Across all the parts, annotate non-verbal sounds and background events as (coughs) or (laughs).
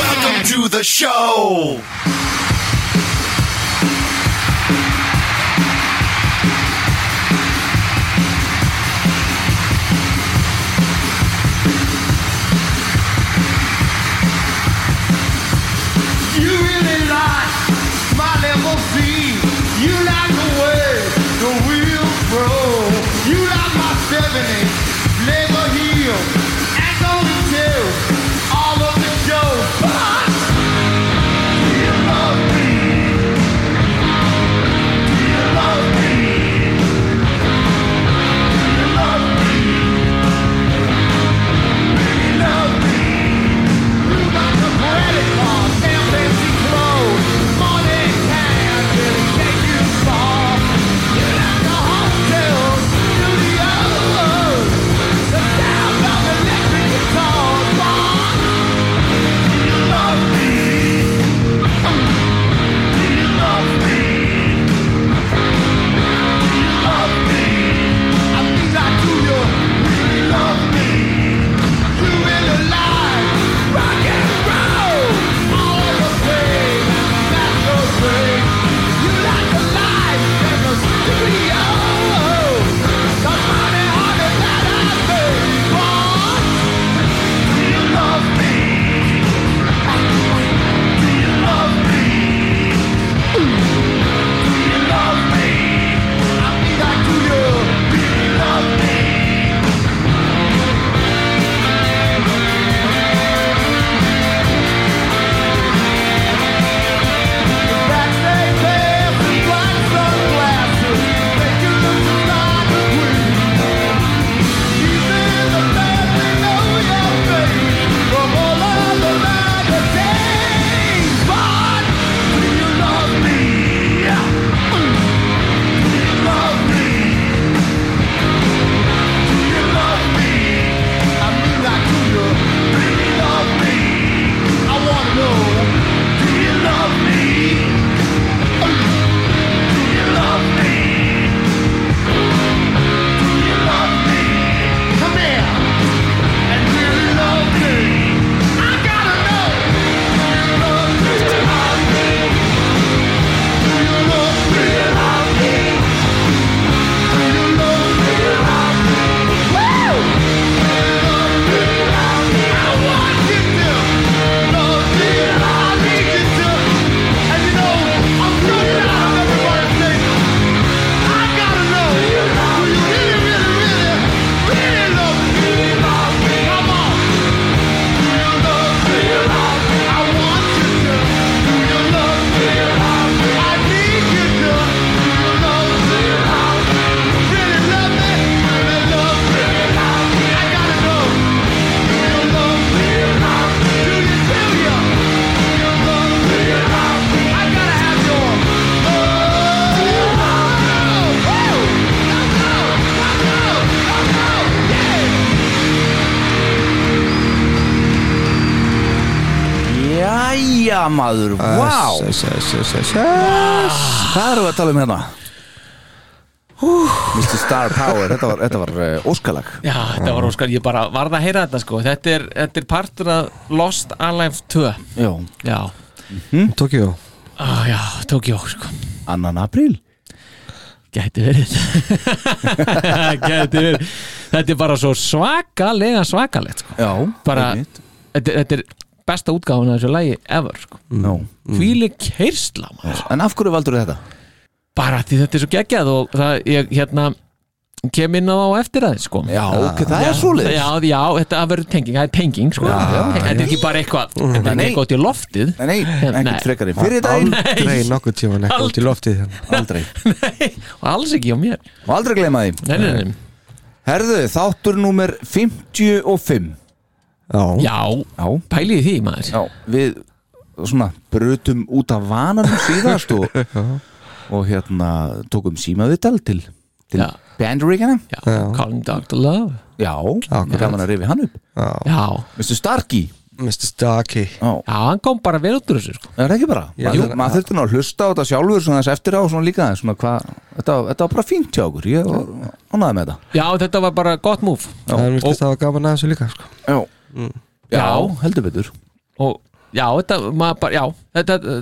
Welcome to the show. You really like my level C. You like the way the wheels roll. You like my 70s flavor heel. And don't it tell all of the show. But you love me. You love me. You love me. Baby, love me. You got the credit card, fancy clothes, money, cash, it'll take you far. You got the hotels, studios, the sound of electric guitar, bar. Do you love me? Do you love me? Do you love me? I think I do. You really love me. You really like rock and roll. All the pain, that's the pain. You like the life and the studio. The money, honey, that I paid for. Do you love me? Do you love me? Do you love me? I think I do. You really love me. That they wear white sunglasses make you look like a queen. Even the man they know your face from all of the magazines. But do you love me? Do you love me? Do you love me? I mean, like, do you really love me? I wanna know. Do you love me? Do you love me? Do you love me? Come here and really love me. I gotta know. Do you love me? Do you love me? Do you love me? Do you love me? Do you love me? Do you love me? Woo! Do you love me? Do you love me? I want you to love me. I need you to. And you know, I'm good now. Everybody say, I gotta know. Do you really, really, really, really love me? Do you love me? Come on. Do you love me? Do you love me? I want you to. Do you love me? Do you love me? I need you to. Do you love me? Do you love me? Really love me? Really love me? Really love me? I gotta know. Do you love me? Do you love me? Do you feel ya? Do you love me? Do you love me? I gotta have your love. Do you love me? Woo! Love, love, love, love, love, love, yeah! Jæja maður, vá Yes, yes, yes, yes, yes. Hvað erum við að tala um hérna? Mr. Star Power, þetta var, þetta var uh, óskalag Já, þetta var óskar, ég bara varð að heyra þetta sko Þetta er, þetta er partur af Lost Alive 2 Já, Já, Mhm. Tokjó á, já, Tokjó sko annan apríl Gæti verið (laughs) Gæti verið Þetta er bara svo svakalega svakalegt sko. Já, Bara, einmitt. þetta, þetta er besta útgáfuna af þessu lagi ever sko. no. Hvíli keirsla maður En af hverju valdur þetta? Bara því þetta er svo geggjað og það, ég, hérna kem inn á á eftir aðeins sko Já, ok, það er svoleiðis Já, já, þetta verður tenging, það er tenging sko Þetta er ekki bara eitthvað, þetta er ekki Mm. Nei. eitthvað út í loftið Nei, nei, Hérna, Nei. ekkert frekar í fyrir daginn Aldrei nokkuð tíma nekka út í loftið hérna. Aldrei, (laughs) Nei, og alls ekki á mér og aldrei gleyma því Eh, Nei, nei, nei, Herðu, þáttur númer 55 Já, já, Já, pæliði því maður já Við svona brutum út af vananum síðast (laughs) og, og hérna tókum símavital til, til Já. bandaríkana Já, Calling Dr. Love Já, Akkurat. gaman að rifi hann upp Já, Mr. Starkey Mr. Starkey Já, já, hann kom bara vel út úr þessu sko Er það ekki bara? Já, Jú, það- maður þurfti nú að hlusta á þetta sjálfur svona þess eftir á svona líka aðeins, svona hvað, þetta, var- þetta var bara fínt hjá okkur, ég var ánæði með þetta Já, þetta var bara gott múf Það er mjög stafa gaman að þessu líka sko. Já, já Já. heldur betur og já, þetta, maður bara, já þetta,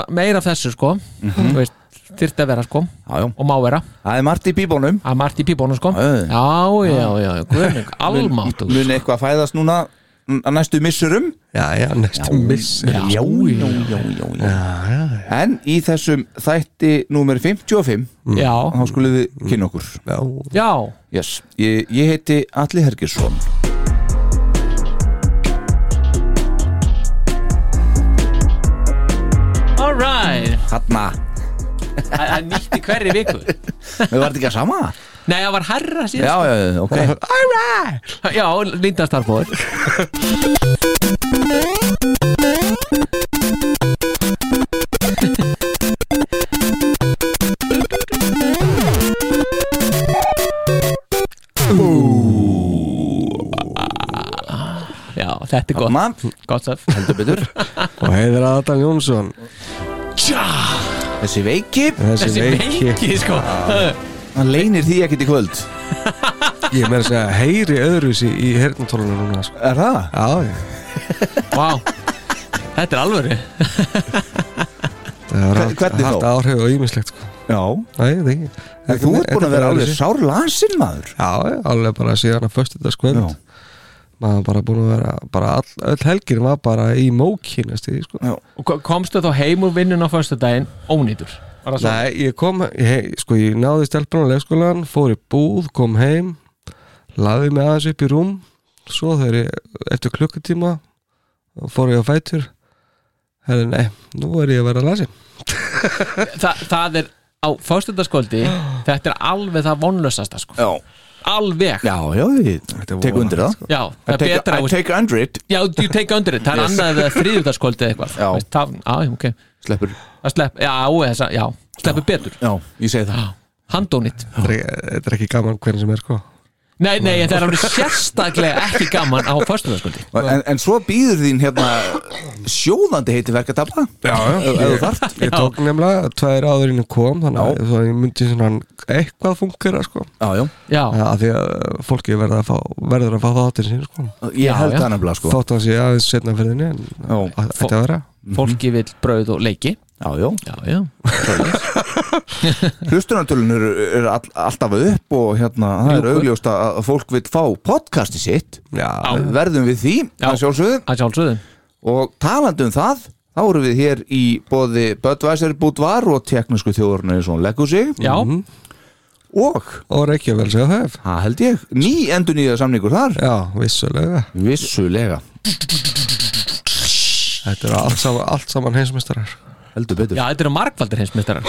ma- meira af þessu sko þú veist, þyrfti að vera sko Mhm. Já, já, og má vera, það er margt í bíbónum að margt í pípónu sko Já, já, já. já, já, já, já (laughs) guðmeng, almáttu Mun eitthvað fæðast núna mm, að næstu missurum Já, já, næstum miss Já, já, já, já, já, En í þessum þætti númer 55 já, þá skulum við kynna okkur Mm. Já, já, yes. ég, ég heiti Alli Hergjesson all right Hanna, Það- það er nýtt í hverri viku við varum ekki að sama nei, það var herra Já, síðan já, já, ok já, já lindastarfóður Já, þetta er gott, Hanna, gott stöf heldur (laughs) betur og heiðir Adam Jónsson Þessi veiki, Þessi, Þessi veiki, sko hann leynir því ekkert í kvöld Ég meira að segja heyri öðruvísi í hernatólunum núna sko. Er það? Já, já Vá, þetta er alvöru Það var Hver- hvernig haft þá? áhrif og ímislegt sko. Já Nei, það ekki Þú Ekki með- ert búin ekki að vera með alveg öðruvísi. sár lasin maður Já, já, alveg bara síðan að föstu þetta skvöld Já. Maður bara búin að vera bara all, öll helgin var bara í mókin sko. Og ko- komstu þá heim úr vinnun á föstudaginn ónýtur? Var það svo? Nei, ég kom ég, sko, ég náði stelpun á leikskólan fór í búð, kom heim laði mig aðeins upp í rúm svo þegar ég, eftir klukkutíma fór ég á fætur herri, nei, nú er ég að vera lasin Þa, það er á föstudagskvöldi þetta er alveg það vonlösasta sko. Já, alveg já, já, já, ég tek undir það það I er take, betra I að take under it já, you take under it, það er annað eða þriðjúdagskvöldi eða eitthvað Já. Veist, það, á, ok, Sleppur það slepp já, þessa, já, sleppur betur Já, ég segi það handónýtt, þetta er ekki- þetta er ekki gaman hvernig sem er sko. nei, nei, þetta er alveg (laughs) sérstaklega ekki gaman á föstudagskvöldi En, en svo býður þín hérna sjóðandi heiti verka tapa Já, já Ef þú þart ég tók nefnilega tveir áður inn og kom þannig að ég myndi svona eitthvað fungera sko. Já, já já, að því að fólki verður að fá, verður að fá þáttir sín sko. Ég held já. það nefnilega sko þótt að sé aðeins setna ferðinni en Já. að- ætti að vera fólki vil brauð og leiki Mhm. Já, já já, já, Hlustunartölun eru er all, alltaf upp og hérna, það er Ljúkur. augljóst að að fólk vil fá podcasti sitt Já, Verðum við því, Já. að sjálfsögðu að sjálfsögðu Og talandi um það, þá erum við hér í bóði Budweiser Budvar og teknísku þjóðurinn eins og hún leggur sig já, og, Mhm. og Reykjavík segja það hef það held ég, ný endur nýja samningur þar Já, vissulega Vissulega, Þetta eru allt saman, allt saman heimsmeistarar heldur betur já, þetta eru margvaldir heimsmyndstarar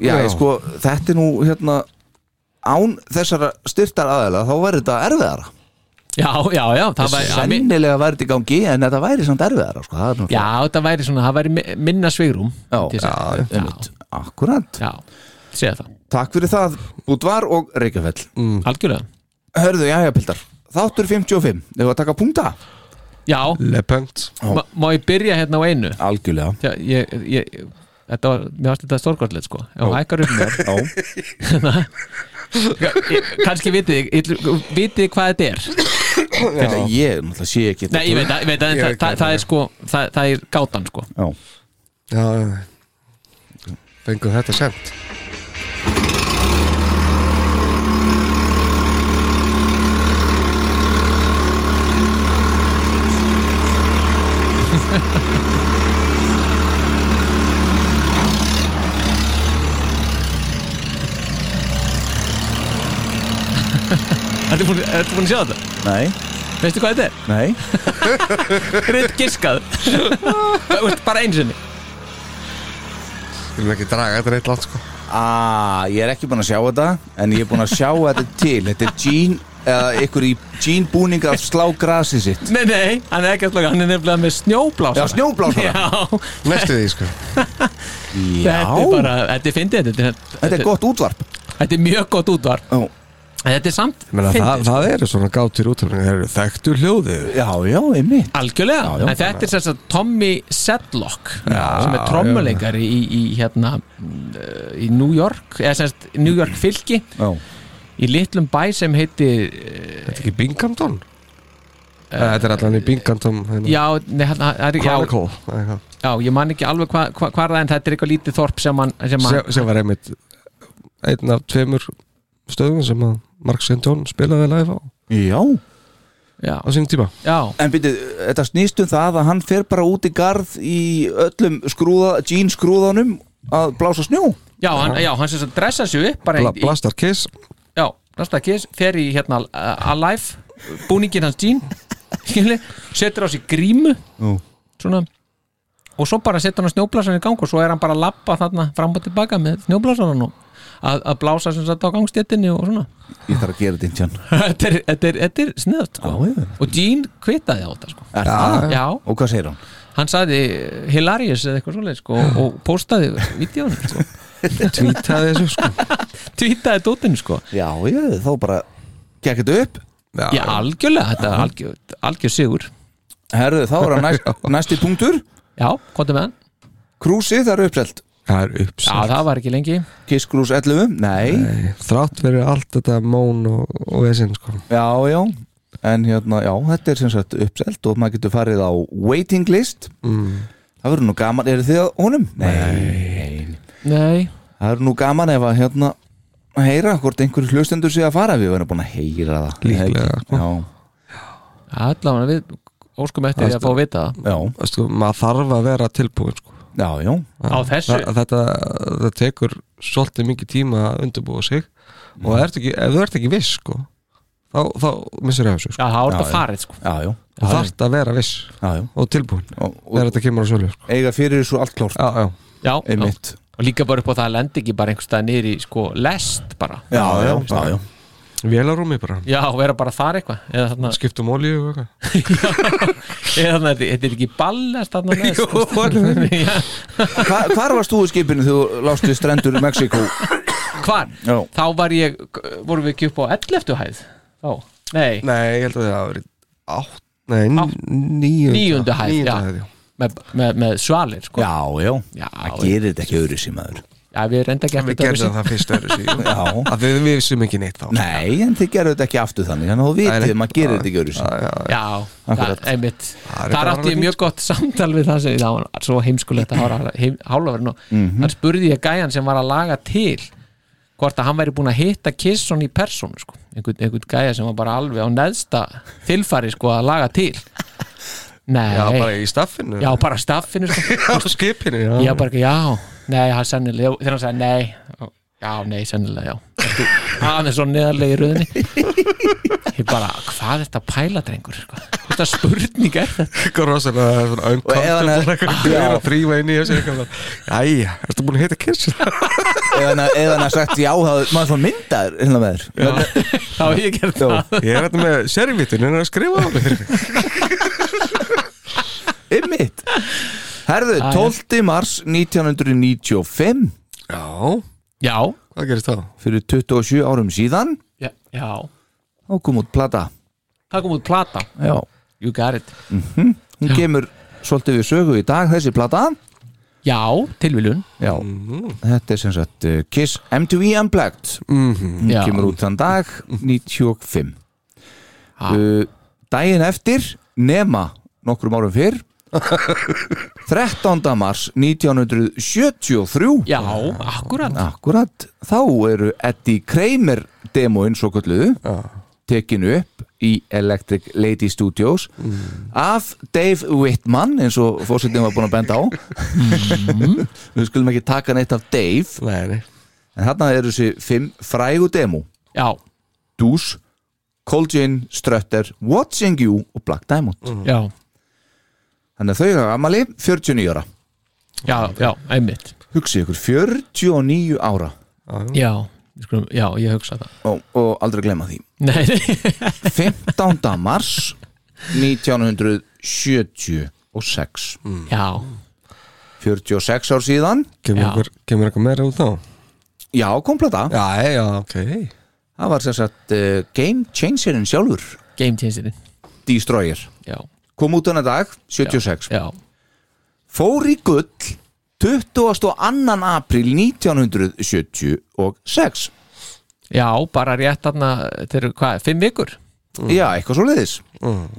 Já, Já. sko, þetta er nú hérna án þessara styrtar aðeila þá væri þetta erfiðara já, já, já, það var að mi- Sennilega væri þetta í gangi en þetta væri samt erfiðara sko. það er nú- Já, þetta væri svona, það væri mi- minna svigrum Já, myndi ég segja. já, einmitt. Akkurat já, segja það, Takk fyrir það, Búdvar og Reykjafell algjörlega Mm. Hörðu, já, já, Pildar Þáttur 55, ef við að taka punkta Já, Lepöngt ma- má ég byrja hérna á einu Algjörlega Já, ég, ég, þetta var, mér varst þetta stórkortlega sko Ef hún hækkar upp mér (laughs) Já, ég- Kannski vitið, þið- ég- vitið þið hvað þetta er þetta ég, náttúrulega sé ekki Nei, ég veit að, ég veit að Ég það, það, veit hvað það það er sko, það, það er gátan sko Já, Já, já, já Fengu þetta sent Ertu búin ertu búin að sjá þetta? Nei, Veistu hvað þetta (laughs) nei er? Greit giskað Þú veist, Bara einu sinni Skulum ekki draga þetta reitt látt sko Ah, ég er ekki búinn að sjá þetta En ég er búinn að sjá þetta til Þetta er Gene Eða ykkur í Gene búninga að slá grasið sitt Nei, nei, hann er ekki að slaka Hann er nefnilega með snjóblásara Já, snjóblásara. Já, Næstu því sko Já, þetta er bara Þetta er fyndið Þetta er, þetta er gott útvarp Þetta er mjög gott útvar Ó, En þetta er samt Menna, fyndið, það, sko. það eru svona gátir útöfningar Það eru þekktu hljóðið Já, já, einmitt Algjörlega, já, en þetta er sérst að Tommy Sedlock sem er já. trommuleikari í, í hérna eh, í New York, eða sérst New York fylki Já, í litlum bæ sem eh, heitir Þetta er ekki Binghamton? Uh, þetta er allan í Binghamton hérna. já, nei, hann, hann, hann, já, Chronicle eða eitthvað. já, ég man ekki alveg hvað hva, hva er það en þetta er eitthvað lítið þorp sem hann, sem hann sem, sem var einmitt einn af tveimur stöðum sem að Mark St. John spilaði live á, á já já, sín tíma já, En byrju, þetta snýst um það að hann fer bara út í garð í öllum skrúða, jeans skrúðanum að blása snjó já, hann, já, hann sérst að dressa sig upp bara Bla, í, í, Blastar Kiss já, næsta kiss, fer í hérna uh, Alive, búningin hans Jean skilji, setur á sig grímu Jú. svona og svo bara setur hann snjóblásan í gang og svo er hann bara að lappa þarna fram og tilbaka með snjóblásan og að, að blása sem sagt á gangstéttinni og svona Ég þarf að gera þetta intján þetta er, þetta er, þetta er sniðt sko. já. og Jean kvitaði á þetta sko. Er það? já, Og hvað segir hann? hann sagði hilarious eða eitthvað svoleið sko, og- og postaði vídjónu (laughs) sko. tvítaði þessu sko tweetaði dótinu sko. Já, já, þá bara gekk þetta upp já, algjörlega, þetta er algjör, algjör sigur Herðu, þá er hann (laughs) næst, næsti punktur já, komdu með hann Krúsið, það eru uppselt það er upps já, það var ekki lengi Kiss Cruise 11, nei, þrátt verið allt þetta món og, og esinn sko Já, já En hérna, já, þetta er sem sagt uppselt og maður getur farið á waiting list mm. Það verður nú gaman, eru þið að honum? Nei nei, Það verður nú gaman ef að hérna að heyra hvort einhverju hlustendur sé að fara við verðum búin að heyra það Líklega, sko. Ekki? Já, allavega við óskum eftir því að fá að vita það já, sko, maður þarf að vera tilbúin sko já, já Á þessu? Þa- þetta, það tekur svolítið mikið tíma að undirbúa sig Mhm. og ert ekki, ef þú ert ekki viss sko þá, þá missir það þessu sko. já, það er þetta Já, já. farið sko. Já, já, þú þarft að vera viss já, já og tilbúin og, og þegar þetta kemur á sölu sko. eiga fyrir þessu allt klárt já, já, já, já. einmitt og líka bara upp á það að lendi ekki bara einhver stað niður í sko lest bara Já, já, já, já vélarúmi bara já, vera bara þar eitthvað eða þarna, skiptum um olíu (laughs) og eitthvað eða þarna þetta þetta er ekki ballast þarna neðst, (laughs) sko. Já, Hva, Hvar varst þú í skipinu þegar þú lást við strendur í Mexíkó? hvar? Já, þá var ég, vorum við ekki upp á 11. hæð þá, nei, nei, ég held að það hafi verið átt, nei, níunda Níundu hæð, níunda já. hæð, já. með, með, með svalir sko. já, já Já, Það gerir þetta ekki öðru sem aður já, við reynda ekki við eftir gerðum það fyrst öðru (laughs) síðan (laughs) Já að við, við vissum ekki neitt þá Nei, en þið gerðu þetta ekki aftur þannig Þannig að þú Nei, vitið, nei. maður gerir þetta ekki öðru Já, já, Já, það, Akkurat. einmitt Það Þar er bara átti ég alveg mjög gott samtal við það sem það var svo heimskulegt að hára hálfurinn og Mhm. þar spurði ég gæjan sem var að laga til hvort að hann væri búin að hitta Kisson í persónu sko. einhvern, einhvern gæja sem var bara alveg á neðsta tilfari sko að laga til Nei, (laughs) já, bara í staffinu já, bara staffinu sko. á skipinu (laughs) já, Já, bara ekki, já, nei, hann sennilega þegar hann sagði nei, já, nei, sennilega já, Ertu- hann er svo neðarlega í röðinni (laughs) ég bara, hvað er þetta pæla, drengur sko? þetta spurning er þetta (laughs) eitthvað rosalega svona Og ef hann uncomfortable er- eitthvað gauður að þrýfa inn í þessu eitthvað bara, Æja, ertu búin að heita Kiss? Eða hann að sagt já, það maður þá myndar hérna með þér (laughs) þá hef ég gert það Ég er hérna með servitun en er að skrifa um á mig (laughs) Ymmit Herðu, 12. mars 1995 Já, já, hvað gerist þá? Fyrir 27 árum síðan já, já, Þá kom út plata það kom út plata Já Mhm. you got it, Hún kemur svolítið við sögu í dag, þessi plata já, tilviljun Já Þetta er sem sagt uh, Kiss MTV Unplugged Hún Já. Mhm. kemur út þann dag 95 Ha. uh, Dæin eftir nema nokkrum árum fyrr (laughs) 13. mars 1973 já, akkurat, Akkurat, þá eru Eddie Kramer demóin svo kalluðu tekinu upp í Electric Lady Studios Mm. af Dave Whitman eins og fórsetin var búin að benda á Mm. (laughs) við skulum ekki taka neitt af Dave Nei, nei en þarna eru þessi fimm frægu demó já Dús, Cold Gin, Strutter, Watching You og Black Diamond já, þannig að þau eru amali 49 ára já, já, einmitt hugsið ykkur 49 ára já, við skulum, já, ég hugsa það og, og aldrei glemma því nei, nei, 15. mars 1976 já 46 ár síðan kemur, Já. einhver, kemur eitthvað meira út þá já, kom plata já, ei, já, ok það var sem sagt uh, Game Changerinn sjálfur game changerinn, Destroyer já, kom út hann að dag, 76 já fór í gull 22. april 1976 já, bara rétt þarna þegar, hvað, fimm vikur Mm. já, eitthvað svo leiðis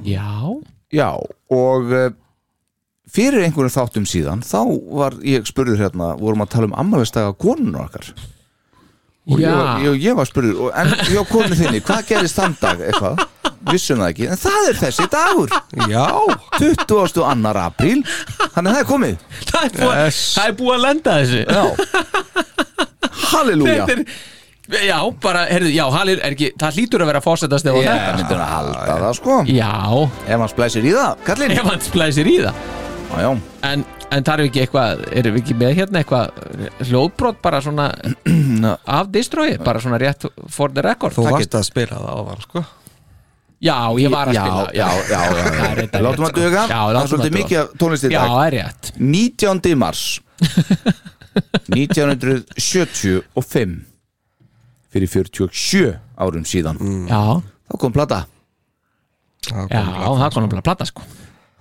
já, já, og uh, fyrir einhverjum þáttum síðan þá var ég spurður hérna vorum að tala um ammælistega konun okkar og ég, var- já, ég, ég var spurður og, en já, konun þinni, hvað gerist þann dag eitthvað, vissum það ekki en það er þessi dagur já, 22. apríl þannig að það er komið það er búið Yes. það er búið að lenda þessu já Halleluja Þetta er- já, bara, heyrðu, já, Hallir er ekki það hlýtur að vera fósettast eða Ég þetta myndi hann að halda það sko já, Ef hann splæsir í það, kallinn ef hann splæsir í það Já, já, en, en það eru ekki eitthvað erum við ekki með hérna eitthvað hljóðbrot bara svona Na. af distrói, bara svona rétt for the record þú varst að spila það áðan sko. já, ég var að já, spila já, já, já, (laughs) Það er já. reyndar Látum rétt, að duga, sko. Já, það er látum að svolítið duga. mikið af tónlist í já, dag það er rétt 19. (laughs) mars 1975 Fyrir 47 árum síðan Mm. já, Þá kom plata, já, það er konar að plata sko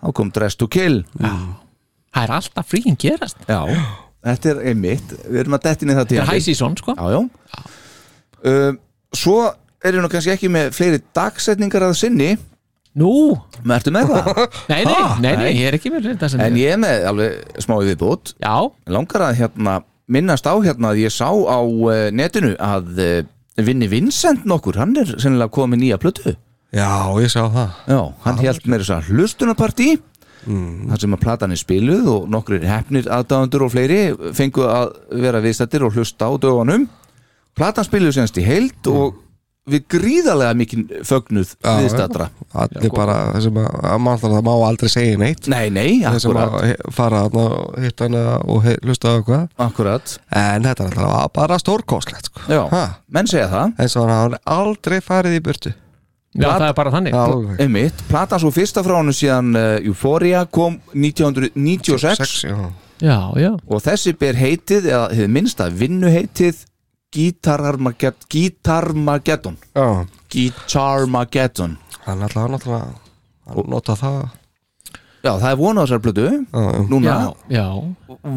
þá kom Dress to Kill það er alltaf fríkin gerast Já, þetta er einmitt Við erum að dettinni það það til er high season sko Já, já Um, Svo erum við nú kannski ekki með fleiri dagsetningar að sinni nú, Með ertu með það? nei, nei, Ha? nei, nei, ég er ekki með þetta sem En ég er með alveg smá viðbútt já, Langar að hérna minnast á hérna að ég sá á uh, netinu að uh, Vinni Vincent nokkur, hann er sennilega komið með nýja plötu já, ég sá það Já, hann held með þess að hlustunapartí Mm. þar sem að platan er spiluð og nokkrir hefnir aðdáðundur og fleiri fengu að vera viðstættir og hlusta á dögunum platan spiluð semst í heild og við gríðarlega mikinn fögnuð Mm. Já, viðstættra allir bara, þessum að, að mann þarf að má aldrei segja neitt Nei, nei, þessum akkurat, að he- fara þarna og hitta hana og he- hlusta á eitthvað akkurat en þetta er alltaf bara stórkostlegt sko. Já, Ha, menn segja það eins og hann hafði aldrei farið í burtu já, það er bara þannig alveg Einmitt, platan svo fyrsta frá honum síðan uh, Euphoria kom 1996 Sex, já. já, já, og þessi ber heitið eða hefði minnsta vinnuheitið Guitarmageddon Guitarmageddon Já. Guitarmageddon hann alltaf hann alltaf að nota það Já, það er vona á þessar plötu já. núna, já, já,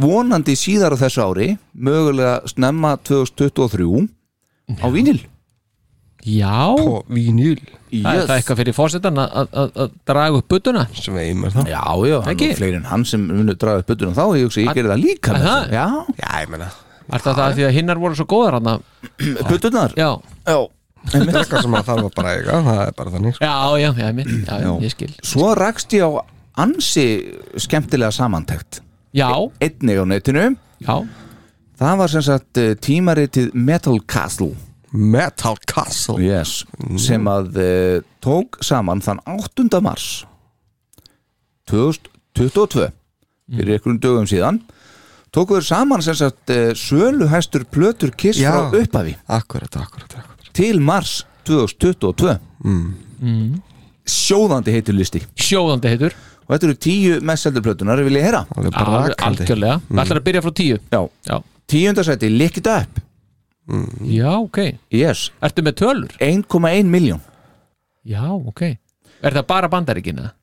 vonandi síðar á þessu ári mögulega snemma 2023 á vínil já. og vínjúl Það er það eitthvað fyrir fórsetan að- að að- að draga upp buttuna sem við einmur það Já, já, hann Ekki? og fleiri en hann sem munur draga upp butunum þá, ég hugsa, ég Að- gerði það líka að með það? það. Já, já, ég meina Er það það því að hinnar voru svo góðar (clears throat) hann butunar Já, Já, þetta er eitthvað sem maður þarf að bara eiga það er bara þannig sko. já, já, já, mitt, já, já, ég skil Svo rakst ég á ansi skemmtilega samantækt Já, einnig á netinu já, Það var sem sagt eh, tímaritið Metal Castle Metal Castle Mm. yes. sem að uh, tók saman þann 8. mars 2022 Mm. fyrir einhverjum dögum síðan tóku þeir saman sem sagt uh, söluhæstur plötur kiss Já. frá upphafi akkurat, akkurat, akkurat til mars 2022 Mm. Mm. sjóðandi heitur listi sjóðandi heitur og þetta eru tíu mestseldur plötunar vil ég heyra alveg bara Al- rakandi Mm. Algjörlega, við ætlar að byrja frá tíu Mm. Já. Já, tíundasæti, lick it up Mm. já, ok yes. Ertu með tölur? 1,1 miljón Já, ok Er það bara bandaríkina?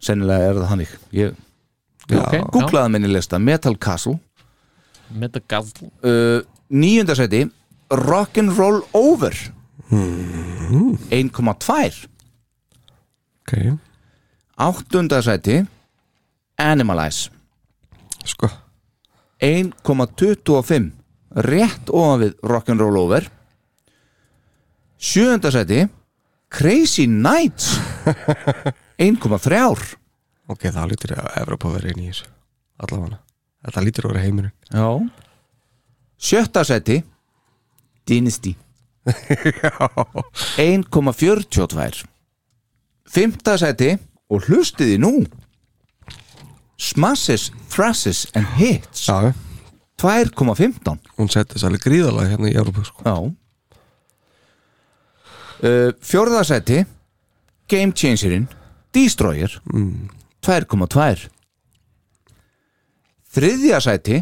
sennilega er það hann ekki ég Ok, já. googlaði minni lista Metal Castle Með það galt uh, nýjöndasæti Rock'n'Roll Over 1,2 Mhm. ok, áttundasæti Animalize sko 1,25 rétt ofan við Rock'n'Roll Over sjöundasæti Crazy (laughs) Nights 1,3 ok, það lítur að Evropa verið inn í þessu allavega þetta lítur að vera heimurinn (laughs) Já Sjötta sæti Dynasty 1,42 Fymta sæti og hlustiði nú Smashes, Thrashes and Hits Já, 2,15 hún setti þess alveg gríðalega hérna í Európa sko. Já uh, Fjórða sæti Game Changerinn Destroyer 2,2 Þriðja sæti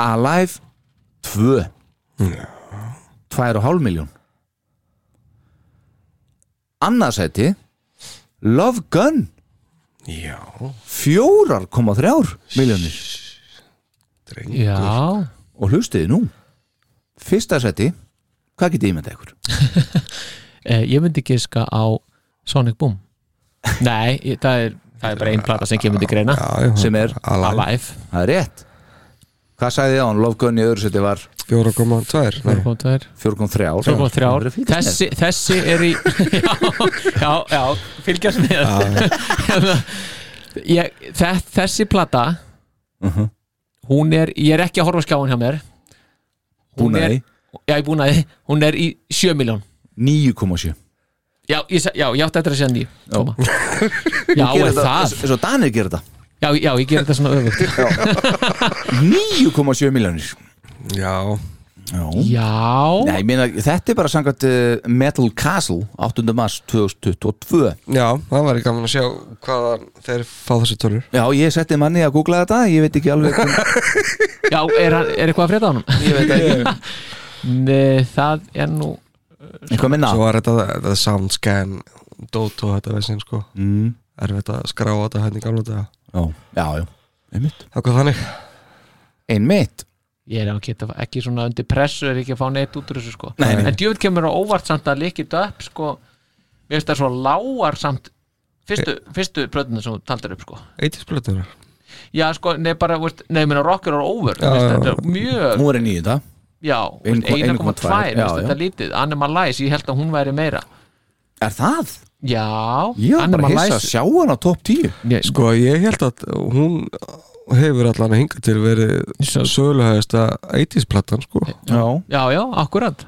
Alive 2 2,5 miljón Annað sæti Love Gun Já, 4,3 miljónir drengur Já, og hlustiði nú Fyrsta sæti Hvað getið ímynda ykkur? eh, ég myndi giska á Sonic Boom Nei, ég- það er, það er bara einn plata sem kemur til greina Já, já, Sem er- Alive. Alive, Það er rétt Hvað sagði ég á hann? Love Gun í öðru seti var 4,2 nei. 4.2 4.3 4.3 þessi, þessi er (laughs) í já, já, já fylgjast með Hérna, ég, þe þessi plata Mhm. hún er, ég er ekki að horfa á skjáin hjá mér hún er- Búnaði já, ég búnaði, hún er í 7 miljón 9,7 já, ég, sa- já, ég átti eftir að segja 9 (laughs) koma. já, Gerir er þetta- það eins- eins og Danir gerir þetta já, já, ég ger þetta svona (laughs) öfugt 9,7 miljónir Já, já, Nei, ég meina, þetta er bara sangat uh, Metal Castle 8. mars 2022 já, það væri gaman að sjá hvaðan þeir fá þessi tölur Já, ég setti manni að googla þetta Ég veit ekki alveg hvern- já, er, hann- er eitthvað að frétta á honum Ég veit ekki (laughs) Nei, það er nú Eitthvað minna Svo var þetta, þetta soundscan Dótó þetta veginn sko mm, Erfitt að skrá þetta hérna í gamla þetta Oh. Mm. Já, já, já Einmitt Það hvað þannig Einmitt ég er að geta ekki svona undir pressu er ekki að fá neitt út úr þessu sko Nei, nei. en djöfitt kemur á óvart samt að líka þetta upp sko, mér finnst það svo lágar samt fyrstu, fyrstu plötinu sem þú taldar upp sko Eitisblötunar já sko, nei bara, veist, nei minna rocker og over Já, já, veist, já, þetta er mjög, Nú er ég nýjunda já Einu- veist, 1,2 1,2, veist, já, þetta er lítið, Animalize ég held að hún væri meira Er það? já, Ég var bara hissa að Animalize sjá hann á topp 10 ég, Sko ég held að hún hefur allan að hinga til verið Svo- söluhæðasta eitisplatan sko Já já, já, akkurat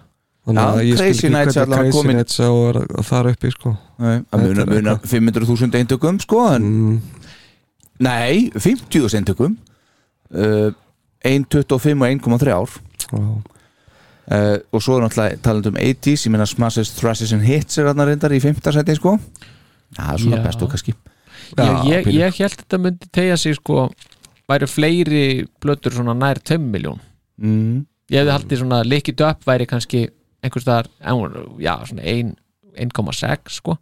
Þannig Já, að ég skil Crazy ekki Nights hvernig er allan Crazy komin. Nights á að þar uppi sko Nei, það Þetta munar, er munar 500.000 eintökum sko en, Mm. Nei, 50.000 eintökum uh, 1.25 og 1.3 ár Já, uh, og svo er náttúrulega talandi um 80s ég meina Smashes, Thrashes and Hits er þarna reyndar í 5. seti sko Það er svona Já. bestu kannski Já, ég, ég, pínu. ég held þetta myndi tegja sig sko væri fleiri plötur svona nær 2 miljón mm. ég hefði haldið svona likið upp væri kannski einhvers staðar en hún- já, svona ein- 1,6 sko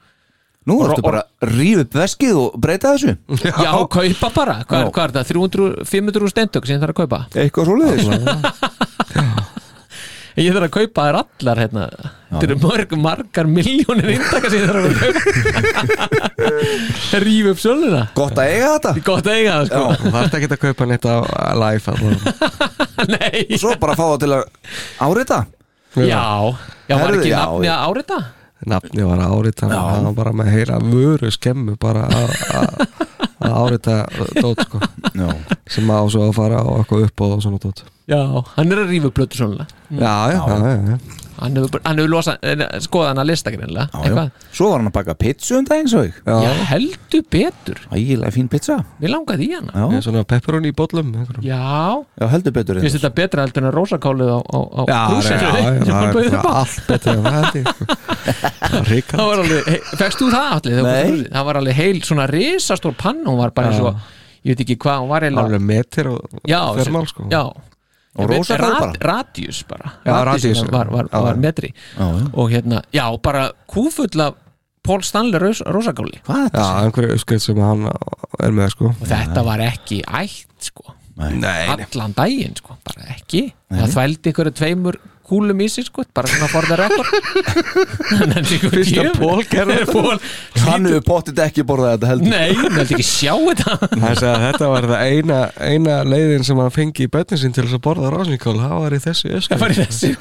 Nú Og- ertu og- bara að rífa upp veskið og breyta þessu já, kaupa bara, hvað er, Já. hvað er það 300, 500 steindök sem ég þarf að kaupa Eitthvað svoleiðis ég þarf að kaupa þær allar hérna þetta eru mörg, margar miljónir inntaka sem ég þarf að kaupa (laughs) ríf upp söluna Gott að eiga þetta gott að eiga það sko Þú (laughs) þarft ekki að kaupa neitt á live allan Nei. Svo bara að fá það til að árita já, já, var Herðu, ekki já, nafni já. að árita nafni var að árita Já. hann var bara með að heyra vöru skemmu bara að- að að árita dót sko Já, sem á svo að fara á eitthvað upp og svona dót já, hann er að rífa upp plötur söluna já, já, já, já, já. hann hefur, bara- hann hefur eh, losa, skoða hann að lista greinlega já, já. Svo var hann að baka pizza um daginn svo ég Já. Já, heldur betur Ægilega fín pizza Mér langaði í hana Já, Með svona pepperoni í bollum einhverjum. Já, Já heldur betur hérna. finnst þetta betra heldur en að rósakálið á, á, á krúsinu? já, já, (laughs) Sem hann það bauð er upp á. bara allt betur en það held ég, sko. Það er ríkar Það var alveg, hey, fegst þú það allir? Nei. Það var alveg heil svona risastór pann hún var bara eins og, ég veit ekki hvað hún var eiginlega- alveg metir og já, fermál sko Já Og rósakál bara. Radius bara Já, Radius radius. var, var, Já, var já. metri Já, já. Og hérna, já, bara kúfulla Pól Stanley rós, rósakáli Hvað er já, þetta? einhverju uppskrift sem hann er með sko Og þetta var ekki ætt sko nei, allan daginn sko, bara ekki það þvældi ykkur tveimur kúlum í sig sko, bara svona forða rekord fyrst að Paul gerði þetta Pól Hann hefur potið ekki borðað þetta heldur nei, hann held ekki sjá þetta hann sagði að þetta var það eina, eina leiðin sem hann fengi í bönnin sín til þess að borða rásnikál það var í þessu ösku það var í þessu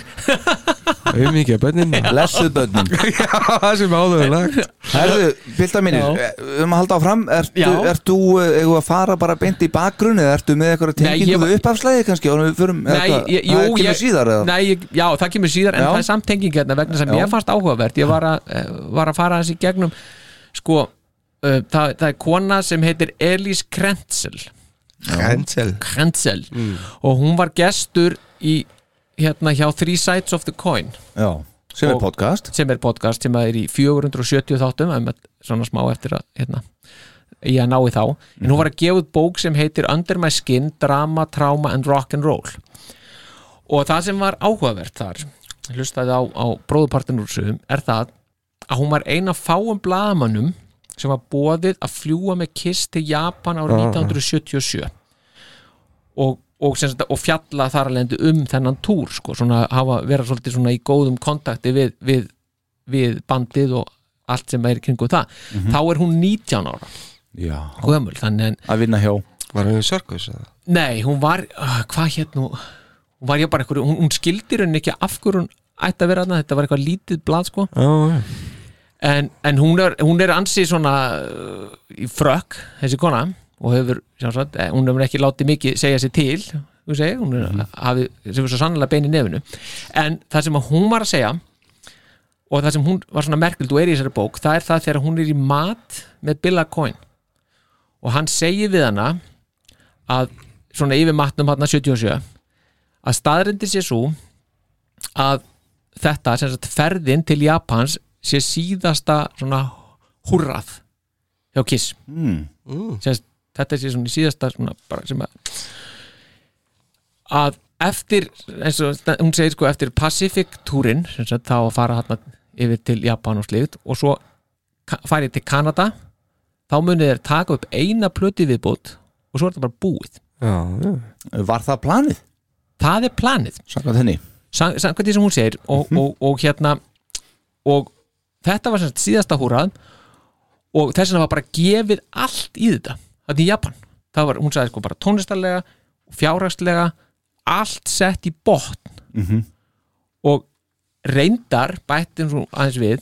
Auðmikið að bönnin (laughs) Blessuð börnin (laughs) Já, það sem áður er lagt Herðu, pilda mínir, Já. við um að halda áfram Ertu, Já. ertu eh, eigum við að fara bara beint í bakgrunn eða ertu með eitthvað Nei, ég tengingu var- við uppafslæði kannski og við förum, Nei, eða hvað? ég, jú, það kemur ég, síðar eða? nei, ég, já, það kemur síðar en Já. það er samtenging hérna vegna sem Já. ég fannst áhugavert ég var að, eh, var að fara þessi gegnum sko, uh, það, það er kona sem heitir Elís Krentsel Cancel Krentsel Mm. og hún var gestur í hérna hjá Three Sides of the Coin Já, sem er Og- podcast sem er podcast sem er í 470 þáttum einmitt svona smá eftir að hérna, ég að ná í þá en Mhm. hún var að gefa út bók sem heitir Under My Skin, Drama, Trauma and Rock'n'Roll og það sem var áhugavert þar ég hlustaði á, á bróðupartin úr sögum er það að hún var eina fáum blaðamannum sem var bóðið að fljúa með kiss til Japan árið 1977 og, og, sem sagt, og fjalla þar alveg um þennan túr sko, svona, hafa, vera svolítið svona í góðum kontakti við, við, við bandið og allt sem er í kringum það þá er hún 19 ára Já, gömul, þannig en, að vinna hjá Var hann í sörkus eða? nei, hún var uh, hvað hétt nú, hún var ég bara einhverju hún, hún skildi henni ekki af hverju hún ætti að vera þarna, þetta var eitthvað lítið blað sko Já, já en, en hún, er, hún er ansið svona uh, í frökk, þessi kona og hefur, sjálfsagt, eh, hún hefur ekki látið mikið segja sér til, þú segir hún er, hafi, sem er svo sannlega bein í nefinu en það sem að hún var að segja og það sem hún var svona merkild og er í þessari bók, það er það þegar hún er í mat með Billa Coyne og hann segir við hana að svona yfir matnum hann 77 að staðrendir sé svo að þetta sem sagt ferðin til Japans sé síðasta svona húrrað hjá Kiss mm. sem sagt, þetta sé svona síðasta svona bara sem að að eftir eins og sta- hún segir sko eftir Pacific túrin sem sagt þá að fara hann yfir til Japan og sliðt og svo ka- farið til Kanada þá munið þeir taka upp eina plöti viðbót og svo er þetta bara búið Já, já Var það planið? það er planið Sankað henni Mhm. sam- samkvæmt því sem hún segir og, og, og hérna og þetta var sem sagt síðasta húrað og þess vegna var bara gefið allt í þetta, þetta í Japan það var, hún sagði sko bara tónlistarlega fjárhagslega, allt sett í botn og reyndar bættum svo aðeins við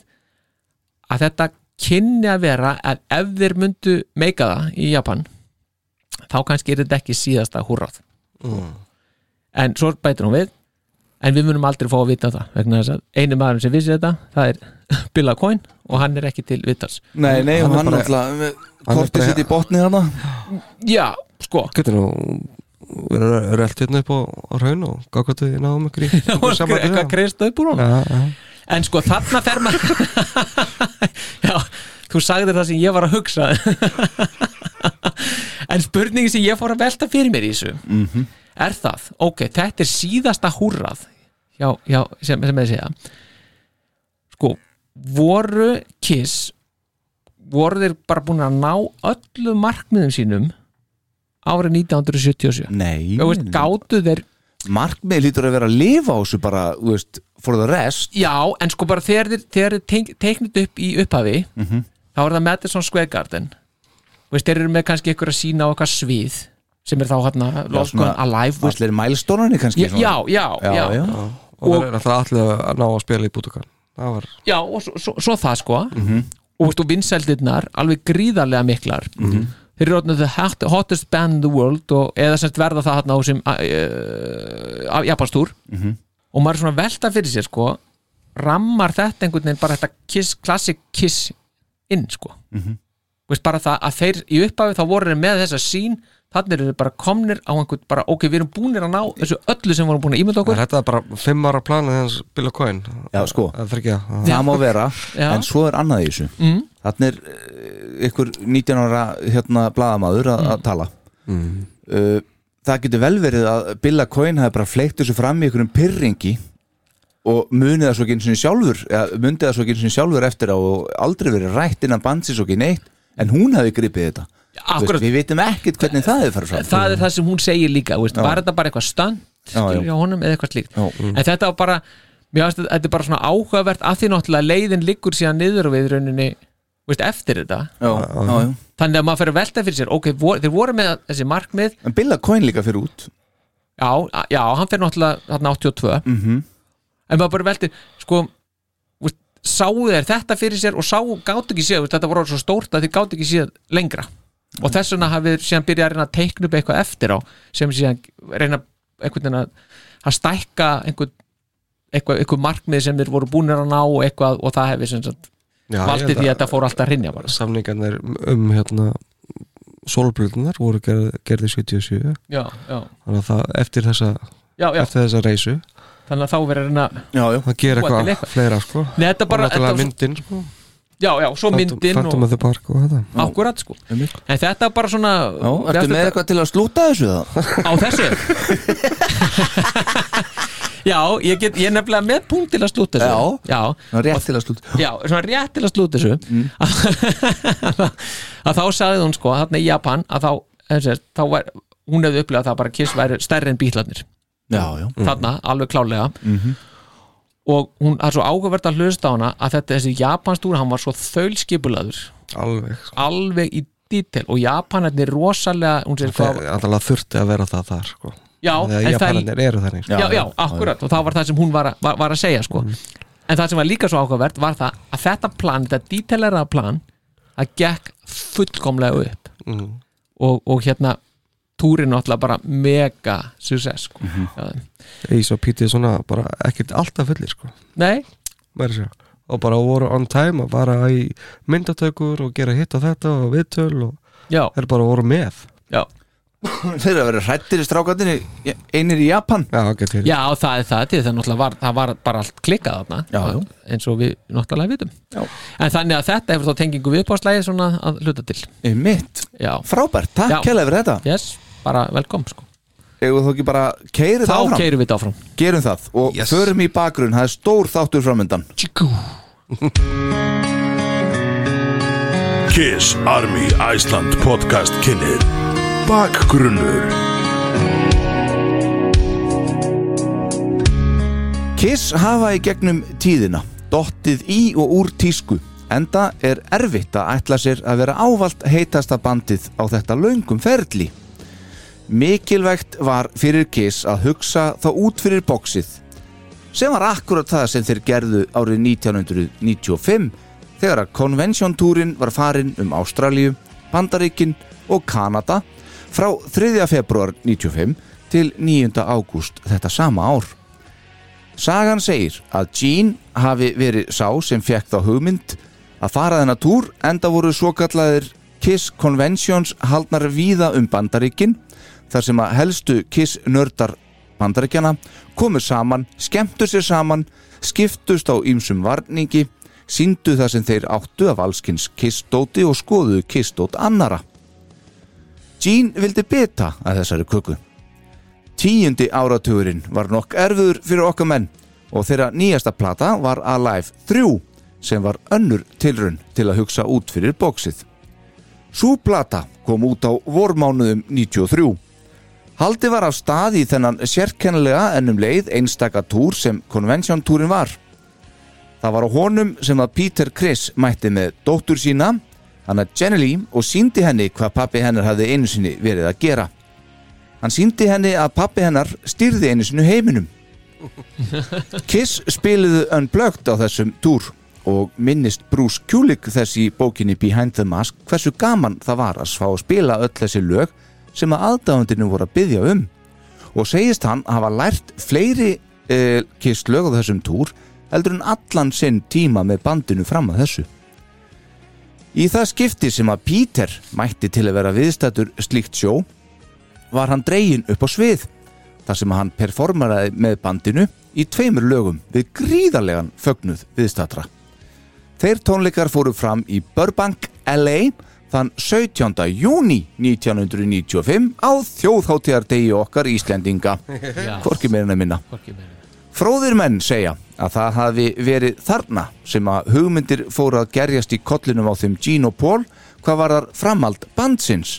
að þetta kynni að vera að ef þeir myndu meika það í Japan þá kannski er þetta ekki síðasta húrað en svo bætir hún við en við munum aldrei fá að vita það vegna þess að einu maður sem vissi þetta það er (laughs) Billa Coyne og hann er ekki til vitars Nei, nei, Hann hann, er hann bara- alltaf hann er Kortið bara- sitt í botni (laughs) hana já, sko Getur nú verið Relt hérna upp á, á raun og Gákvæmt við náum (laughs) ykkur í ykkur sambandi við eitthvað hann. kreist upp úr hún Já, já en sko þarna fer maður (laughs) já, þú sagðir það sem ég var að hugsa (laughs) en spurningi sem ég fór að velta fyrir mér í þessu -hmm. er það, ok, þetta er síðasta húrrað já, já, sem, sem ég segja sko, voru Kiss voru þeir bara búin að ná öllu markmiðum sínum árið 1977 Nei, Þú veist, gátu þeir markmið lítur að vera að lifa á þessu bara, þú veist, for the rest Já, en sko bara þegar þeir, þegar þeir teiknit upp í upphafi Mhm. þá er það Madison Square Garden Þú veist, þeir eru með kannski einhverja sína á eitthvað svið sem er þá hérna Love svona- Gone Alive þú veist. Allir mælstónarnir kannski Já, já, já, já, já. Og Og- það er alltaf allir að ná að spila í bútukan Það var og svo, svo, svo það sko og veist, og vinsældirnar alveg gríðarlega miklar Mhm. þeir eru orðinu the hot, hottest band in the world og, eða semst verða það hérna á sem uh, Japanstúr og maður er svona að velta fyrir sér sko rammar þetta einhvern veginn bara þetta kiss, classic kiss inn sko Mm-hmm. Þú veist, bara það að þeir í upphafi þá voru þeir með þessa sín þannig eru þeir bara komnir á einhvern bara ok, við erum búnir að ná þessu öllu sem við vorum búin að ímynda okkur Er þetta bara fimm ára planið hans Bill og Coin Já, sko. Það er ekki að Það má vera, (laughs) Já. en svo er annað í þessu mm. Þannig er eh, ykkur 19 ára hérna blaðamaður að, Mm. að tala (laughs) uh, Það getur vel verið að Billa Coyne hafi bara fleikt þessu fram í einhverjum pyrringi og munið það svo ekki einu sinni sjálfur eða munið það svo ekki einu sinni sjálfur eftir á og aldrei verið rætt innan bandsins og ekki neitt en hún hafi gripið þetta Þú Akkurat. veist, Við vitum ekkert hvernig það hefur farið fram það er það sem hún segir líka veist, var þetta bara eitthvað stönd já. honum, eða eitthvað slíkt Já. Mm. en þetta var bara, mér finnst að þetta er bara svona áhugavert að því náttúrulega leiðin liggur síðan niður við rauninni veist, eftir þetta Já, já, já. þannig að maður fyrir að velta fyrir sér ok, vor, þeir voru með þessi markmið En Billa Coyne líka fyrir út Mhm. já, a- já hann fyrir náttúrulega þarna 82 -hmm. en maður bara veltir sko, þú veist, sáu þeir þetta fyrir sér og sáu gátt ekki séð, þú veist, þetta voru svo stórt að þeir gátt ekki séð lengra og þess vegna hafi þeir síðan byrjað að reyna að teikna upp eitthvað eftir á sem síðan reyna einhvern veginn að, að stækka einhvern eitthvað, eitthvað markmið sem þeir voru búinir að ná og eitthvað og það hefði sem sagt Já, ég valdið held því að að- þetta fór alltaf að rinja bara samningarnir um hérna sólbröðunar voru gerð, gerði 77 já, já, þannig að það eftir þessa, já, já, eftir þessa reysu þannig að þá verið að reyna já, já, það gera Búa til eitthvað eitthvað. fleira sko Nei, þetta bara, og náttúrulega þetta var svo- myndin sko já, já, svo myndin Phantom og of the Park og þetta akkurat sko Mhm. Einmitt. en þetta er bara svona já Ertu með eitthvað til að slúta þessu það? á þessu (laughs) já, ég, get, ég er nefnilega með punkt til að slúta þessu Já. já, Ná, rétt til að slúta já svona rétt til að slúta þessu Mhm. að, (laughs) að þá sagði hún sko þarna í Japan að þá, þessi, þá var, hún hefði upplegað það bara að kiss væri stærri en bílarnir Já, já, þarna, alveg klálega Mhm. og hún það er svo áhugavert að hlusta á hana að þetta þessi Japanstúr, hann var svo þaulskipulaður alveg sko. alveg í detail og Japanarnir er rosalega hún sér það hvað, alltaf þurfti að vera það þar sko já, þegar en það japanarnir eru þannig sko. já, já, akkurat og það var það sem hún var, að- var, var að segja sko. Mm. en það sem var líka svo áhugavert var það að þetta plan, þetta detailera plan það gekk fullkomlega upp Mm. og, og hérna túrin náttúrulega bara mega success sko. Já. Ís og Píti er svona bara ekkert alltaf fullir sko nei, meira að segja. og bara voru on time að fara í myndatökur og gera hitt og þetta og viðtöl og já, þeir bara voru með já (laughs) Þeir eru að vera hrættir í strákatinu Einir í Japan já, get fyrir Já, það er það til það náttúrulega var, það var bara allt klikkað þarna Já, já. eins og við náttúrulega vitum Já. en þannig að þetta hefur þá tengingu viðbáslægi svona að hluta til Mitt, Já, frábært, Já. takk kælega fyrir þetta yes, bara velkom sko. Eða þú ekki bara keirið Þá áfram keirum við þetta áfram Gerum það og Yes. förum í bakgrunn Það er stór þáttur framöndan Kiss Army Iceland podcast kynir Bakgrunnur Kiss hafa í gegnum tíðina dottið í og úr tísku enda er erfitt að ætla sér að vera ávalt heitasta bandið á þetta löngum ferli Mikilvægt var fyrir Kiss að hugsa þá út fyrir boxið sem var akkurat það sem þeir gerðu árið 1995 þegar að konvensjóntúrin var farin um Ástralíu, Bandaríkin og Kanada frá 3. februar 95 til 9. ágúst þetta sama ár Sagan segir að Gene hafi verið sá sem fekk þá hugmynd að fara þennan túr enda voru svokallaðir Kiss Conventions haldnar víða um bandaríkin þar sem að helstu Kiss nördar bandaríkjana komu saman, skemmtu sér saman, skiptust á ýmsum varningi, síndu það sem þeir áttu af allskins Kiss-dóti og skoðuðu Kiss-dót annara. Gene vildi beta að þessari köku. Tíundi áratugurinn var nokk erfiður fyrir okkar menn og þeirra nýjasta plata var Alive 3 sem var önnur tilrun til að hugsa út fyrir bóksið. Sú plata kom út á vormánuðum 93. Haldi var af stað í þennan sérkennilega ennum leið einstaka túr sem konvensjóntúrin var. Það var á honum sem að Peter Criss mætti með dóttur sína, hann að Jenny Lee og síndi henni hvað pappi hennar hafði einu sinni verið að gera. Hann síndi henni að pappi hennar stýrði einu sinu heiminum. (laughs) Kiss spiliðu Unplugged á þessum túr og minnist Bruce Kulick þess í bókinni Behind the Mask hversu gaman það var að svá að spila öll þessi lög sem að aðdáðundinu voru að byggja um og segist hann hafa lært fleiri eh, Kiss lög á þessum túr heldur en allan sinn tíma með bandinu fram að þessu. Í það skipti sem að Peter mætti til að vera viðstættur slíkt sjó var hann dregin upp á svið þar sem hann performeraði með bandinu í tveimur lögum við gríðarlegan fögnuð viðstatra. Þeir tónleikar fóru fram í Burbank, LA þann 17. júni 1995 á þjóðháttíðardegi okkar Íslendinga, Já, hvorki meirina minna. hvorki meira. Fróðir menn segja að það hafi verið þarna sem að hugmyndir fóru að gerjast í kollinum á þeim Gene og Paul hvað varðar framhald bandsins.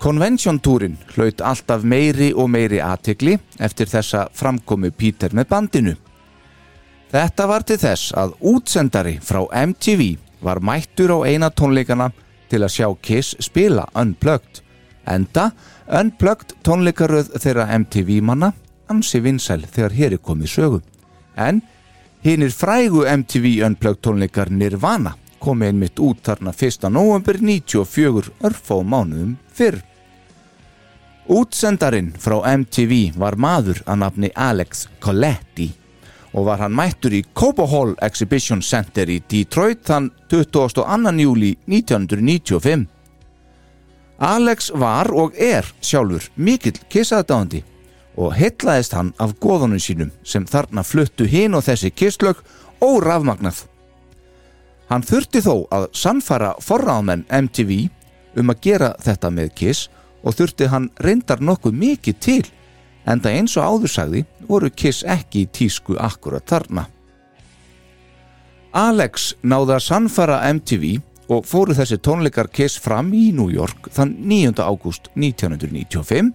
Konvensjóntúrin hlaut alltaf meiri og meiri aðtegli eftir þessa framkomi Píter með bandinu. Þetta var til þess að útsendari frá MTV var mættur á eina tónleikana til að sjá Kiss spila Unplugged. Enda Unplugged tónleikaröð þeirra MTV manna ansi vinsæl þegar hér er komið sögu. en hinnir frægu MTV Unplugged tónleikar Nirvana komi einmitt út þarna 1. november 94 örfá mánuðum fyrr. Útsendarinn frá MTV var maður að nafni Alex Coletti og var hann mættur í Cobo Hall Exhibition Center í Detroit þann 22. júli 1995. Alex var og er sjálfur mikill kissaðdáðandi og heitlaðist hann af goðanum sínum sem þarna fluttu hin og þessi kisslög og rafmagnað. Hann þurfti þó að samfara forráðmenn MTV um að gera þetta með Kiss og þurfti hann reyndar nokkuð mikið til en það eins og áður sagði voru Kiss ekki í tísku akkurat þarna. Alex náði að samfara MTV og fóru þessi tónleikar Kiss fram í New York þann 9. ágúst 1995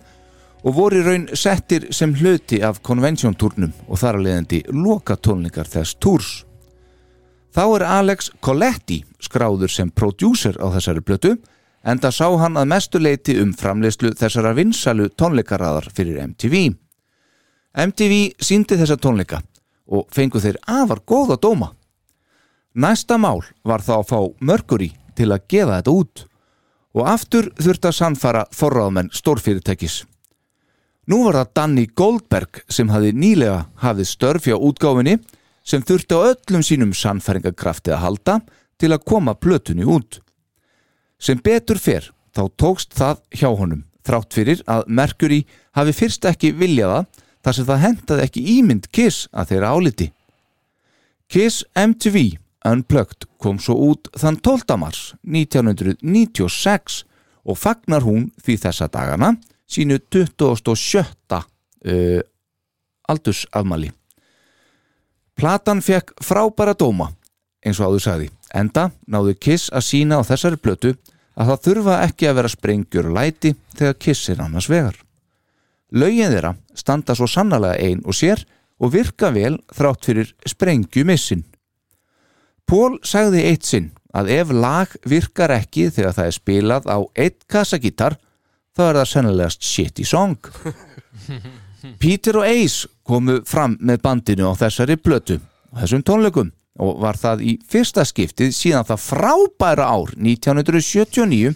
og voru í raun settir sem hluti af konvensjóntúrnum og þar að leiðandi loka tónleikar þess túrs. Þá er Alex Coletti skráður sem prodjúser á þessari blötu en það sá hann að mestu leiti um framleiðslu þessara vinsalu tónleikaraðar fyrir MTV. MTV síndi þessa tónleika og fengu þeir afar góða dóma. Næsta mál var þá að fá Mercury til að gefa þetta út og aftur þurfti að sannfara forráðmenn stórfyrirtækis. Nú var það Danny Goldberg sem hafi nýlega hafið störf hjá útgáfinni sem þurfti á öllum sínum sannfæringakrafti að halda til að koma plötunni út. Sem betur fer þá tókst það hjá honum þrátt fyrir að Mercury hafi fyrst ekki viljaða þar sem það hendaði ekki ímynd Kiss að þeirra áliti. Kiss MTV Unplugged kom svo út þann 12. mars 1996 og fagnar hún því þessa dagana sínu 27. Uh, aldursafmali. Platan fekk frábæra dóma, eins og áður sagði, enda náðu Kiss að sína á þessari blötu að það þurfa ekki að vera sprengjur og læti þegar Kiss er annars vegar. Laugin þeirra standa svo sannlega ein og sér og virka vel þrátt fyrir sprengjumissin. Pól sagði eitt sinn að ef lag virkar ekki þegar það er spilað á eitt kassagítar þá er það sennilegast shitty song. Peter og Ace komu fram með bandinu á þessari blötu á þessum tónleikum og var það í fyrsta skiptið síðan það frábæra ár 1979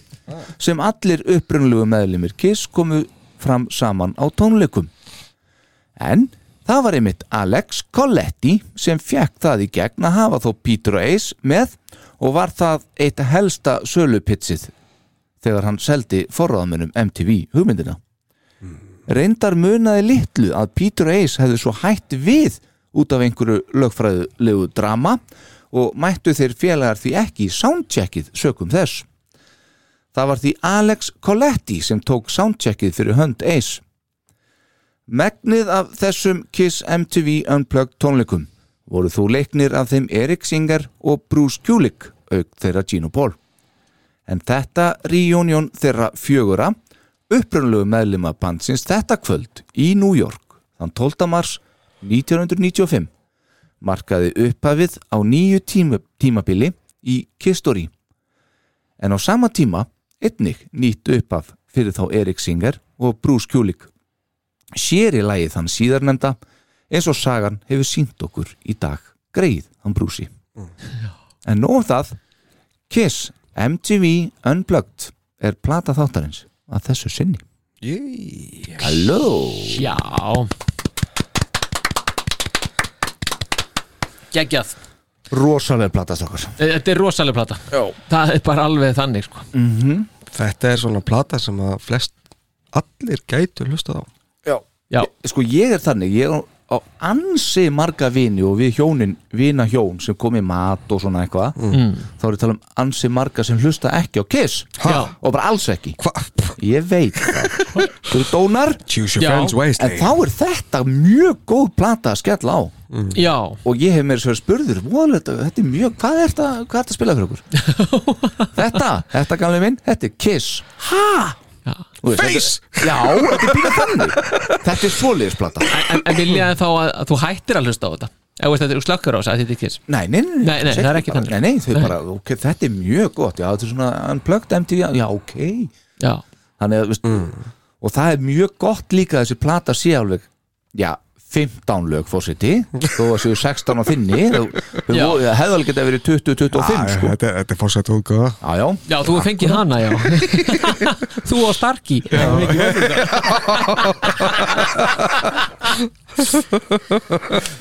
sem allir upprunlegu meðlumir Kiss komu fram saman á tónleikum en það var einmitt Alex Coletti sem fekk það í gegn að hafa þó Peter og Ace með og var það eitt helsta sölupitsið þegar hann seldi forraðamönnum MTV hugmyndina reyndar munaði litlu að Peter Ace hefði svo hætt við út af einhverju lögfræðulegu drama og mættu þeir félagar því ekki í soundcheckið sökum þess. Það var því Alex Coletti sem tók soundcheckið fyrir hönd Ace. Megnið af þessum Kiss MTV Unplugged tónleikum voru þú leiknir af þeim Erik Singer og Bruce Kulick auk þeirra Gino Paul. En þetta reunion þeirra fjögura upprunlegu meðlima bandsins þetta kvöld í New York þann 12. mars 1995 markaði upphafið á nýju tíma, tímabili í Kistori en á sama tíma einnig nýtt upphaf fyrir þá Erik Singer og Bruce Kulick sér í lagi þann síðarnemda eins og sagan hefur sínt okkur í dag greið hann Brucey (laughs) Mm. en nóg um það Kiss MTV Unplugged er plata þáttarins að þessu sinni Halló Já Gægjað Rosalega platast okkur Eh, Þetta er rosalega plata Já. Það er bara alveg þannig sko. Þetta er svona plata sem að flest allir gætu hlustað á Já, Sko ég er þannig, ég er á- á ansi marga vini og við hjónin vina hjón sem kom í mat og svona eitthvað Mm. Mm. þá er ég að tala um ansi marga sem hlusta ekki á Kiss Já. og bara alls ekki Hva? Ég veit það (laughs) Þú dónar Choose your Já. friends En wisely þá er þetta mjög góð plata að skella á Mm. já, og ég hef mér svo spurður þetta, þetta er mjög, hvað er þetta, hvað er þetta að spila fyrir okkur (laughs) þetta, þetta gamli minn þetta er Kiss ha? Þú veist, Face! þetta, já, þetta er býða (laughs) þannig þetta er svoleiðisplata nei, en, en vilja þá að, að þú hættir að hlusta á þetta Eða veist, þetta er slakkar á þess að þetta er kiss nei, nei, nei, Nei, nei, það er ekki þannig. nei, nei, þau Nei. bara, ok, þetta er mjög gott já, þetta er svona unplugged MTV, já, ok Já, Mm. þannig að, veist, og það er mjög gott líka að þessi plata sé alveg já, 15 lög fórseti þó að séu 16 á þinni þá- þau Já. voru- það hefði alveg getað verið 20-25 Æ, sko. þetta, þetta er fórsætt útgáða já, já, Já, þú hefur fengið hana, (laughs) já Þú og Starki Já,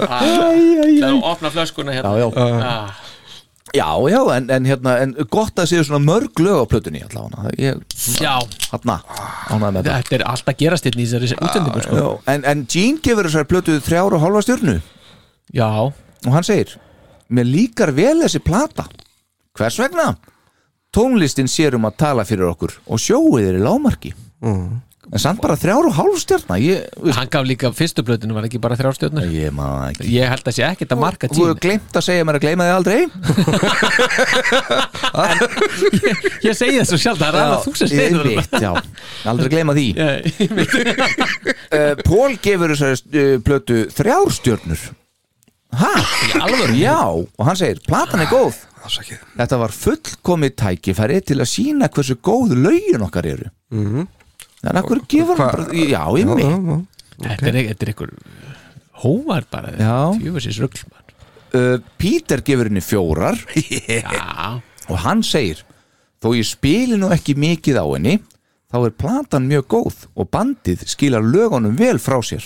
Ah, já Opna flöskuna já, hérna já Ah, já, já, en, en, hérna, en gott að séu svona mörg lög á plötunni allavega Það- ég, Já, hérna, ánægði með það þetta er alltaf gerast hérna í þessari útlendingum sko. já, en, en Gene gefur þessar plötu þrjár og hálfa stjörnu Já, og hann segir mér líkar vel þessi plata hvers vegna? tónlistin sér um að tala fyrir okkur og sjóið er í lámarki en samt bara þrjár og hálf stjarna ég, þú veist, hann gaf líka fyrstu blöðinu var ekki bara þrjár stjórnur ég maður ekki Ég held að sé ekkert að marka þú tíni hefur glemt að segja mér að gleyma þig aldrei Ég segi það svo sjálf, það er alveg þú sem segir það. einmitt, já, aldrei gleyma því Já, einmitt. (laughs) uh, Pól gefur þessari uh, plötu þrjár stjörnur hæ? alvöru? já, og hann segir, platan er góð Ásakið Þetta var fullkomið tækifæri til að sína hversu góð lögin okkar eru mm -hmm. En akkur gefur hann bara Já, ymmið Já, uh, já. Þetta er e- þetta er einhver hóvar bara Já. Tjöfusins rugl mann. Peter gefur henni fjórar Já, Og hann segir Þó ég spili nú ekki mikið á henni Þá er platan mjög góð Og bandið skilar lögunum vel frá sér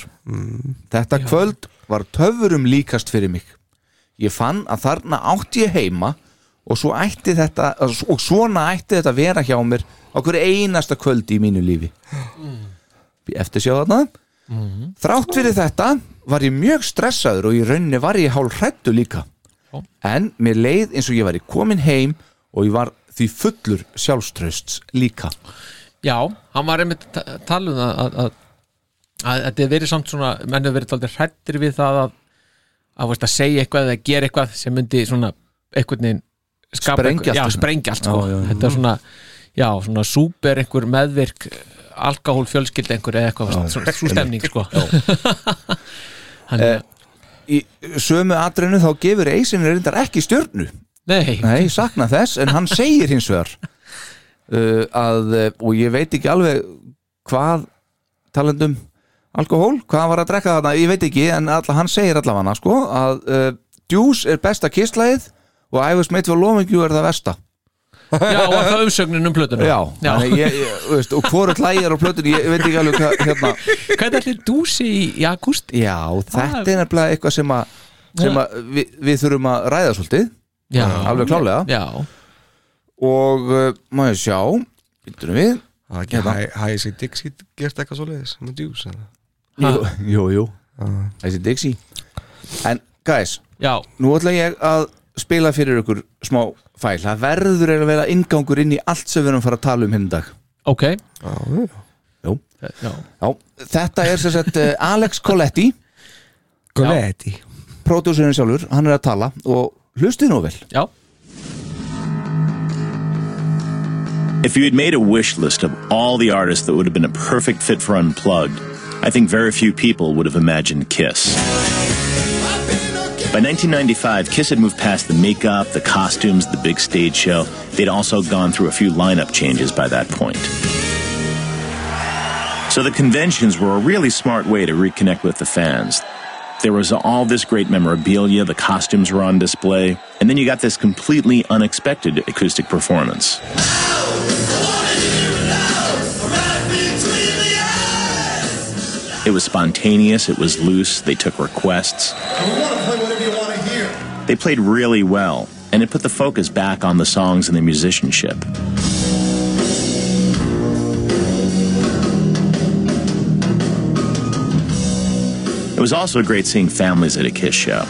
Þetta kvöld var töfurum líkast fyrir mig Ég fann að þarna átti ég heima Og, svo ætti þetta, og svona ætti þetta að vera hjá mér á hverju einasta kvöldi í mínu lífi eftir sjá þarna Mm. þrátt fyrir þetta var ég mjög stressaður og í rauninni var ég hálf hrættu líka en mér leið eins og ég væri komin heim og ég var því fullur sjálfströsts líka já hann var einmitt að ta- tala um það að, að, að þetta er verið samt svona menn hefur verið taldið hrættir við það að að, veist, að segja eitthvað eða gera eitthvað sem myndi svona einhvern veginn skapa Sprengja eitthvað- allt já, þetta. sprengja allt sko. Já, já, já. þetta er svona, já, svona súper einhver meðvirk alkohól fjölskylda einhver eða eitthvað, veist, svona, svo stemning sko. hann, Eh. í sömu atrinu þá gefur eisin reyndar ekki stjörnu nei, (laughs) nei, sakna þess, en hann segir hins vegar uh, að uh, og ég veit ekki alveg hvað talandum alkohól, hvað hann var að drekka þarna, ég veit ekki en alla, hann segir allavega hana sko að uh, Djús er besta kistlæðið og Ævis Smith for Lomingjú er það versta já, og það umsögnin um plötuna já, já. þannig ég, ég, þú veist, og hvoru klæðir á plötunni, ég veit ekki alveg hvað hérna, Hvernig ætlir dúsi í, í august? já, þetta er nefnilega eitthvað sem að sem að við, við þurfum að ræða svolítið, Já, alveg klálega já, og uh, maður sjá, býttunum við Það er Hérna. ekki hæ, hæ, sér Dixi gert eitthvað svo leiðis með djús eða? Ha? Jú, jú, jú. Þessi Dixie En guys, já, nú ætla ég að spila fyrir ykkur smá fæl Það verður eiginlega að vera inngangur inn í allt sem við erum að fara að tala um hinn í dag ok Eh, Já, já. já. Já, þetta er sem sagt eh, Alex Coletti Gleði Pródúsurinn sjálfur, hann er að tala og hlustið nú vel já, If you had made a wish list of all the artists that would have been a perfect fit for Unplugged, I think very few people would have imagined Kiss. By 1995, Kiss had moved past the makeup, the costumes, the big stage show. They'd also gone through a few lineup changes by that point. So the conventions were a really smart way to reconnect with the fans. There was all this great memorabilia, the costumes were on display, and then you got this completely unexpected acoustic performance. It was spontaneous, it was loose, they took requests. They played really well, and it put the focus back on the songs and the musicianship. It was also great seeing families at a Kiss show.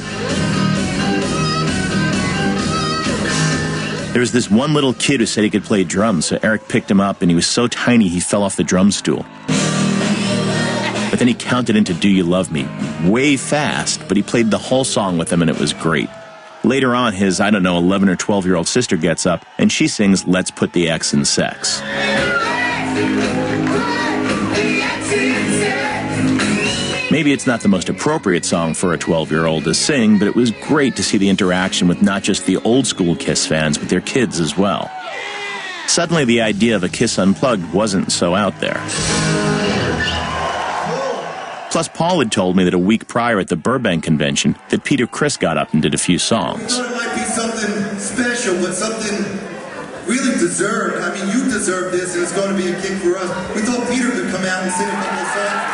There was this one little kid who said he could play drums, so Eric picked him up, and he was so tiny he fell off the drum stool. But then he counted into Do You Love Me way fast, but he played the whole song with them and it was great. Later on, his, I don't know, 11 or 12 year old sister gets up and she sings Let's Put the X in Sex. Maybe it's not the most appropriate song for a 12 year old to sing, but it was great to see the interaction with not just the old school Kiss fans, but their kids as well. Suddenly, the idea of a Kiss Unplugged wasn't so out there. Plus, Paul had told me that a week prior at the Burbank convention that Peter Chris got up and did a few songs. There might be something special, but something really deserved. I mean, you deserve this, and it's going to be a kick for us. We thought Peter could come out and sing a couple of songs.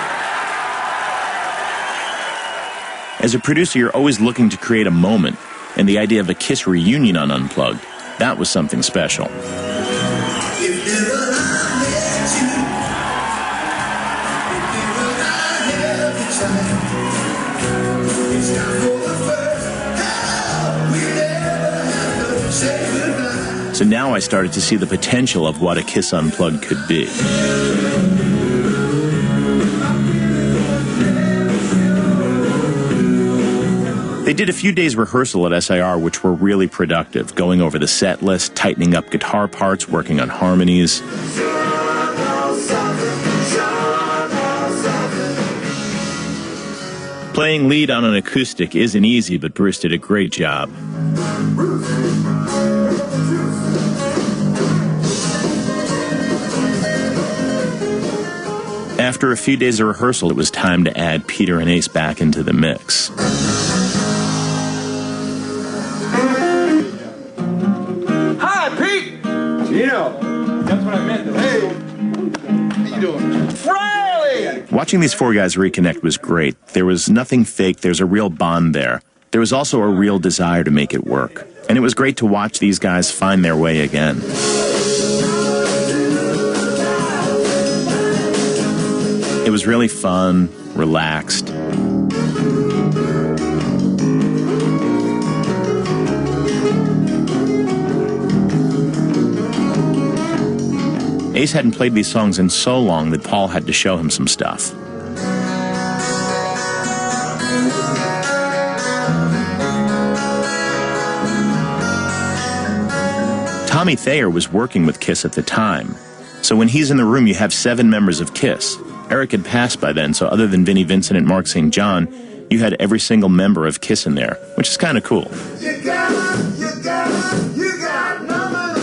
As a producer, you're always looking to create a moment, and the idea of a Kiss reunion on Unplugged, that was something special. If never I met you, if never I had the child, it's time for the first hello. We never have to say goodbye. So now I started to see the potential of what a Kiss Unplugged could be. They did a few days rehearsal at SIR, which were really productive, going over the set list, tightening up guitar parts, working on harmonies. Playing lead on an acoustic isn't easy, but Bruce did a great job. After a few days of rehearsal, it was time to add Peter and Ace back into the mix. Hi, Pete. Gino. That's what I meant. Hey. How you doing? Riley. Watching these four guys reconnect was great. There was nothing fake, there's a real bond there. There was also a real desire to make it work. And it was great to watch these guys find their way again. It was really fun, relaxed. Ace hadn't played these songs in so long that Paul had to show him some stuff. Tommy Thayer was working with Kiss at the time. So when he's in the room, you have seven members of Kiss. Eric had passed by then, so other than Vinnie Vincent and Mark St. John, you had every single member of Kiss in there, which is kind of cool. You got, you got, you got nothing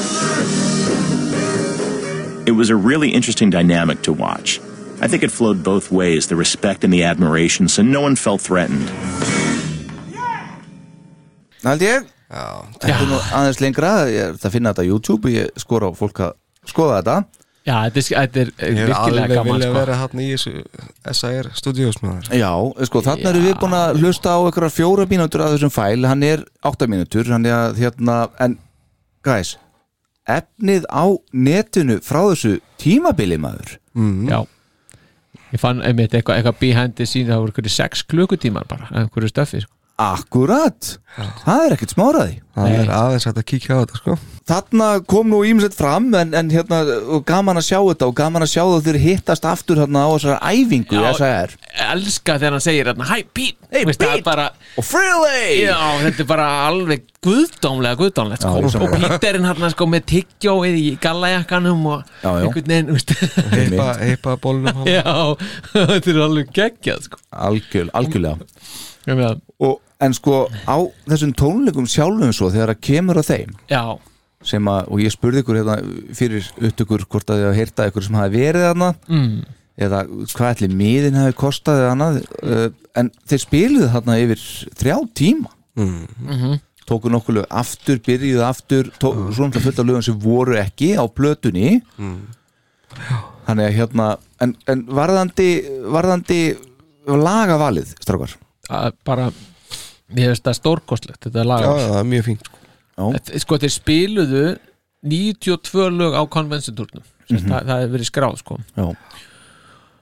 to It was a really interesting dynamic to watch. I think it flowed both ways the respect and the admiration, so no one felt threatened. Hald ég Þetta er nú aðeins lengra Ég er að finna þetta á YouTube Ég skora á fólk að skoða þetta Já, þetta er, þetta er eh, Ég er virkilega alveg gaman vilja sko. vera hann í þessu SIR studios maður Já, sko, þarna erum við búin að hlusta á einhverja fjóra mínútur að þessum fæl Hann er átta mínútur Hann er að, hérna, en guys Efnið á netinu frá þessu tímabili maður Já Ég fann einmitt eitthvað eitthva behind the scenes það voru einhverju sex klukkutímar bara einhverju stöffi sko. Akkurat Það er ekkert smáraði Það Nei. er aðeins hægt að kíkja á þetta sko (laughs) Þarna kom nú ímsett fram en, en hérna, og gaman að sjá þetta og gaman að sjá það þeir hittast aftur hérna á þessar æfingu Já. í SR Elska þegar hann segir hérna, Hi Pete, hey, Veist, það er Pete! bara, Og Freely já, Þetta er bara alveg guðdómlega guðdómlegt Já, sko. sammála. Og Peterinn hann sko, með tyggjóið í gallajakkanum og Já, já. einhvern veginn veist, Heipa, heipa bólunum hann Já, (laughs) þetta er alveg geggjað sko. Algjör, algjörlega Ég meina, og, En sko á þessum tónleikum sjálfum svo þegar að kemur að þeim Já, sem að, og ég spurði ykkur hérna, fyrir upptökur hvort að þið hafa heyrta ykkur sem hafi verið þarna mm. eða hvað allir miðin hafi kostað eða annað uh, en þeir spiluðu þarna yfir þrjá tíma mm. mhm. tóku nokkuð lög aftur, byrjuðu aftur tó, mm. svona fullt af lögum sem voru ekki á plötunni þannig að hérna en, en varðandi, varðandi lagavalið, strákar að bara Ég veist það stórkostlegt, þetta er lagar Já, já, það er mjög fínt sko Þetta- sko þeir spiluðu 92 lög á konvensinturnum mm það, það hefur verið skráð sko Já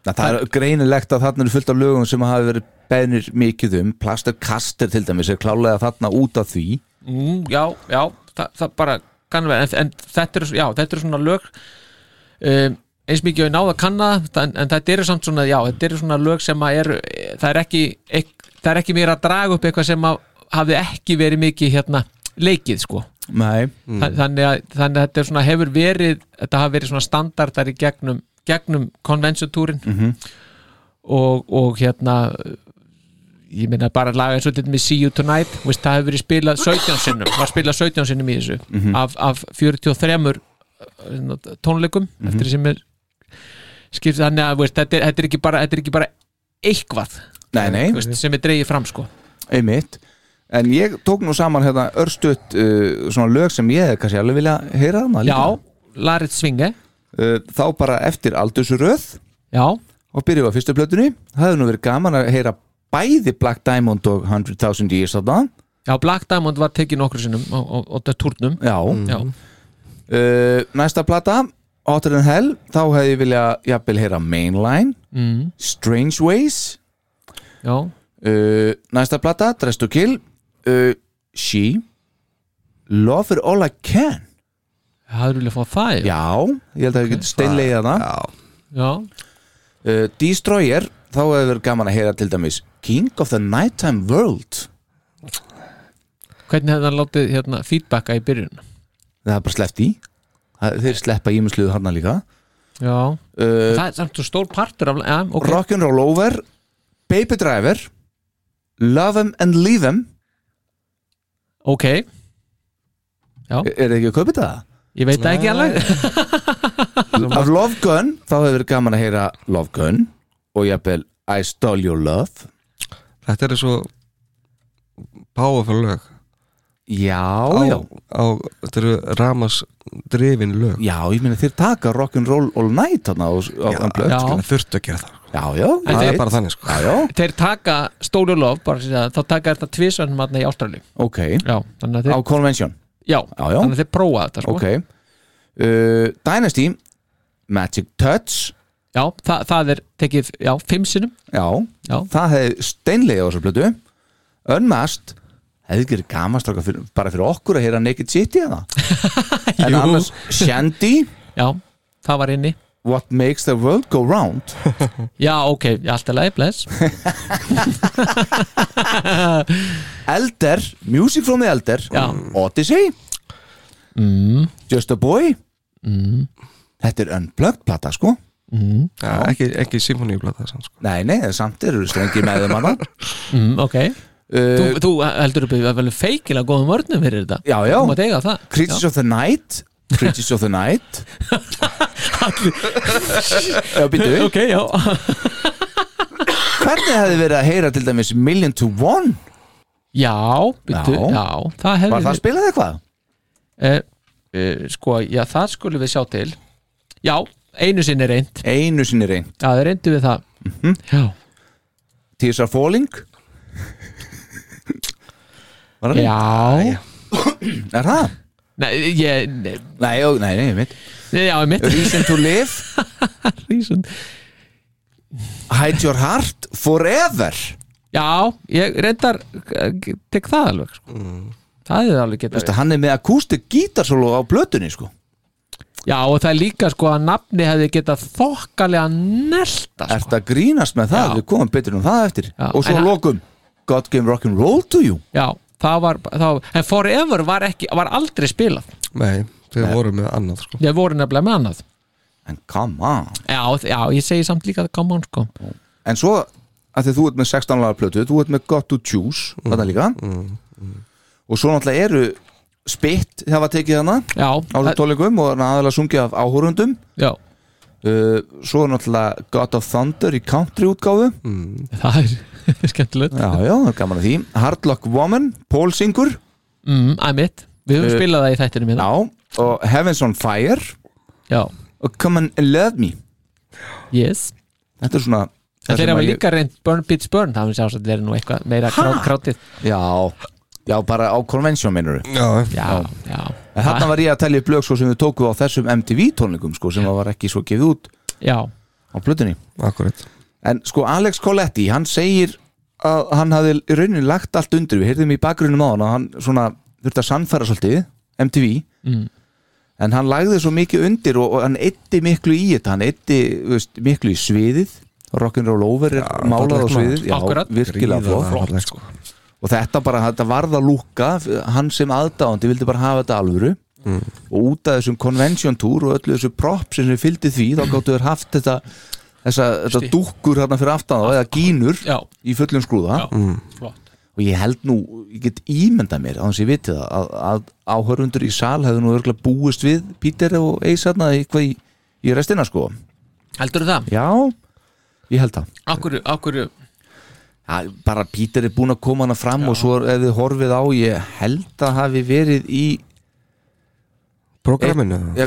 Na, Það er greinilegt að þarna eru fullt af lögum sem hafi verið beðnir mikið um Plaster Caster til dæmis er klálega þarna út af því mm, já, já, það, það bara kannu vera, en, en þetta eru já, þetta er svona lög um, eins mikið og ég náða að kanna það, en, en þetta eru samt svona, já, þetta eru svona lög sem að eru, eh, það er ekki ek, það er ekki mér að draga upp eitthvað sem að hafi ekki verið mikið hérna leikið sko, Nei mm. þannig, að, þannig að þetta er svona hefur verið, þetta hafi verið svona standardar í gegnum, gegnum konvensutúrin og, og hérna ég meina bara laga eins og þetta með See You Tonight veist, það hefur verið spilað 17 sinnum var spilað 17 sinnum í þessu af, af 43 uh, tónleikum eftir því sem er skipt þannig að veist, þetta, er, þetta, er ekki bara, þetta er ekki bara eitthvað Nei, nei. Þú veist, sem er dreigið fram sko einmitt en ég tók nú saman hérna örstutt uh, svona lög sem ég hefði kannski alveg vilja heyra þarna Já, líka. Larit Svinge uh, þá bara eftir aldursröð Já, og byrjuðu á fyrstu plötunni það hefði nú verið gaman að heyra bæði Black Diamond og 100.000 Years þarna já Black Diamond var tekið nokkru sinnum og, og, og það turnum já, Já, uh, næsta plata Hotter than Hell, þá hefði ég vilja jafnvel heyra Mainline mm, Strange Ways já, uh, næsta plata, Dress to Kill uh, She Love for All I Can það er vilja að fá það já. Já, ég held að við getum steinlega það já, uh, Destroyer, þá hefur verið gaman að heyra til dæmis King of the Nighttime World hvernig hefði hann látið hérna, feedbacka í byrjun Það er bara sleppt í Það- Þeir sleppa ímisluðu hana líka Já, uh, það er samt svo stór partur af, ja, okay. Rock'n'Roll Over Baby Driver Love 'em and Leave 'em ok, Er er þið ekki að kaupa þetta? ég veit það ekki alveg (laughs) Af Love Gun, þá hefur verið gaman að heyra Love Gun og jafnvel I Stole Your Love Þetta er svo powerful lög Já, á, já á, Þetta eru ramas drifin lög Já, ég meina þeir taka Rock'n'Roll All Night þarna á, á Já, þann blöð já. Það þurftu að gera það sko. já, já, Það ég er veit. bara þannig sko já, já, (laughs) þeir taka stólu lof bara, að segja, þá taka þetta tvisvarnum aðna í Ástralíu ok já, þannig að Á þeir, Convention, já, já, já, þannig að þeir prófa þetta sko. ok uh, Dynasty Magic Touch já, það, það er tekið já, fimm sinnum Já, Já. það hefði steinlega á þessu blötu Unmasked hefði ekki verið gaman strákar, fyrir, bara fyrir okkur að heyra Naked City (laughs) eða En Jú. annars Shandy já, það var inni What makes the world go (laughs) round Hm. já, ok, já, allt er leið, bless Elder, Music from the Elder Já. Odyssey mm. Just a Boy mm. Þetta er unplugged plata sko Já, Ekki, ekki symfóníublata samt sko Nei, nei, samt eru strengir með þeim (laughs) annar mm, ok, þú, uh, þú heldur upp að vel feikilega góðum vörnum fyrir þetta Já, já. þú mátt eiga það Creatures of the Night Creatures of the Night Já, (laughs) býttu (laughs) ok, já, Hvernig hefði verið að heyra til dæmis Million to One? já, byrju, Já. já. það hefði Var það spilað eitthvað? uh, sko, já, það skulum við sjá til já, einu sinni reynd Einu sinni reyn já, það reyndu við það Hmm? já, Tears are Falling Var það? já. Er það? Nei, ég, nei, Nei, ó, nei, nei, ég veit nei, já, ég mitt Reason to Live (laughs) Reason. Hide Your Heart Forever Já, ég reyndar eh, tek það alveg sko. mm, Það er alveg Vistu, geta Hann er með akústik gítarsólu á blötunni sko. Já, og það er líka sko að nafni hefði getað þokkalega nelta Er sko. þetta grínast með það? Já. Við komum betur um það eftir Já. Og svo En- lokum God gave rock'n'roll to you Já, það var það, En Forever var, ekki, var aldrei spilað Nei, þau voru með annað sko Ég voru nefnilega með annað En come on Já, þ- já ég segi samt líka að koma án sko En svo að því þú ert með 16 lagar plötu Þú ert með Got to Choose Mm. Þetta líka Og svo náttúrulega eru Spitt hafa tekið hana Já, á þessum það- tólikum og hann aðalega sungið af áhórundum já uh, Svo er náttúrulega God of Thunder í country útgáfu Mm. (laughs) það er skemmtilegt Já, já, það er gaman að því Hardlock Woman, Paul Singur mm, Æ, mitt, við höfum Eh, spilað það í hérna. þættinu mín Já, og Heavens on Fire já, og Come and Love Me yes Þetta er svona En það þeir sem hafa að ég- líka reynd Burn Beats Burn, það finnst ástætt verið nú eitthvað meira krá- krátið Já, já, bara á convention minnur Já, Já, já En þarna var ég að telja upp lög sko sem við tókum á þessum MTV tónleikum sko sem var ekki svo gefið út Já, á plötunni akkurat En sko Alex Coletti, hann segir að hann hafði í rauninni lagt allt undir við heyrðum í bakgrunum á hann að hann svona þurfti að sannfæra svolítið, MTV Mm. en hann lagði svo mikið undir og, og hann eitti miklu í þetta hann eitti þú veist, miklu í sviðið Rock'n'Roll Over er málað á fallegt lag. sviðið já, Akkurat. virkilega flott flott sko og þetta bara, þetta varða lúka hann sem aðdáandi vildi bara hafa þetta alvöru Mm. og út af þessum convention tour og öllu þessu prop sem þau fylgdi því þá gáttu þau haft þetta þessa, þetta Stíl. dúkkur hérna fyrir aftan þá eða gínur já, í fullum skrúða Já. Mm. flott og ég held nú, ég get ímyndað mér á þess ég viti það, að, að áhörfundur í sal hefðu nú örgulega búist við Píter og Eisarna eitthvað í, í restina sko Heldur það? já, ég held það Akkur, akkur, ja, bara Peter er búin að koma hana fram og svo ef þið horfið á ég held að hafi verið í Programminu ja,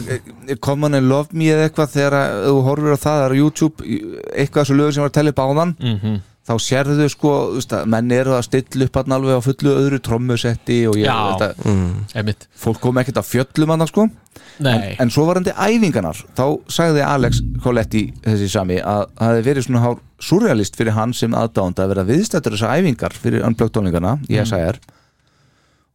eh, Come on and love me eða eitthvað þegar að þú horfir á það það er á YouTube, í- eitthvað af þessu lögur sem var að tella upp á þann Mhm. þá sérðu þau sko, þú veist að menn eru að stilla upp hann alveg á fullu öðru trommusetti og ég, Já. þetta, einmitt fólk kom ekkert að fjöllum hann sko Nei, en svo varandi æfingarnar þá sagði Alex Coletti þessi sami að það hefði verið svona hár surrealist fyrir hann sem aðdánda að vera viðstættur þessar æfingar fyrir unblöktónlingana Mm. í SIR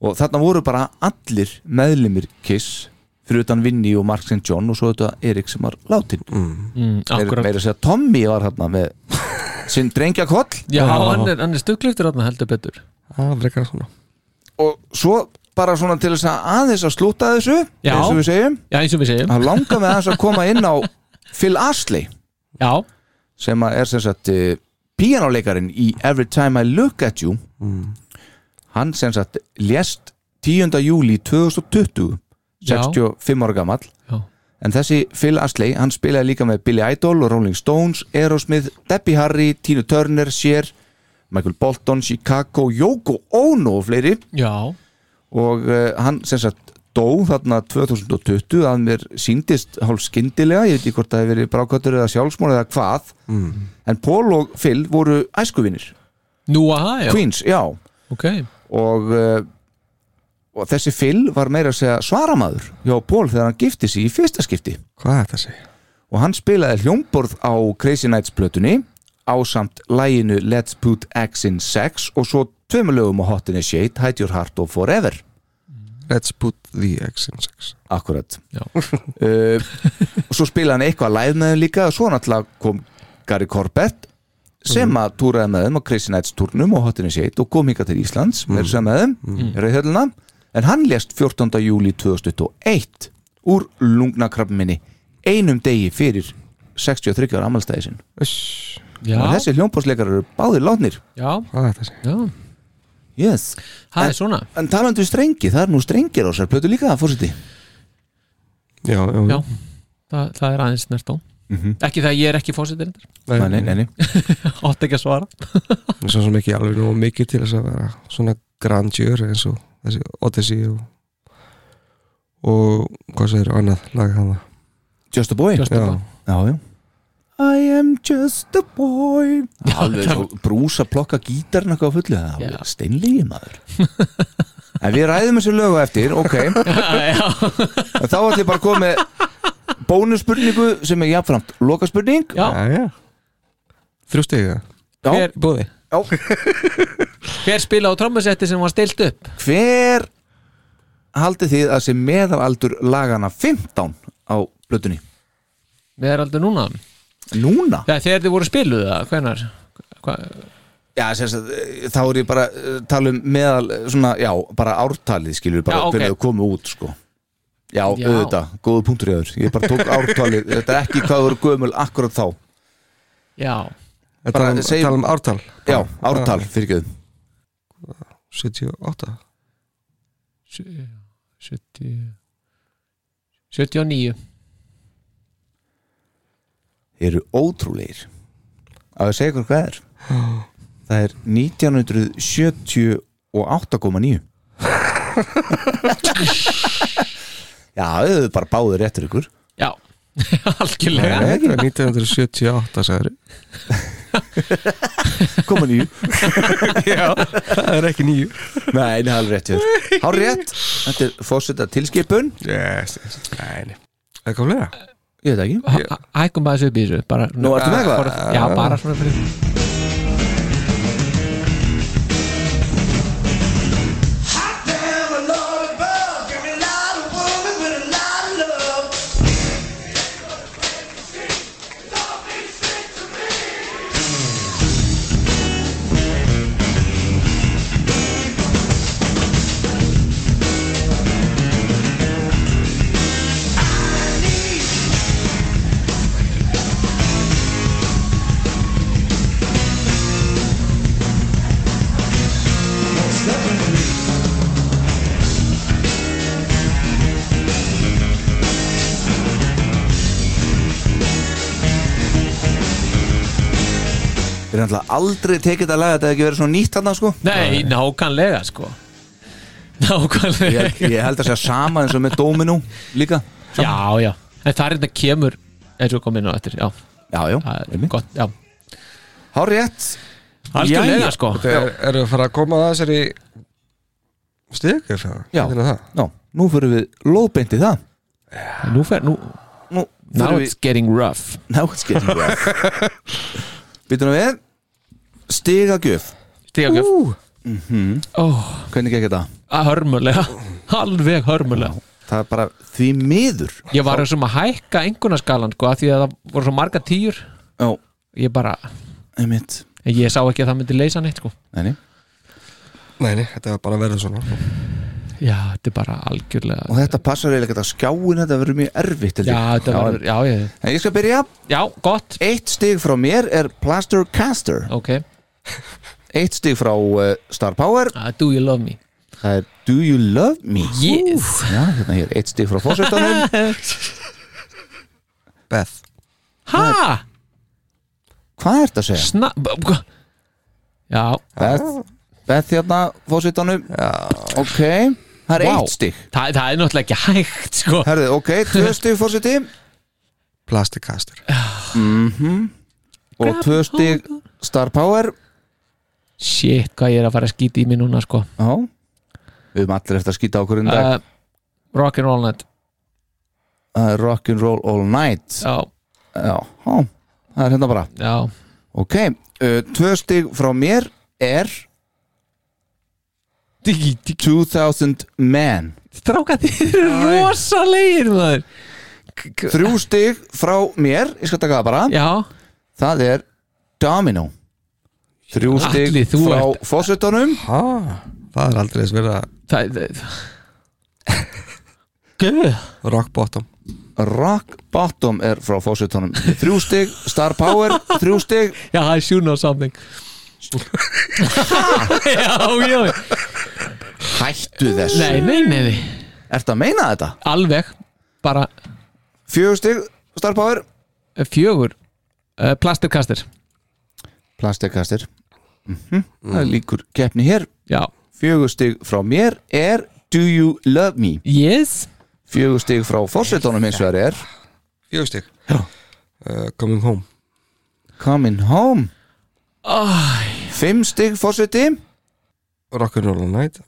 og þarna voru bara allir meðlimir Kiss fyrir utan Vinny og Mark St. John og svo þetta Erik sem var látin mm. mm, meira akkurat meira að segja Tommy var þarna með sinn drengja koll Já, hann er, hann er stugliftur hann heldur betur Það frekar svona og svo bara svona til þess að aðeins að slúta þessu Já. eins og við segjum Já, eins og við segjum að langa með aðeins að koma inn á Phil Astley Já, sem að er sem sagt eh, píanoleikarin í Every Time I Look At You hann sem sagt lést 10. júli 2020 Já. 65 ára gamall Já. en þessi Phil Astley, hann spilaði líka með Billy Idol og Rolling Stones, Aerosmith Debbie Harry, Tina Turner, Cher Michael Bolton, Chicago Yoko Ono og fleiri já, og uh, hann sem sagt dó þarna 2020 að mér síndist hálf skyndilega ég veit ekki hvort það hefur verið brákvættur eða sjálfsmór eða hvað Mm. en Paul og Phil voru æskuvinir nú að það, Ah, já Queens, já og, Ok, uh, og þessi Phil var meira að segja svaramaður hjá Paul þegar hann gifti sig í fyrsta skipti Hvað er þetta að segja? og hann spilaði hljómborð á Crazy Nights plötunni ásamt læginu Let's Put X in Sex og svo tveimulögum á Hot in a Shade, Hide Your Heart og Forever Let's put the X in sex Akkurat Já. (laughs) uh, Og svo spilaði hann eitthvað live með þeim líka og svo náttúrulega kom Gary Corbett sem Mhm. að túraði með þeim á Crazy Nights turnum og hotinni sétt og kom hingað til Íslands Mhm. mm. sem með þeim, mm. rauðhjölduna en hann lést 14. júli 2021 úr lungnakrabminni einum degi fyrir 63 ára amalstæði sinn Uss, já, og þessi hljómpásleikar eru báðir látnir já, Hvað er þetta að segja? já yes. Það er svona En talandi um strengi, það er nú strengir á sér plötu líka, fórseti Já, já, Já, það, það er aðeins nert á Ekki það að ég er ekki fósitir þetta Mhm. Nei, nei, (laughs) nei, nei. Átt ekki að svara Mér svo sem ekki alveg nóg mikið til þess að vera svona grandjör eins og þessi Odyssey og, og hvað segir annað lag hann Just a boy Just a Já, Boy. Já, já I am just a boy Alveg svo brús að plokka gítarn eitthvað á fullu Það Já. er steinlegi maður En við ræðum þessu lögu eftir, ok En (laughs) Já, þá ætlum ég bara að koma með bónusspurningu sem er jafnframt lokaspurning já, já, já. Þrjú stig eða? Já. (laughs) Hver, Bóði hver spila á trommusetti sem var stilt upp? Hver haldið þið að sé meðalaldur lagana 15 á blötunni? Við erum aldrei núna Núna? Já, þegar þið voru spiluð það, hvenar? Hva? Já, sem sagt, eh, þá er ég bara að tala um meðal, eh, svona, já, bara ártalið skilur bara Já, ok. fyrir að koma út, sko Já, Já. auðvitað, góðu punktur í öður Ég bara tók ártalið, (laughs) þetta er ekki hvað þú eru gömul akkurat þá Já, Tala Bara um, segjum- tala um ártal Já, ártal, fyrirgeðum 78 (laughs) Sjö- 70 79 Þeir eru ótrúlegir Að ég segja ykkur hvað er Það er 1978,9 Já, þau eru bara báðið réttur ykkur Já, (laughs) algjörlega Nei, þetta var 1978 sagður Koma nýju Það er ekki nýju Nei, það er alveg rétt hjá Há rétt, þetta er fórseta tilskipun yes, yes. Nei, nei Það kom lega Ég veit það ekki Hæ- hæ- Hækum bara þessu upp í þessu bara, Nú ertu með eitthvað? bara- Já, bara svona fyrir Hot damn, a lot of love. Give me a lot of woman with a lot of love. I Við erum alltaf aldrei tekið þetta lag Þetta hefði ekki verið svona nýtt þarna sko Nei, nákvæmlega sko Nákvæmlega ég, ég held að segja sama eins og með Dominó líka Já, já, en það er þetta kemur eins og kom inn á eftir, já, Já, já, það er einmitt gott já. Hár rétt Algjörlega Jæja. sko Þegar eru að fara að koma að þessari stig er það? Já. Hvernig er það? Já, nú fyrir við lóðbeint í það Nú fer, nú, Nú now fyrir við it's getting rough Now it's getting rough (laughs) Býtum við Stigagjöf Stígagjöf uh. Mm-hmm. Hvernig gekk þetta? Hörmulega, (laughs) alveg hörmulega Það er bara því miður Ég var þessum að hækka einhvernarskalan sko, af því að það voru svo marga tíur Já, Ég bara, einmitt ég sá ekki að það myndi leysa neitt sko Nei, nei. Nei, nei, þetta var bara að verða svona Já, þetta er bara Og algjörlega þetta passar eiginlega ekki að skjáin Þetta verður mjög erfitt held Já, ég. þetta var, já, ég, En ég skal byrja já, gott Eitt stig frá mér er Plaster Caster Ok, Eitt stig frá uh, Star Power uh, do you love me Það er Do You Love Me Yes. Já, hérna hér, eitt stig frá (laughs) fórsveitanum Beth Ha, Hvað er þetta að segja? sna Já, Beth, Beth hérna, fórsveitanum Já Ok, það er Vá. eitt stig það, það er náttúrulega ekki hægt sko. Herði, ok, tvö (laughs) stig fórsveiti Plastikastur Mhm. Og tvö stig Star Power Shit, hvað ég er að fara að skýta í mig núna sko. Já Við höfum allir eftir að skýta okkur um dag uh, Rock'n'Roll Night uh, Rock'n'Roll All Night Já, Já, já, það er hérna bara já Ok, uh, tvö stig frá mér er Diggi, diggi, 2000 Man Stráka þér eru rosalegir maður Þrjú stig frá mér, ég skal taka það bara Já, Það er Domino Þrjú stig Atli, þú frá ert- ert... fósettunum Ha, það er aldrei þess verið að það Gauð rock bottom Rock Bottom er frá fósettunum Þrjú stig, Star Power Þrjú stig, Já, það er sjúna á samning Já, já hættu þess Nei, nei, nei, nei Ertu að meina þetta? Alveg, bara Fjögur stig, Star Power eh, fjögur uh, Plasturkastir Plastikastir mm Það er líkur keppni hér Já, Fjögur stig frá mér er Do You Love Me yes Fjögur stig frá fósettunum hins vegar er Fjögstík uh, Coming home Coming Home Fimm stig fósetti Rock'n'Roll all night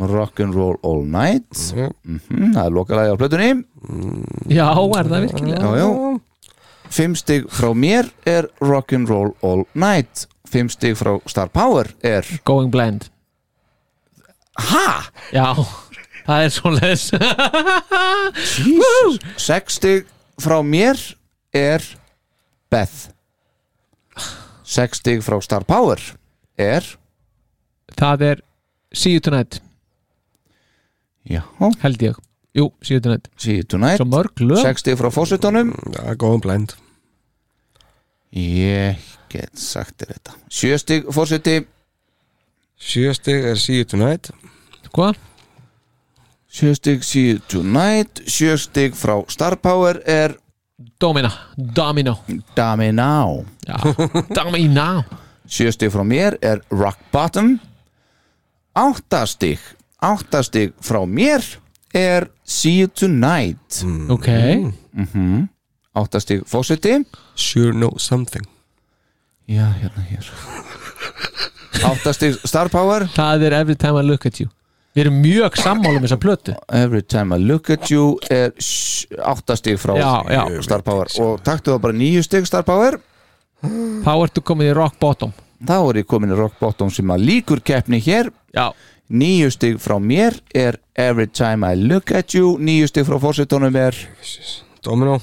Rock'n'Roll All Night Mhm, Það er lokalagi á plötunni Mm. Já, er það virkilega Já, já Fimm stig frá mér er Rock'n'Roll All Night Fimm stig frá Star Power er Going blind Ha? Já, það er svo les Jesus Sex stig frá mér er Beth Sex stig frá Star (laughs) Power er Það er See you tonight, Já, held ég Jú, See you tonight see you Svo tonight mörg lög Sex stig frá fósetunum ja, Going blind Ég get sagt þér þetta Sjö stig fóseti Sjöstík er See You Tonight Hvað? Sjö stig see you tonight Sjö stig frá Star Power er Domino Domino Dami Now Já, Domino Sjö stig frá mér er Rock Bottom Átta stig Átta stig frá mér er See You Tonight Mhm. Ok Átta stig fósiti Sure Know Something Já, hérna hér Átta stig Star Power Það er Every time I look at you Við erum mjög sammála um þessa plötu Every time I look at you er sj- átta stig frá Já, já. Star Power og taktu það bara níu stig Star Power Þá ertu komin í rock bottom þá er ég komin í Rock Bottom sem að líkur keppni hér Já, níu stig frá mér er Every Time I Look At You níu stig frá fórsetunum er Domino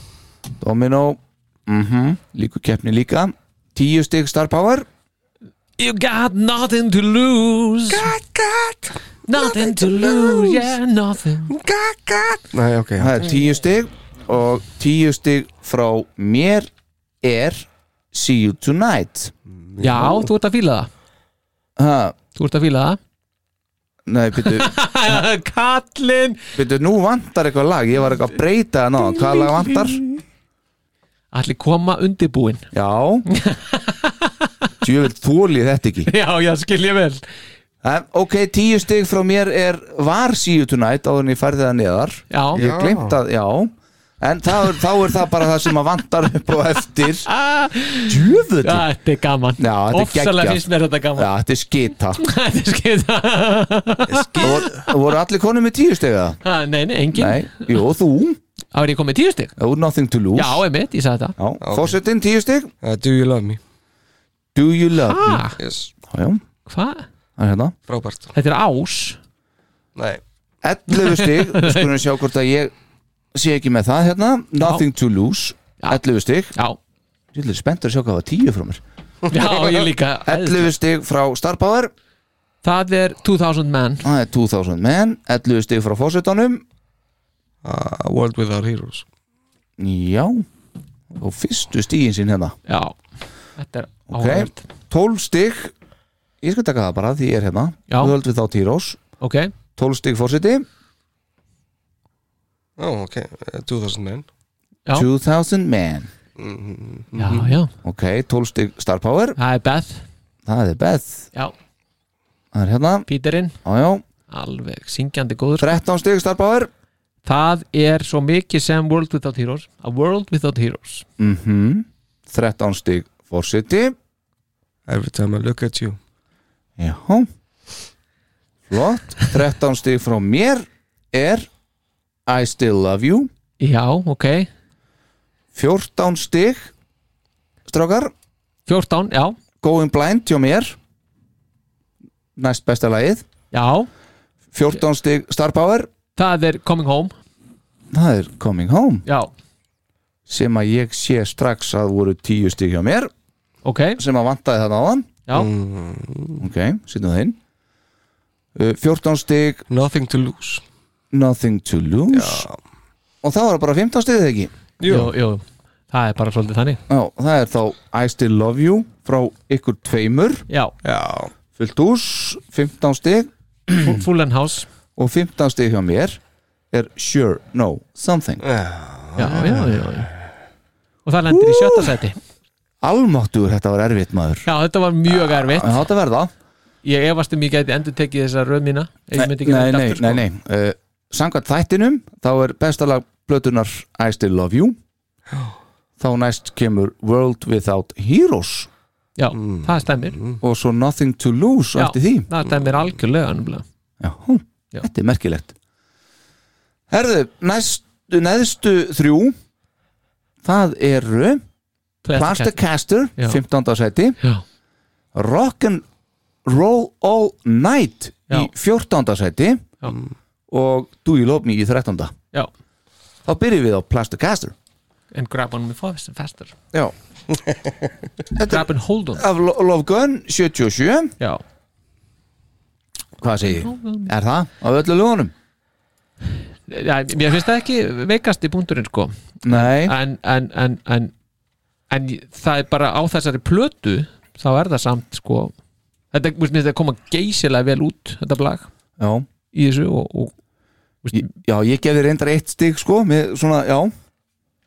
Domino mm líkur keppni líka tíu stig Star Power You got nothing to lose Got, got Nothing, to lose Yeah, nothing Nei, ok það er tíu stig og tíu stig frá mér er See You Tonight Já, þú ert að fíla það ha, Þú ert að fíla nei, byrju, það (laughs) Kallinn byrju, nú vantar eitthvað lag ég var eitthvað að breyta hérna það náðan hvað lag vantar? Allir koma undirbúinn Já Djöfull þóli þetta ekki já, já, skil ég vel en, Ok, tíu stig frá mér er var síu tonight áður en ég færði það neðar Já. Ég glemt að, já En þá er, þá er það bara það sem að vantar upp á (laughs) eftir Djöfull Já, Ah. þetta er gaman þetta er Ofsalega geggjað. finnst mér þetta gaman þetta er skita (laughs) (laughs) Þetta er skil voru, voru allir konum með tíu stig eða? Ha, Nei, nei, engin Nei, jú, þú Þá er ég komið tíu stig Oh, nothing to lose Já, emitt, ég sagði þetta Já, Forsetinn tíu stig Uh, do you love me? Do you love me? ah, Yes, Já, já, (laughs) Hvað? það er hérna frábært Þetta er ás Nei, 11 (laughs) stig, við skulum sjá hvort að ég sé ekki með það hérna Nothing to lose, 11 stig Já, Ég er spennt að sjá hvað var 10 frá mér já, ég líka 11 stig frá Star Power Það er 2000 menn það er 2000 menn, 11 stig frá fósitanum uh, World Without Heroes Já og fyrstu stigin sín hérna Já, þetta er Ok. áhverjum 12 stig, ég skal taka það bara því ég er hérna, Já. við höldum við þá Týrós Ok, 12 stig fósiti, Ó, oh, ok, uh, 2009 Já. 2000 menn já, já Ok, 12 stig Star Power, Það er Beth það er Beth Já, það er hérna, Píterinn já já Alveg syngjandi góður 13 stig Star Power Það er svo mikið sem World Without Heroes A World Without Heroes mm 13 stig fórsiti Every time I look at you já flott, 13 stig frá mér er I still love you Já, ok 14 stig strákar, 14, já going blind hjá mér næst besta lagið Já, 14 stig star power það er Coming Home það er coming home Já, sem að ég sé strax að voru 10 stig hjá mér ok sem að vantaði þarna áðan Já, Mm. ok, sittum það inn Uh, 14 stig Nothing to lose Nothing to lose og það var bara 15 stigðið ekki jú, jú Það er bara svolítið þannig Já, það er þá I still love you frá ykkur tveimur Já, Já, fullt ús, 15 stig Full- Full and House og 15 stig hjá mér er sure, no, something Já, já, já, já. Og það lendir í sjötta seti Almáttur, þetta var erfitt maður Já, þetta var mjög erfitt En það átt að verða Ég efast um ég gæti endur tekið þessa röð mína Ef ég myndi ekki sko. Nei, gera nei, þetta nei, nei. Uh, Sangat þættinum, þá er bestalag plötunar I still love you Þá næst kemur World Without Heroes Já, það stemmir og svo Nothing to Lose Já, eftir því það stemmir algjörlega nefnilega. Já, hú, Já. þetta er merkilegt Herðu, næstu, neðstu þrjú það eru Plastic Plastercaster, Já. 15. seti Já, Rock'n Roll All Night Já. í 14. seti Já. og Do You Love Me í 13. já Þá byrjum við á Plastercaster And grab on me faster, faster. (laughs) Já Þetta Grab er and hold on af Lo- Love Gun 77 Já, Hvað segir ég? Er það á öllu lögunum? já mér finnst það ekki veikasti punkturinn sko Nei, en, en, en, en, en það er bara á þessari plötu þá er það samt sko þetta, þú veist, þetta koma geysilega vel út þetta blag já í þessu og, og þú veist, Ég- Já, ég gefi reyndar eitt stig sko með svona, já,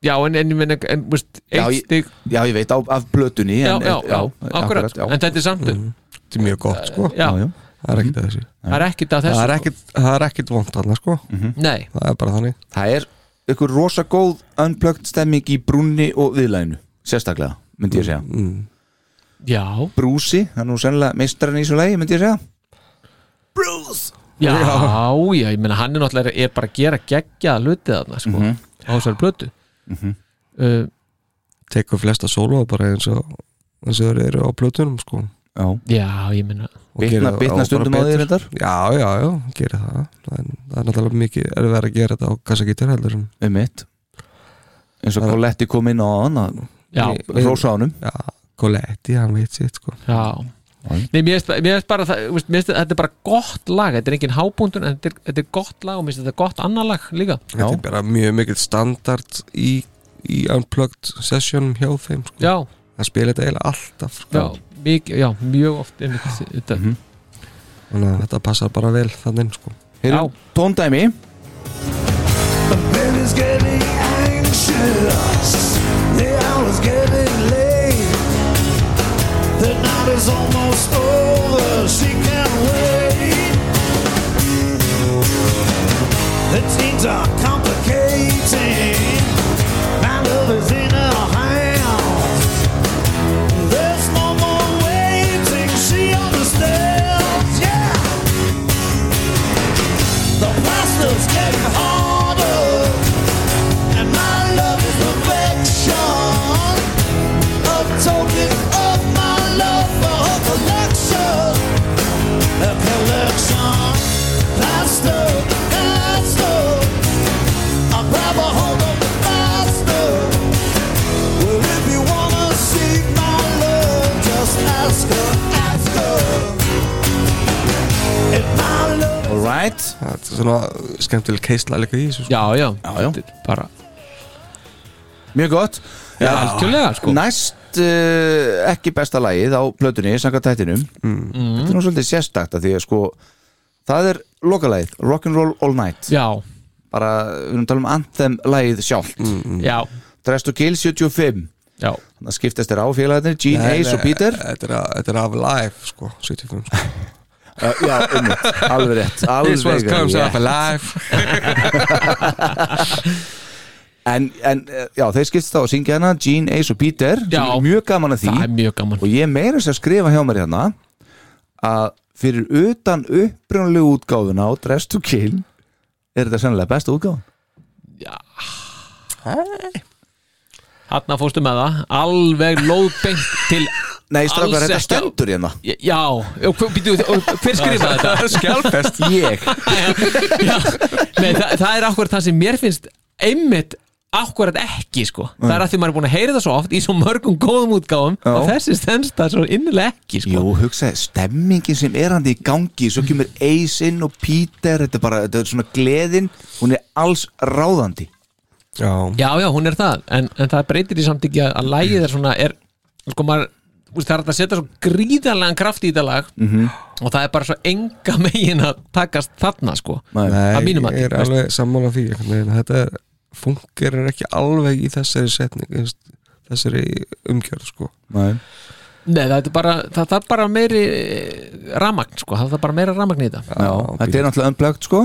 já en, en, en, en þú veist, Já, eitt ég- stig já ég veit á, af blötunni já, en, já, já, akkurat, akkurat, já. Mhm. en þetta er samt þetta er mjög gott sko já, já, já. Það er ekkert að þessu það er ekkit að Það er þessu sko. ekkert, það er ekkert vond þarna sko Mhm. nei, Það er bara þannig Það er ykkur rosa góð unplugged stemming í brúnni og viðlæðinu sérstaklega, myndi ég segja Mm. já, Brúsi, það er nú sennilega meistarinn í þessu lagi, myndi ég segja já, já ég meina hann er náttúrulega er bara að gera geggjaða hluti þarna sko, Mhm. á þessari plötu uh, Tekur flesta sólu bara eins og eins og þeir eru á plötunum sko Já, já, ég meina Og bitna, gerir það- bitna og bara stundum á því betur. reyndar Já, já, já, gerir það en það er náttúrulega mikið erfið að gera þetta á kassagítar heldur en um mitt eins og Það- Coletti kom inn á hann að já, rosa honum Já, Coletti, hann veit sitt sko Já Nei, mér finnst- mér finnst bara það, þú veist, mér finnst þetta er bara gott lag, þetta er engin hábúndun en þetta er, þetta er gott lag og mér finnst þetta gott annar lag líka Þetta er bara mjög mikill standard í, í unplugged session hjá þeim sko Já, Það spila þetta eiginlega alltaf sko já, mjög, já, mjög oft einmitt, þetta, Mhm. Þannig að þetta passar bara vel þannig sko Já, Heyrum tóndæmi Baby's getting anxious. The hour's getting late. The night Alright Það er svona skemmtileg keisla líka í þessu sko. já, já, Já, já. Þetta er bara Mjög gott Já, algjörlega, sko. Næst uh, ekki besta lagið á plötunni Sanka tættinum Mm. Þetta er nú svolítið sérstakt að Því að sko Það er lokalagið Rock'n'Roll All Night já, Mm, Bara við erum að tala um anthem lagið sjálft já, Dressed to Kill 75 já Þannig að skiptast þér á félagarnir Gene Hayes og Peter Þetta er, af- þetta er af live sko 75 sko. uh, (laughs) Já, unnit, alveg rétt alveg rétt. live En, en uh, já, þeir skiptast þá að syngja hana Gene, Ace og Peter sem Já. er Mjög gaman að því það er mjög gaman og ég meira þess að skrifa hjá mér hérna að fyrir utan upprjónulegu útgáfuna á Dress to Kill er þetta sennilega besta útgáfun Hanna fórstu með það, alveg lóðbeint til Nei, Alls strafgar, þetta ekki. stendur hérna Já, og hver, býtu, og hver skrifaði þetta? (laughs) Skjálfest Ég, já, nei, það, það er akkurat það sem mér finnst einmitt akkurat ekki sko. það er að því maður er búin að heyra það svo oft í svo mörgum góðum útgáfum Já. og þessi stendst það svo innilega ekki sko. jú, hugsaði stemmingin sem er hann í gangi, svo kemur Ace inn og Peter, þetta er bara þetta er svona gleðin, hún er alls ráðandi Já, já, já, hún er það en, en það breytir í samt ekki að, að lægið er svona er, sko, maður, úst, það er hægt að setja svo gríðarlegan kraft í þetta lag -hmm. og það er bara svo enga (laughs) megin að takast þarna sko. (laughs) Nei. að mínum ég er að alveg sammála því einhvern veginn. Þetta er, fungerir ekki alveg í þessari setning þú veist, þessari umgjörð sko Nei. Nei, það er bara, það, það er bara meiri ramagn, sko, það er bara meira ramagn í þetta Já, þetta er náttúrulega unplugged sko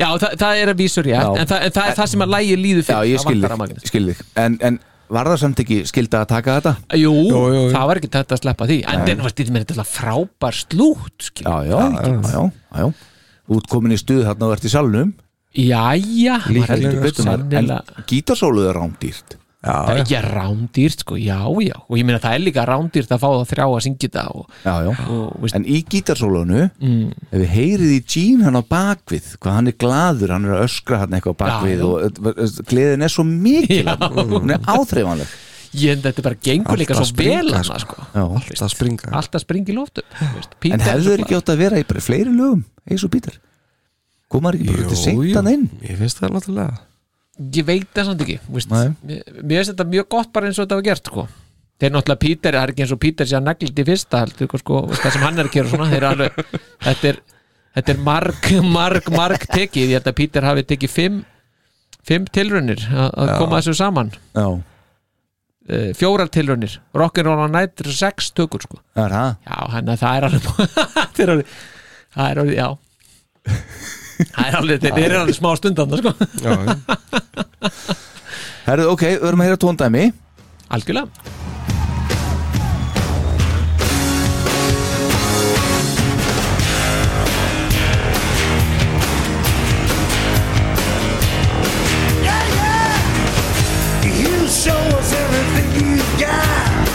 Já, það, það er að vísur ég Já. en, það, en það er það sem að lægi líður Já, fyrir ég það skil vantar þig, rafmagnið. skil þig en, en var það samt ekki skilda að taka þetta? jú, jú, jú. það var ekki þetta að sleppa því en það var stýtt með þetta frábær slút skil. Já, já, já, já, já. Útkomin í stuð þarna og ert í salnum Jæja maður heldur heldur betur maður sennilega- en gítarsóluð er rándýrt Það er ekki rándýrt, sko, já, já og ég meina það er líka rándýrt að fá það þrjá að syngja þetta og, já, já. og veist, en í gítarsólunu Mm. ef við heyrið í Gene hann á bakvið hvað hann er gladur, hann er að öskra hann eitthvað á bakvið Já. og gleðin er svo mikil Já. þarna. hún er áþreifanleg ég en þetta bara gengur líka Allt að svo vel springa, hana, sko. Já. Allt að springa allt að springi loftu en hefur þeir ekki átt að vera í bara fleiri lögum eins og Peter komar ekki bara til seintan inn ég finnst það náttúrulega ég veit það samt ekki veist, Nei. mér mér finnst þetta mjög gott bara eins og þetta var gert sko. þeir náttúrulega Píter, það er ekki eins og Píter sé að neglit í fyrsta heldur, sko, sko, veist, það sem hann er að gera svona, þeir eru alveg, þetta er þetta er marg, marg, marg tekið ég held að Píter hafi tekið fimm fimm tilraunir að- að koma þessu saman já, e, fjórar tilraunir, Rock'n'Roll on Night eru sex tökur sko, það er það já, hann það er alveg (laughs) það er alveg, það er alveg, já það er alveg, þeir eru alveg smá stundan sko, já, Herðu, ok, við erum að heyra tóndæmi algjörlega You show us everything you got.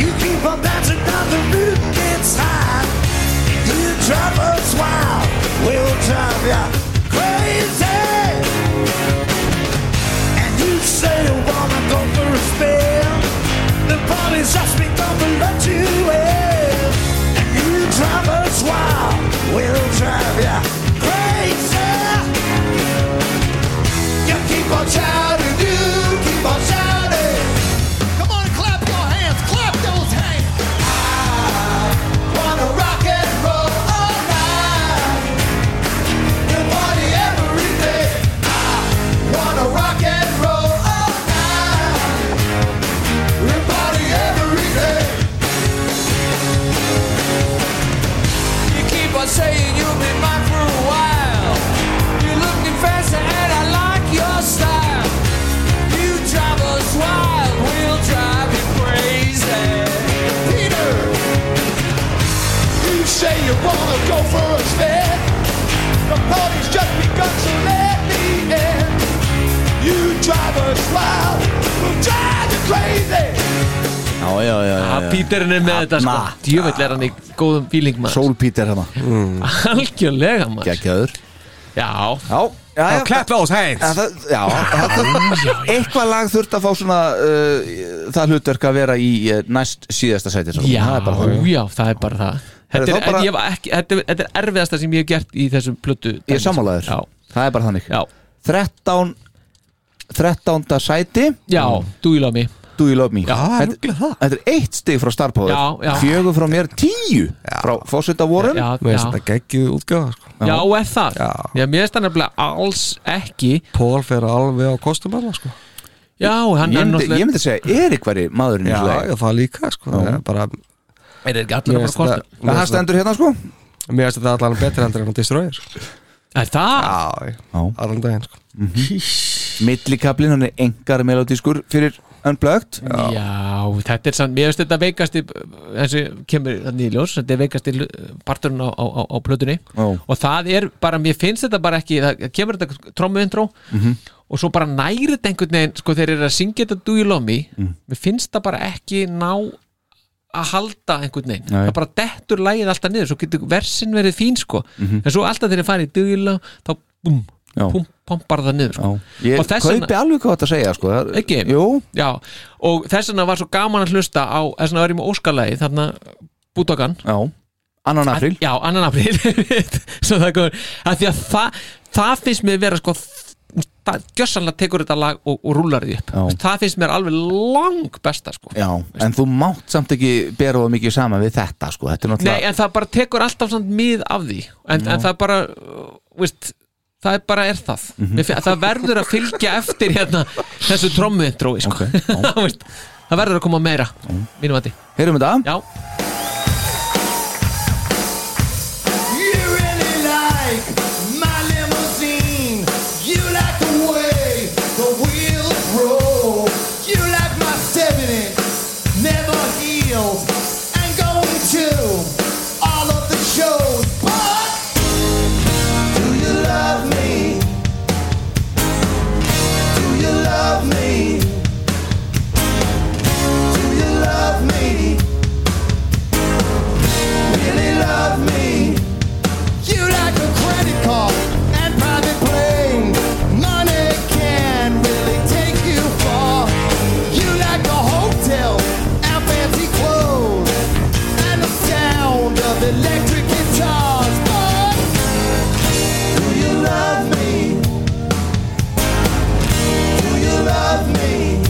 You keep on bouncing down the roof gets high. You drive us wild, we'll drive ya crazy. And you say you wanna go for a spin. The party's just begun to let you in. And you drive us wild, we'll drive ya crazy. You keep on shouting, you keep on shouting. Come on, clap your hands, clap those hands. I wanna rock and roll all night. You party every day. I wanna rock and roll all night. You party every day. You keep on saying you'll be mine for a while. You're looking fancy and I like your style. You drive us wild, we'll drive you crazy. Peter, you say you wanna go for a spin. The party's just begun, so let me in. You drive us wild, we'll drive you crazy. Já, já, já, já, að já. Píterin Ah, er með þetta sko ma- djöfell er hann í góðum fíling maður Mm. Sól Peter hérna, algjörlega maður geggjaður já, Já, já, já, those hands En það, já, það, það, eitthvað lag þurft að fá svona uh, það hlutverk að vera í uh, næst síðasta sæti svo. já, það er bara það já, það er bara það Þetta Herra, er, þá bara- ég var ekki, þetta, er- þetta er erfiðasta sem ég hef gert í þessum plötu Ég er sammálaður, Já, það er bara þannig já, 13 13. sæti já do you love me Do You Love Me Já, það er þetta, þetta er eitt stig frá Star Power Já, já. Fjögur frá mér, tíu frá Fawcett Warren Já, Mér já, finnst þetta geggið útgáða sko. já, er það Já. Já, mér finnst það nefnilega alls ekki Pól fer alveg á kostum alla sko. Já, hann Ég er myndi, ég náttúrulega myndi segja, er eitthvað maðurinn í Já, þessu lagi? já, það líka sko. Það er bara, Er ekki mér allir að bara finnst þetta- kostum Það mér það finnst þetta- stendur hérna sko mér finnst þetta allan betra heldur en að destroyer sko. Er það? Já, allan daginn sko. Mhm. Millikablin, hann er engar melodískur fyrir Unplugged Já, þetta er samt, mér finnst þetta veikasti eins og kemur þannig í ljós þetta er veikasti hlu- parturinn á, á, á, á plötunni Já. og það er bara, mér finnst þetta bara ekki það kemur þetta trommuindró Mhm. og svo bara næri þetta einhvern veginn sko þeir eru að syngja þetta Do You Love Me Mm. mér finnst það bara ekki ná að halda einhvern veginn Nei. það bara dettur lægið alltaf niður svo getur versin verið fín sko en svo alltaf þegar ég farið í Do You Love þá búm, Mhm. Já. pum, pompar það niður sko. Ég Og kaupi þess vegna- alveg hvað þetta segja sko Það- Ekki? Jú, Já, og þess vegna var svo gaman að hlusta á þess vegna var ég með óskalagi þarna bútakan já, annan april Já, annan april (laughs) Svo það komur að Því að það, það finnst mér vera sko það gjössanlega tekur þetta lag og, og rúlar því upp Já. Það finnst mér alveg lang besta sko Já, en þú mátt samt ekki bera það mikið sama við þetta sko Þetta er Nei, náttúrulega en það bara tekur alltaf samt mið af því En, en það bara, uh, veist Það er bara er það Mhm. mm Það verður að fylgja eftir hérna þessu trommuindrói sko. (laughs) Ok, já. Þú veist, Það verður að koma meira Mínum að því, Heyrum þetta? já You really like my limousine. You like the way the wheels roll. You like my 70 never heals. And going to all of the shows. But do you love me? Do you love me? Do you love me? Really love me? You like a credit card and private plane. Money can really take you far. You like a hotel and fancy clothes and the sound of electric guitars. But do you love me? Do you love me?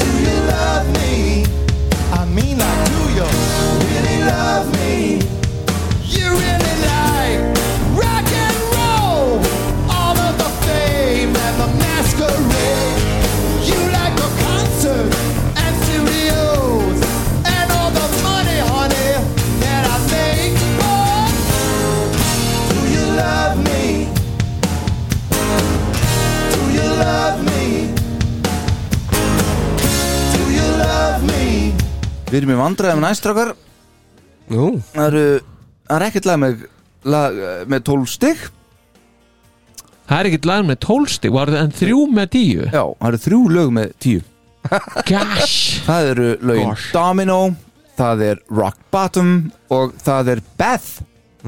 Do you love me? I mean, like, do you really love me? You really like rock and roll, all of the fame and the masquerade. You like the concert and stereos and all the money, honey, that I make. But do you love me? Do you love me? Do you love me? Við erum í vandræðum næstrakar Nú, Það eru, það er ekkert lag með, lag, eh, með 12 stig Það er ekkert lag með 12 stig var það en þrjú með 10 Já, það eru þrjú lög með 10 Gosh Það eru lögin Domino Það er Rock Bottom Og það er Beth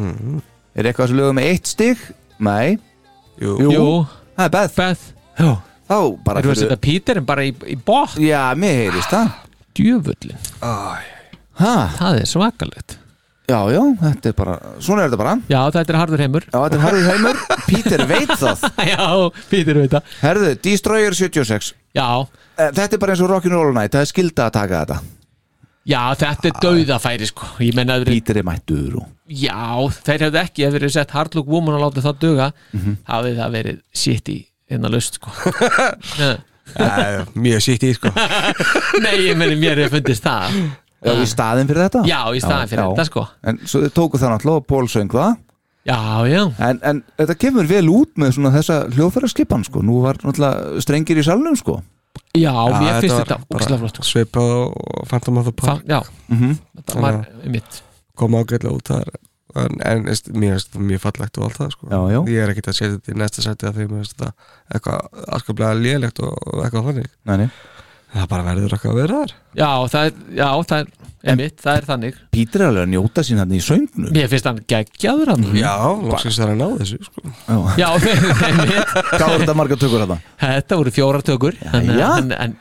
Er eitthvað sem lögum með eitt stig? Nei, jú, jú, Jú, það er Beth Beth Þá bara Erum við að setja Peterinn bara í, í bótt Já, mér heyrist það Djöfullin, ha, það er svakalegt Já, já, þetta er bara Svona er þetta bara Já, þetta er harður heimur Já, þetta er Harry (laughs) Heimur Peter veit það Já, Peter veit það Herðu, Destroyer 76 Já, Eh, Þetta er bara eins og Rockin' Roll Night Það er skilda að taka þetta já, þetta er dauðafæri sko Ég menna, þeir, Peter er mættur og... já, þeir hefðu ekki ef þeir hefðu sett Hard Look Woman og látið það duga Mhm. hafði það verið shit í innan löst (laughs) sko Æ, mjög sýtt í sko. (laughs) Nei, ég meni mér hefur fundist það Já, í staðin fyrir þetta Já, í staðinn fyrir þetta, sko. En svo þau tóku það náttúrulega og Pól söng það Já, já, En, en þetta kemur vel út með svona þessa hljóðfæraskipan sko. Nú var náttúrulega strengir í salnum sko. já, mér Já, finnst var þetta ógislega bara flott sko. Svipað og Phantom of the Fa- Park Já, Mhm. þetta var mitt kom ágætlega út þar en, en veist, mér finnst þetta mjög fallegt og allt það sko. Já, já. ég er ekkert að setja þetta í næsta sæti af því mér finnst þetta eitthvað afskaplega lélegt og og eitthvað þannig Nei, nei. það bara verður eitthvað að vera þar Já, það er, já, það er, einmitt, það er þannig Pítur er alveg að njóta sín hann í söngnum Mér finnst hann geggjaður hann já, loksins er að ná þessu sko. Já, (laughs) einmitt Hvað var þetta marga tökur þetta? Þetta voru fjórar tökur en, Jæja. en, en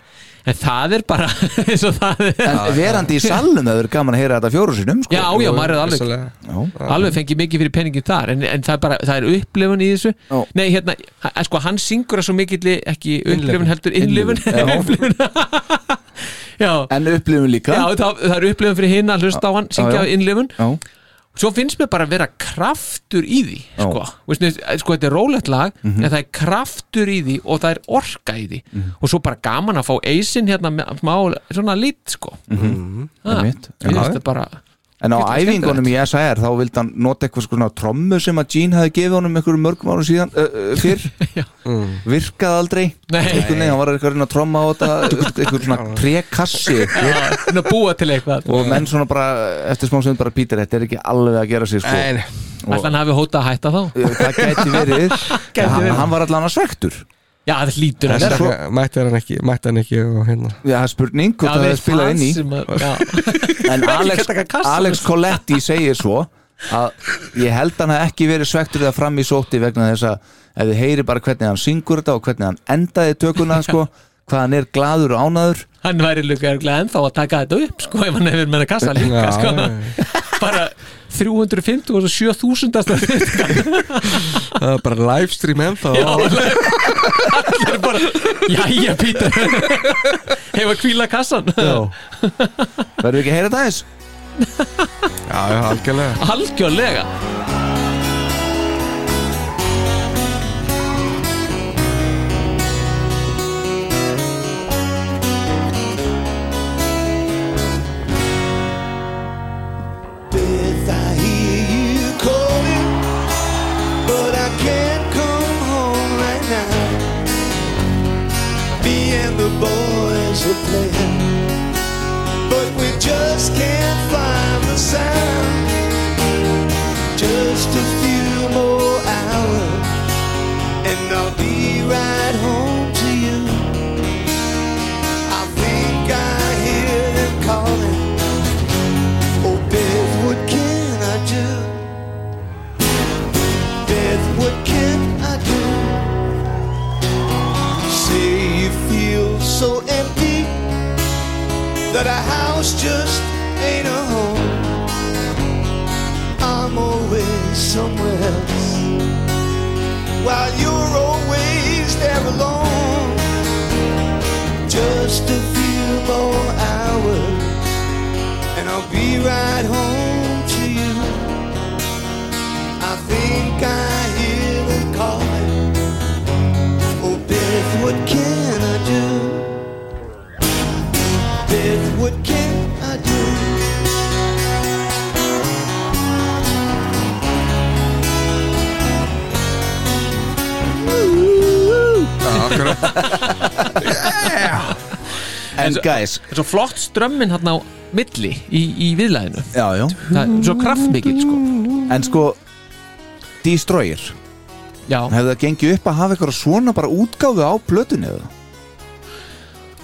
en það er bara (laughs) eins og það er En verandi í salnum það verður gaman að heyra þetta fjóru sinum sko. já, já, maður er alveg (laughs) alveg fengið mikið fyrir peningin þar en, en það er bara, það er upplifun í þessu Já. nei, hérna, h- sko, hann syngur að svo mikill ekki upplifun heldur innlifun Innlifun, (laughs) já. upplifun (laughs) já, En upplifum líka já það, það er upplifun fyrir hinn að hlusta á hann, syngja Já, á já. innlifun Já. svo finnst mér bara að vera kraftur í því sko, Veistu, sko þetta er rólegt lag Mhm. en það er kraftur í því og það er orka í því og svo bara gaman að fá eisin hérna með smá svona lít sko Ha, einmitt. ég Já. veist það bara En á Getur verið æfingunum í SR þá vildi hann nota eitthvað svona trommu sem að Gene hefði gefið honum einhverjum mörgum árum síðan uh, uh, fyrr (laughs) Já. Mm. virkað aldrei Nei. Einhvern veginn, hann var eitthvað að reyna að tromma á (laughs) þetta eitthvað svona trekassi að búa til eitthvað og menn svona bara eftir smá sem bara Pítur, þetta er ekki alveg að gera sig sko Nei, nei. Ætli hann hafi hótað að hætta þá Uh, það gæti (laughs) verið hann, verið. hann var allan að svektur já það hlýtur að Það er vera svo- ekki- mætti hann ekki mætti hann ekki og hérna Já, það er spurning hvort Já, það við er spilað inn í sem (laughs) að- (laughs) já. en Alex, taka sko. kassann. Alex Coletti segir svo að ég held hann að ekki verið svektur eða fram í sóti vegna þess að ef þið heyri bara hvernig hann syngur þetta og hvernig hann endaði (laughs) tökuna sko, hvað hann er gladur og ánaður hann væri líka örugglega ennþá að taka þetta upp sko ef hann hefur með að kassa líka Já, sko. já, (laughs) bara 350 og 7000 (laughs) Það er bara livestream ennþá Já, allir allir bara Jæja, Pítur (laughs) Hefur að kvíla kassan verður ekki að heyra þetta aðeins? já, já, algjörlega Algjörlega Beth, I hear you calling, but I can't come home right now. Me and the boys are playing, but we just can't find the sound. Just a few more hours, and I'll be right home to you. I think I hear them calling. Oh, Beth, what can I do? Beth, what can I do? Say you feel so empty that a house just ain't a home. I'm always somewhere else while you're always there alone. Just a few more hours and I'll be right home to you. I think I hear them calling. Oh, Beth, what can I do? Beth, what can I do? En guys, Svo flott strömmin hann á milli í, í viðlæðinu já, já. Það er svo kraftmikil sko en sko Destroyer, Já, hefði það gengið upp að hafa eitthvað svona bara útgáfu á plötunni eða?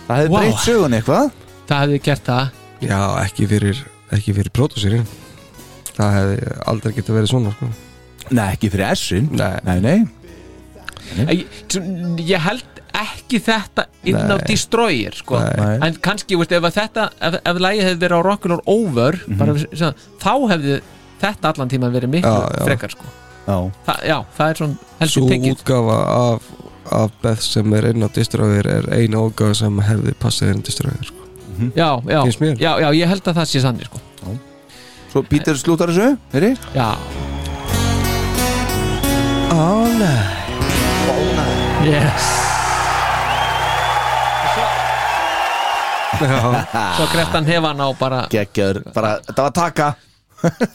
það hefði Vá. breytt sögun eitthvað það hefði gert það Já, ekki fyrir ekki fyrir pródúsirinn Það hefði aldrei getið verið svona sko. Nei, ekki fyrir S-in Nei. nei, nei. Ég, svo- ég held ekki þetta inn á Nei. Destroyer sko Nei. En kannski, veist, ef að þetta ef, ef lægið hefði verið á Rockin' or Over Mhm. bara, svona, þá hefði þetta allan tíma verið miklu Já, já. frekar sko Já. Þa, Já, það er svona Svo heldur tengið útgafa af, af Beth sem er inn á distróðir er eina útgafa sem hefði passið inn á distróðir sko. Mhm. já, já, Finnst mér. já, já, ég held að það sé sannig sko. Svo Pítur slútar þessu, heyri já All night yes. svo kreftan hefan á bara Gekkjaður, bara, þetta var taka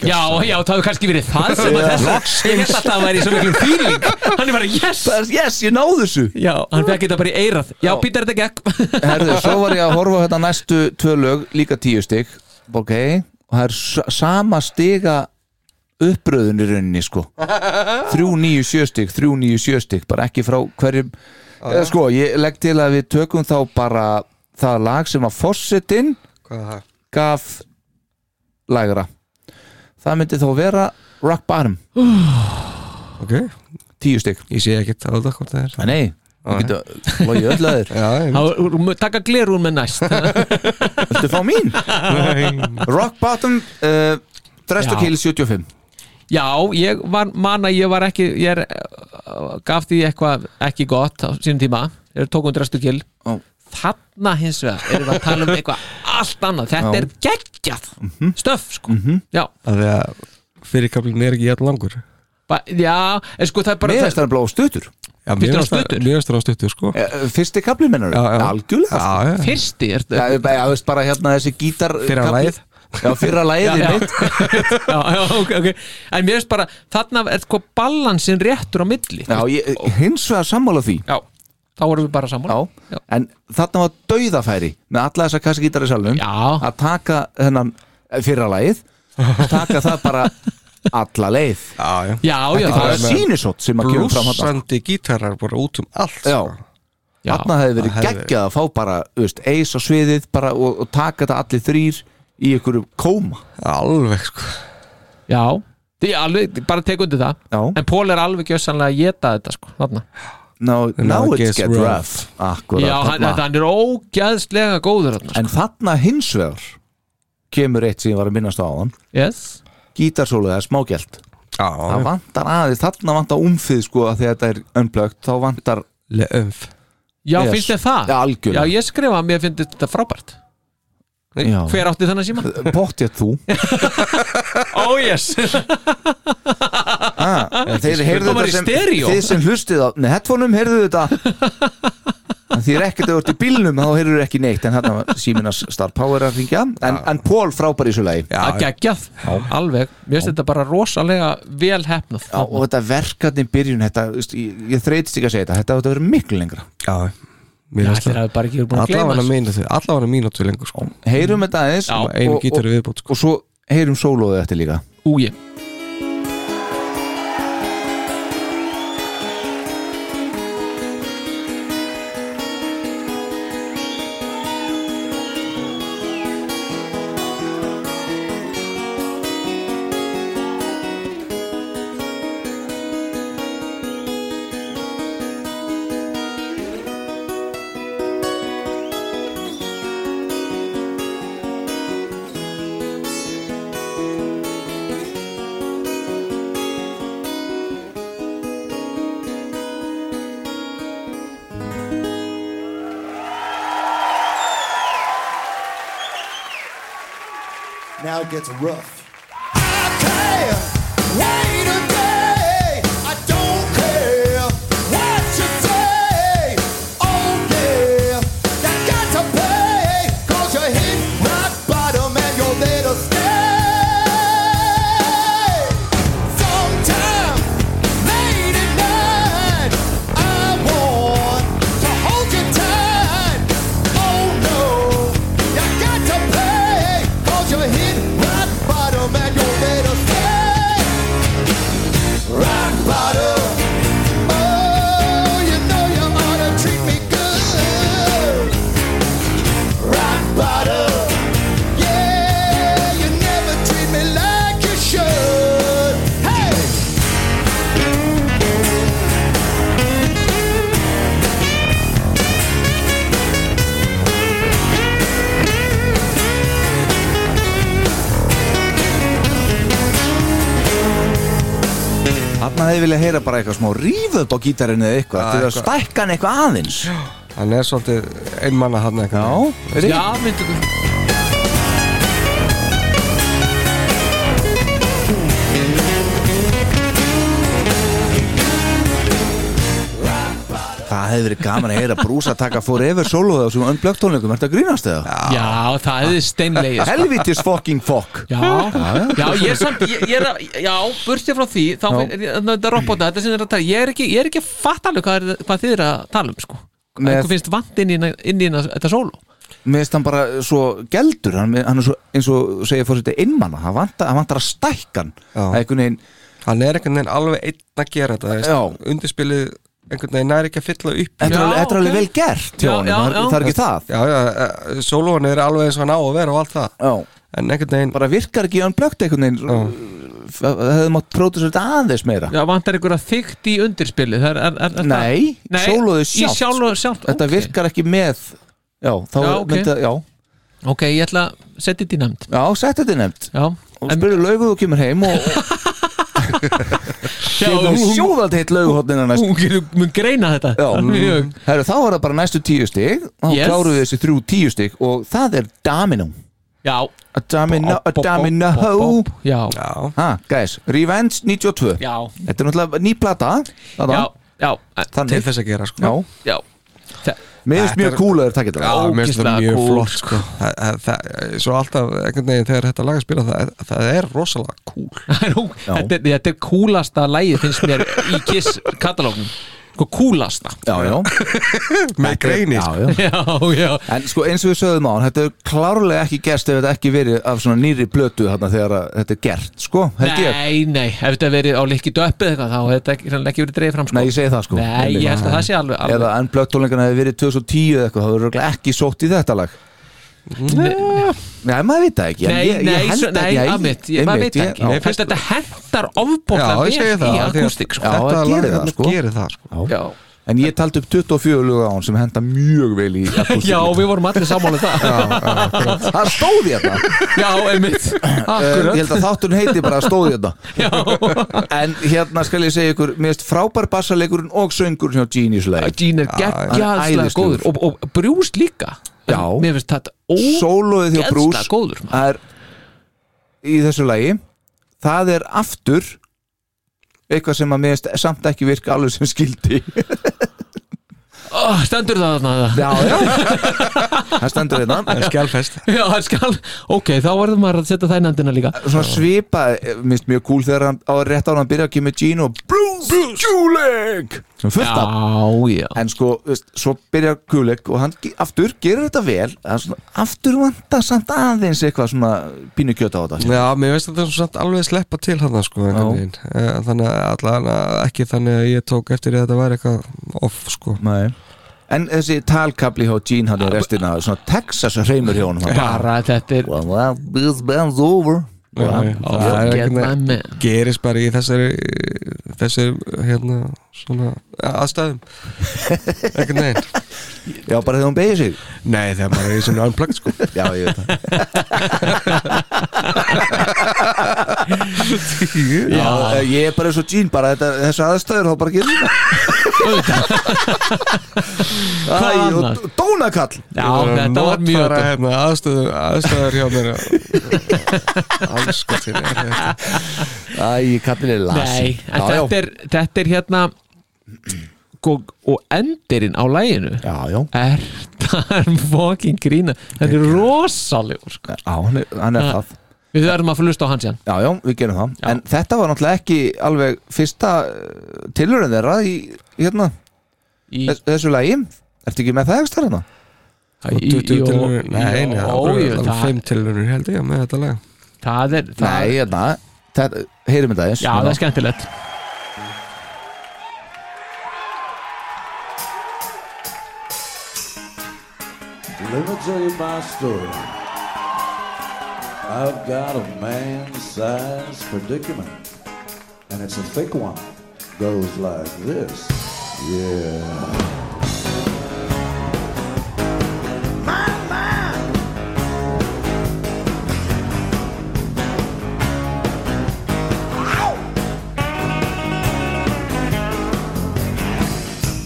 já, já, það hefur kannski verið það sem að þess ég held að það væri svo miklu fíling hann er bara yes Bara, Yes, ég náðu þessu já, hann fekk þetta bara í eirað já, Pítur þetta gekk Herðu, svo var ég að horfa á þetta næstu tvö lög Líka tíu stygg, ok Og það er s- sama stiga uppröðun í rauninni, sko Þrjú nýju sjö stygg, þrjú nýju sjö stygg Bara ekki frá hverjum Eða, Sko, ég legg til að við tökum þá bara Það lag sem að fossetinn Hvað er það? gaf lægra það myndi þá vera rock bottom Ok, tíu stygg ég sé ekkert á þetta hvort það er nei, Þú getur logið öll að þér (laughs) Já, ég- Há- Taka glerún með næst (laughs) Viltu fá mín? Rock Bottom uh, Drest og Já. Kill 75 Já, ég var, man að ég var ekki ég er, uh, gaf því eitthvað ekki gott á sínum tíma ég tók um drestu kil Ó. þarna hins vegar erum við að tala um eitthvað allt annað, þetta Já. er geggjað Hm? stöf, sko Mhm. já, að því að fyrirkablin er ekki jætt langur ba, já, en sko það er bara Mér er stærn blá stuttur Já, Finnst þér hann finnst það- stuttur? Mér finnst það á stuttur sko Eh, eh, Fyrsti kaplin mennar Já, já. Algjörlega Já, já. fyrsti er, Já, ég- já, þú veist bara hérna þessi gítar Fyrra kafli. lagið. Já, fyrra já, lægið já, (laughs) já, já, ok, ok en mér er bara, þarna er sko balansin réttur á milli Já, ég, hins vegar sammála því já þá erum við bara saman Já, en þarna var dauðafæri með alla þessa kassagítar í salnum Já. að taka þennan eh, fyrra lagið taka það bara alla leið Já, já já, já, Þetta er það bara er- með sínusótt sem að kemur fram Eh, hann Brúsandi gítarar bara út um allt Já, sko. já, þarna hefði verið Það hefði geggjað að fá bara þú veist, eis á sviðið bara og, og taka þetta allir þrýr í einhverju kóma Alveg sko já, því alveg, bara tek undir það Já, En Pól er alveg gjössanlega að geta þetta sko þarna. now, now, Now it it's gets get rough, rough. sko. Akkurat, Já, hann, þarna. hann er ógæðslega góður þarna sko. En þarna hins vegar kemur eitt sem ég var að minnast á hann yes. gítarsólu eða smágjald Já, það vantar aðeins, þarna vantar umfið sko að þegar þetta er umplögt þá vantar Leumf Já, Yes. finnst þér það? Já, algjörlega. Já, ég skrifa að mér finnst þetta frábært Já. Hver átti þennan síma? (laughs) pottjætt þú Ó, yes ah, en þeir heyrðu Það var þetta í sem stereo. þið sem hlustið á nei, headphoneum heyrðu þetta en því er ekkert að þú ert í bílnum þá heyrðu ekki neitt en þarna var Siemens Star Power að ringja en, en Pól frábær í svo lagi Að geggjað, alveg Mér finnst þetta bara rosalega vel hefnað Já, og þetta verkarni byrjun þetta, þú veist, ég, ég þreytist ekki að segja þetta, þetta átti að vera miklu lengra Já, Já, mér finnst þetta það er bara ekki búin að gleyma Allafana þessu. mínútu Allafana mínútu lengur sko heyrum þetta aðeins Já, og, Einu og, gítar og, viðbútt sko og svo heyrum sólóðu eftir líka Ú, ég Now it gets rough. I care wait a day. I don't care what you say. Oh yeah, you got to pay. Cause you hit rock bottom and you're there to stay. Sometime late at night, I want to hold you tight. Oh no, you got to pay. Cause you hit rock bottom and you're there to stay. Rock bottom. Oh, you know you ought to treat me good. Rock bottom. Yeah, you never treat me like you should. Hey! Þarna hefði viljað heyra bara eitthvað smá ríföld á gítarinu eða eitthvað, Já, til að eitthvað. stækka hann eitthvað aðeins Hann er svolítið einmanna hann eitthvað Já, er Já, myndu Það hefði verið gaman að heyra brúsa taka forever soloðu á sem önnblökt tónleikum, ertu að grínast eða? Já, það hefði steinlegið sko. Helvitis fucking fuck Já, já, ég er samt ég, ég er að, Já, burtið frá því þá er þetta robota, þetta sem er að tala ég er ekki, ég er ekki að fatta alveg hvað, er, hvað þið er að tala um sko. Með- einhver finnst vant inn í, hérna- inn í hérna- þetta sólu Mér finnst hann bara svo geldur hann, hann er svo, eins og segja fórsetið innmanna hann vantar, hann vantar að stækka hann Já. Það er einhvern veginn, Hann er einhvern veginn alveg einn að gera þetta Já. veist. Undirspilið einhvern veginn er ekki að fylla upp þetta er Já, alveg- þetta er alveg ok. vel gert hjá Já, honum, já, það er- já. það er ekki það Já, e, já, sólóan er alveg eins og hann á að vera og allt það Já, En einhvern veginn bara virkar ekki önnblökt einhvern veginn hefði mátt pródusera þetta aðeins meira Já, vantar ykkur að þygt í undirspili er, er, er, er, Nei, Nei, sólóðu í sjálft sólóðu sjálft, Þetta ok. virkar ekki með Já, þá Já, ok. myndi, já. Ok, ég ætla að setja þetta í nefnd já sett þetta er nefnt Já, Og spyrir laugu þú kemur heim og Getur sjóðald heitt lauguhotnina næst hún getur mun greina þetta Já, Það mm. er mjög Herru, þá er það bara næstu tíu stig Þá Yes. kláruðu þessi þrjú tíu stig Og það er Domino Já, A Domino, a Domino Já, Ha, guys, Revenge 92 já, Þetta er náttúrulega ný plata þarna, já, já, til Þannig, þess að gera sko já já. Þa- Mér finnst Þetta mjög er- cool að þeir takja Já, þetta mér finnst það ógeðslega mjög cool, flott sko. það, það, það, Svo alltaf einhvern veginn þegar þetta lag er spilað það, það er rosalega cool Það er nú- Þetta er- þetta er kúlasta lægi finnst mér í Kiss katalógnum Sko kúlasta Já, já, Með greini sko. já, já (laughs) Já, já, En sko eins og við sögðum á hann, þetta er klárlega ekki gerst ef þetta ekki verið af svona nýri blötu þarna þegar að þetta er gert, sko, held ég nei, nei Ef þetta hefði verið á likki döppið eitthvað þá hefði þetta ekki, sennilega ekki verið dreifð fram sko. Nei, ég segi það sko Nei, ég held að það sé alveg, alveg. Eða en blöttólingarna hefði verið 2010 eða eitthvað, það verður örugglega ekki sótt í þetta lag Nei, maður veit það ekki en Mm, Nei, ég, nei, ég held svo- ekki, nei, ég- einmitt, ég- maður veit einmitt, það ég- ekki Mér finnst þetta hendar ofbóðlega Já, ég segi vel í það af því að- akústik sko. Já, Þetta það lag gerir það, hérna sko. gerir það sko. Já, En ég taldi upp 24 lög á hann sem henda mjög (laughs) vel í akústík já við vorum allir sammálið það Það stóði þetta Eh, Já, einmitt Ég Akkurat held að þátturinn heiti bara stóði þetta (laughs) Já, En hérna skal ég segja ykkur Mér finnst frábær bassalegurinn og söngur hjá Genius Lake Gene er hann er geggjaðslega æðislegur. góður og, og Brús líka Já. Mér finnst þetta ó Sólóið hjá Geðslega Brús góður, maður. er í þessu lagi það er aftur eitthvað sem að mér finnst samt ekki virka alveg sem (laughs) skildi oh, Stendur það þarna eða? Já, (laughs) já Það stendur hérna. þetta En skjálfest Já, hann skal Ok, þá verður maður að setja það í nefndina líka Svona svipa, minnst mjög cool þegar hann á rétt ára hann byrja að kemur Gene og Bruce Kulik sem fullt af Já, já en sko, veist, svo byrjar Kulik og hann ge- aftur gerir þetta vel en svona, aftur vantar samt aðeins eitthvað svona pínu kjöta á þetta Já, mér veist að það er samt alveg sleppa til hann sko, einhvern veginn. Eh, Þannig að allan að- ekki þannig að ég tók eftir að þetta væri eitthvað off sko. Nei. en þessi talkabli hjá Gene hann er restina, svona Texas hreymur hjá honum hann Bara þetta er Well, well, this band's over Já, já. Það er Get einhvern my veginn man gerist bara í þessari þessari hérna svona (laughs) aðstæðum einhvern veginn Já, bara þegar hún beigir sig Nei, þegar maður er í svona unplugged sko (laughs) Já, ég veit það (laughs) (laughs) Já, eh, ég er bara eins og Gene bara þetta, þessu aðstæður þá bara (laughs) gerir þetta Æ, Hvað annað? og dónakall Já, þetta var mjög Notfæra, gott. hérna, aðstæður, aðstæður hjá (laughs) mér Alls sko til Æ, kallin er lasi Nei, en þetta er, þetta er hérna og, og endirinn á læginu Já, já, er það er fucking grína þetta er rosalegur sko. já hann, er, hann er það við verðum að flusta á hans hérna Já, já, við gerum það En þetta var náttúrulega ekki alveg fyrsta tilurinn þeirra í hérna, í, þess- þessu lagi Ertu ekki með það hérna? ekki starfna? í- í- 20 tilunur, í- nei, nei, ó, það voru jú, alveg það- 5 tilunur held ég með þetta lag það er það, Nei, hérna, þetta, heyrum þetta eins já það er skemmtilegt Let me tell you my story. I've got a man-sized predicament, and it's a thick one. Goes like this. Yeah.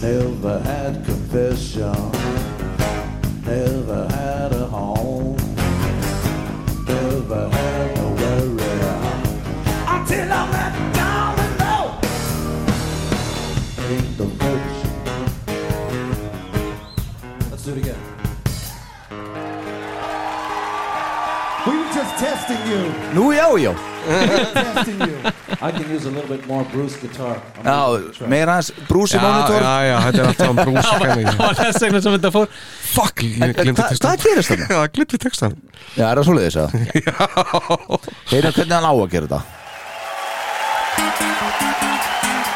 Never had confession. Never had a home. Never had a worry. Until I met Domino. Ain't the virgin. Let's do it again. We were just testing you. (laughs) Nú, já, já Testing you. I can use a little bit more Bruce guitar. I'm gonna give it a Já, try. meira hans brúsi Já, monitor já, já, þetta er alltaf um (laughs) brúsa það var þess vegna sem þetta fór Fuck, ég En glimti hva- textan Hvað gerist þarna? Já, glimti textan Já, er það svoleiðis (laughs) að? Já Heyrum hvernig hann á að gera þetta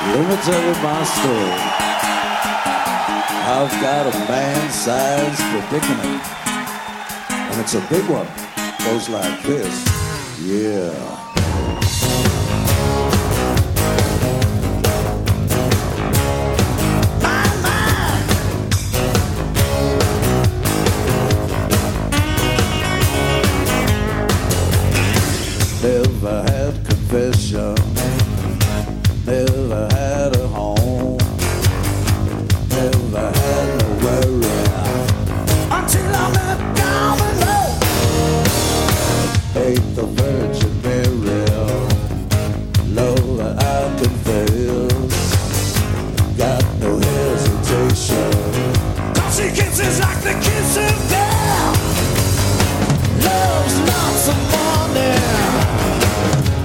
Let me tell you my story. I've got a man-sized predicament, and it's a big one. Goes like this. Yeah. profession. Never had a home. Never had a worry. Until I met down below. Ain't the Virgin Mary. Love that I confess. Got no hesitation. Cause she kisses like the kiss of death. Love's lots of money.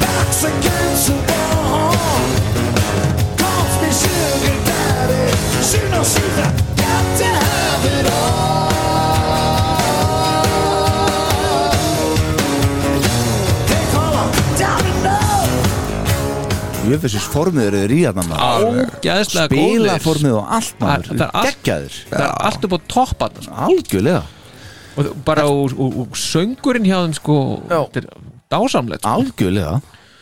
Backs against the wall. Calls me sugar daddy. She knows she's a- got to have it all. They call her down and low. Jöfessis formiður eru í hann Ógeðslega góðir. Spila formið og allt maður Það- það er allt- Geggjaður það er allt upp á toppan Algjörlega og þ- bara og, og, og söngurinn hjá þeim sko þetta er dásamlegt sko. Algjörlega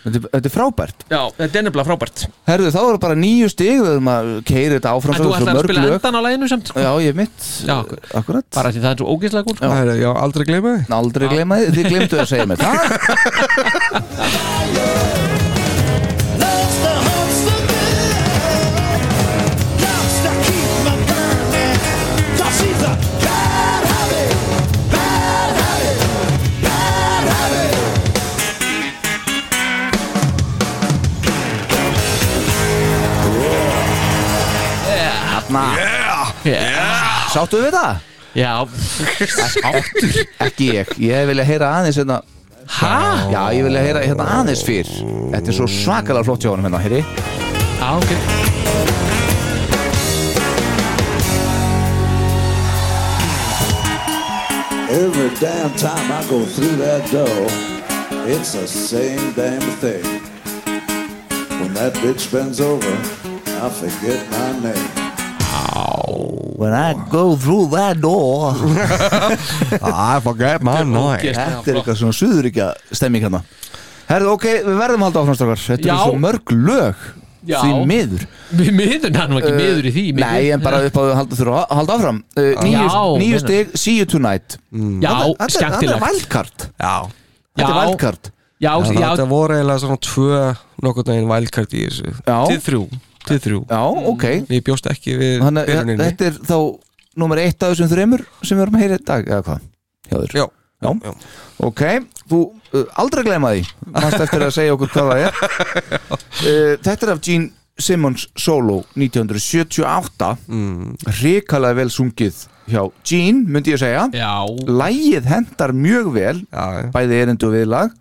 Þetta er, þetta er frábært já, þetta er nefnilega frábært Herðu þá eru bara nýju stig Við erum að keiri þetta áfram en þú svo- svo ætlar að mörg spila lög. endan á læginu samt sko? Já ég mitt já, Akkurat bara því það er svo ógeðslega góð sko. Það er, já, aldrei gleyma því Aldrei gleyma þið, þið glemdu að segja mér það Loves the hunts for good. Loves to keep me burning. 'Cause she's a bad habit. Bad habit. Bad habit. Þarna, yeah. sáttu við það? já, Áttur? Ekki ég, ég vilja heyra aðeins hérna hæ? Já, ég vilja heyra hérna aðeins fyrr Þetta er svo svakalega flott hjá honum hérna, heyri já, ok Every damn time I go through that door, it's the same damn thing. When that bitch bends over, I forget my name. When I go through that (laughs) door Ah, I forget my night Ógeðslega Þetta er flott. eitthvað svona suðuríkja stemming hérna Herðu, ok, við verðum að halda áfram strákar Þetta Já. eru svo mörg lög Já. Því miður Eh, Við miður, hann var ekki miður í því miður. Nei, en bara upp á að halda, þurfa að halda áfram uh, Nýju, Já, nýju meinar. stig, see you tonight Mm. Já, Þetta er- Þetta er skemmtilegt valkart Já Þetta er Já. valkart Já, Þannig að já, Þetta voru eiginlega svona tvö nokkurn veginn vælkart í þessu Já. Til þrjú, til þrjú Já, ok Ég bjóst ekki við Þannig að byrjuninni þetta er þá Númer eitt af þessum þreymur sem við erum að heyra í dag Eða hvað? Hjá þér Já, Já. já. Ok, þú uh, aldrei gleyma því Mast eftir að segja okkur hvað það er (laughs) uh, Þetta er af Gene Simmons solo 1978 Mm. Hrikalega vel sungið hjá Gene, myndi ég segja já Lægið hentar mjög vel Já, já. bæði erindu og (clears throat) viðlag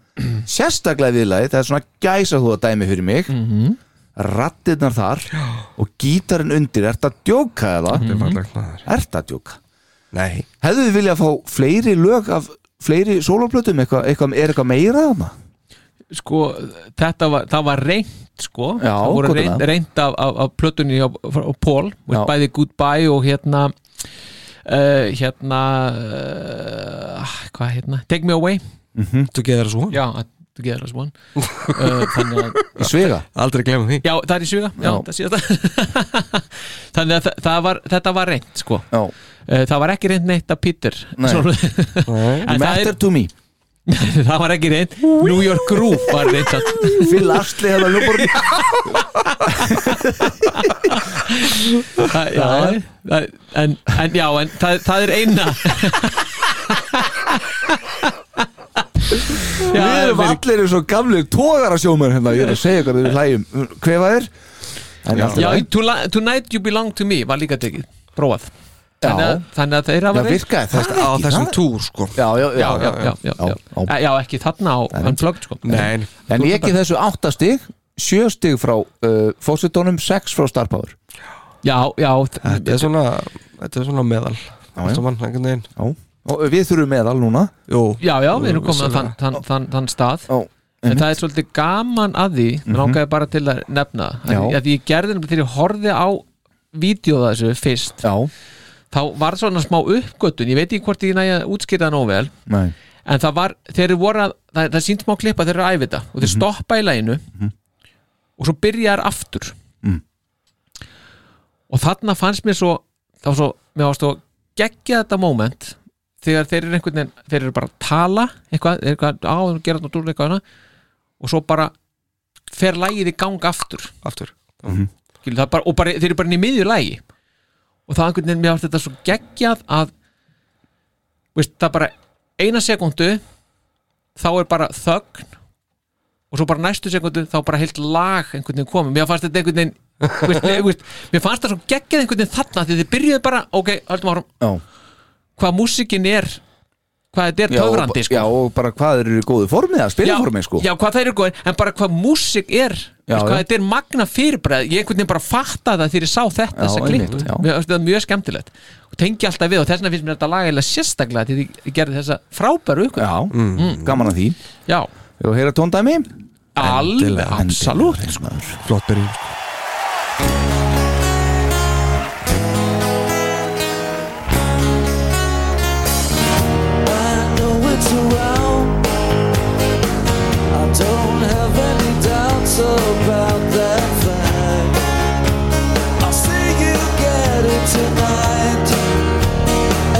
sérstaklega viðlagið, það er svona gæsa þú að dæmi fyrir mig mm Mhm. rattirnar þar og gítarinn undir ert að djóka eða? Þetta er fallegt maður ert að djóka Nei hefðu þið viljað fá fleiri lög af fleiri sóloplötum, eitthvað, eitthvað, er eitthvað meira þarna? (laughs) Sko, þetta var, það var reynt sko Já, Það voru gott er reynt, það. reynt af, af, af plötunni á, á Paul og Já. Bæði Goodbye og hérna uh, Hérna uh, Hvað hérna? Take Me Away Mhm. Together as one Já, Together as one (laughs) uh, Þannig að í svega, Aldrei glemma því Já, það er í suga, já, Já. það síðast (laughs) Þannig að þa- það var, þetta var reynt sko. já, Eh, Það var ekki reynt neitt að Peter Nei. Svo- Nei. (laughs) En það, matter er, to me það var ekki reynt New York Groove var reynt að (laughs) fyll astli hefða ljúborg Það- já, það- en, en já, en það, það er eina (laughs) já, (laughs) við erum fyrir- allir eins og gamlir tógar að sjóma hérna, ég er að segja hvernig við hlægjum hvefa er? En allt í já, lagi. tonight, tonight you belong to me var líka tekið, prófað Já. þannig að, þannig að þeirra já, var reynt. virkaði það Á ekki, þessum það- túr sko já, já, já, já, já, já, já, já, já. já. ekki þarna á unplugged sko Nei En ég ekki þessu áttastig Sjöstig frá uh, fósitónum Sex frá Star Power já, já, þ- Þetta er svona Þetta er svona meðal já. Þetta mann einhvern veginn Og við þurfum meðal núna Jú já, já, við erum komin á þann, Vissulega. þann, þann, þann stað Ó, Mhm. en það er svolítið gaman að því mm langaði bara til að nefna að, Já. að ég gerði nefnilega þegar ég horfði á vídeoða þessu fyrst Já, þá var svona smá uppgötun ég veit ekki hvort ég næja að útskýra það nóg vel nei en það var, þeir eru voru að það, það sínt smá klippa þeir eru að æfa þetta og þeir stoppa í læginu og svo byrja þær aftur og þarna fannst mér svo þá svo, mér varst þú geggja þetta moment þegar þeir eru einhvern veginn þeir eru bara að tala eitthvað, eitthvað á, gera þetta hérna." og dúr eitthvað hana og svo bara fer lægið í gang aftur, aftur. Mhm. Skilur, það er bara, og bara, þeir eru bara inn í miðju lægi og það er einhvern veginn, mér átti þetta svo geggjað að veist, það er bara eina sekundu þá er bara þögn og svo bara næstu sekundu þá er bara heilt lag einhvern veginn komið, mér fannst þetta einhvern veginn veist, ég- veist, mér fannst það svo geggjað einhvern veginn þarna því þið byrjuðu bara, ok, höldum árum Já. hvað músikin er hvað þetta er Já, og- töfrandi sko. Já, og bara hvað þeir eru í góðu formið að spila formið sko já, hvað það eru góðir, en bara hvað músík er Já, veist, hvað já. þetta er magna fyrirbræð ég einhvern veginn bara fatta það þegar ég sá þetta Já, þessa einmitt, klipp, já. mér finnst þetta mjög skemmtilegt og tengi alltaf við og þess vegna finnst mér þetta lagalega sérstaklega því ég gerði þessa frábæru ykkur Já, Mm. gaman að því Já Hefur heyra tóndæmi? Alveg, absolutt sko. Flott byrjum I know it's around. I don't have any doubts about that fact. I'll see you get it tonight.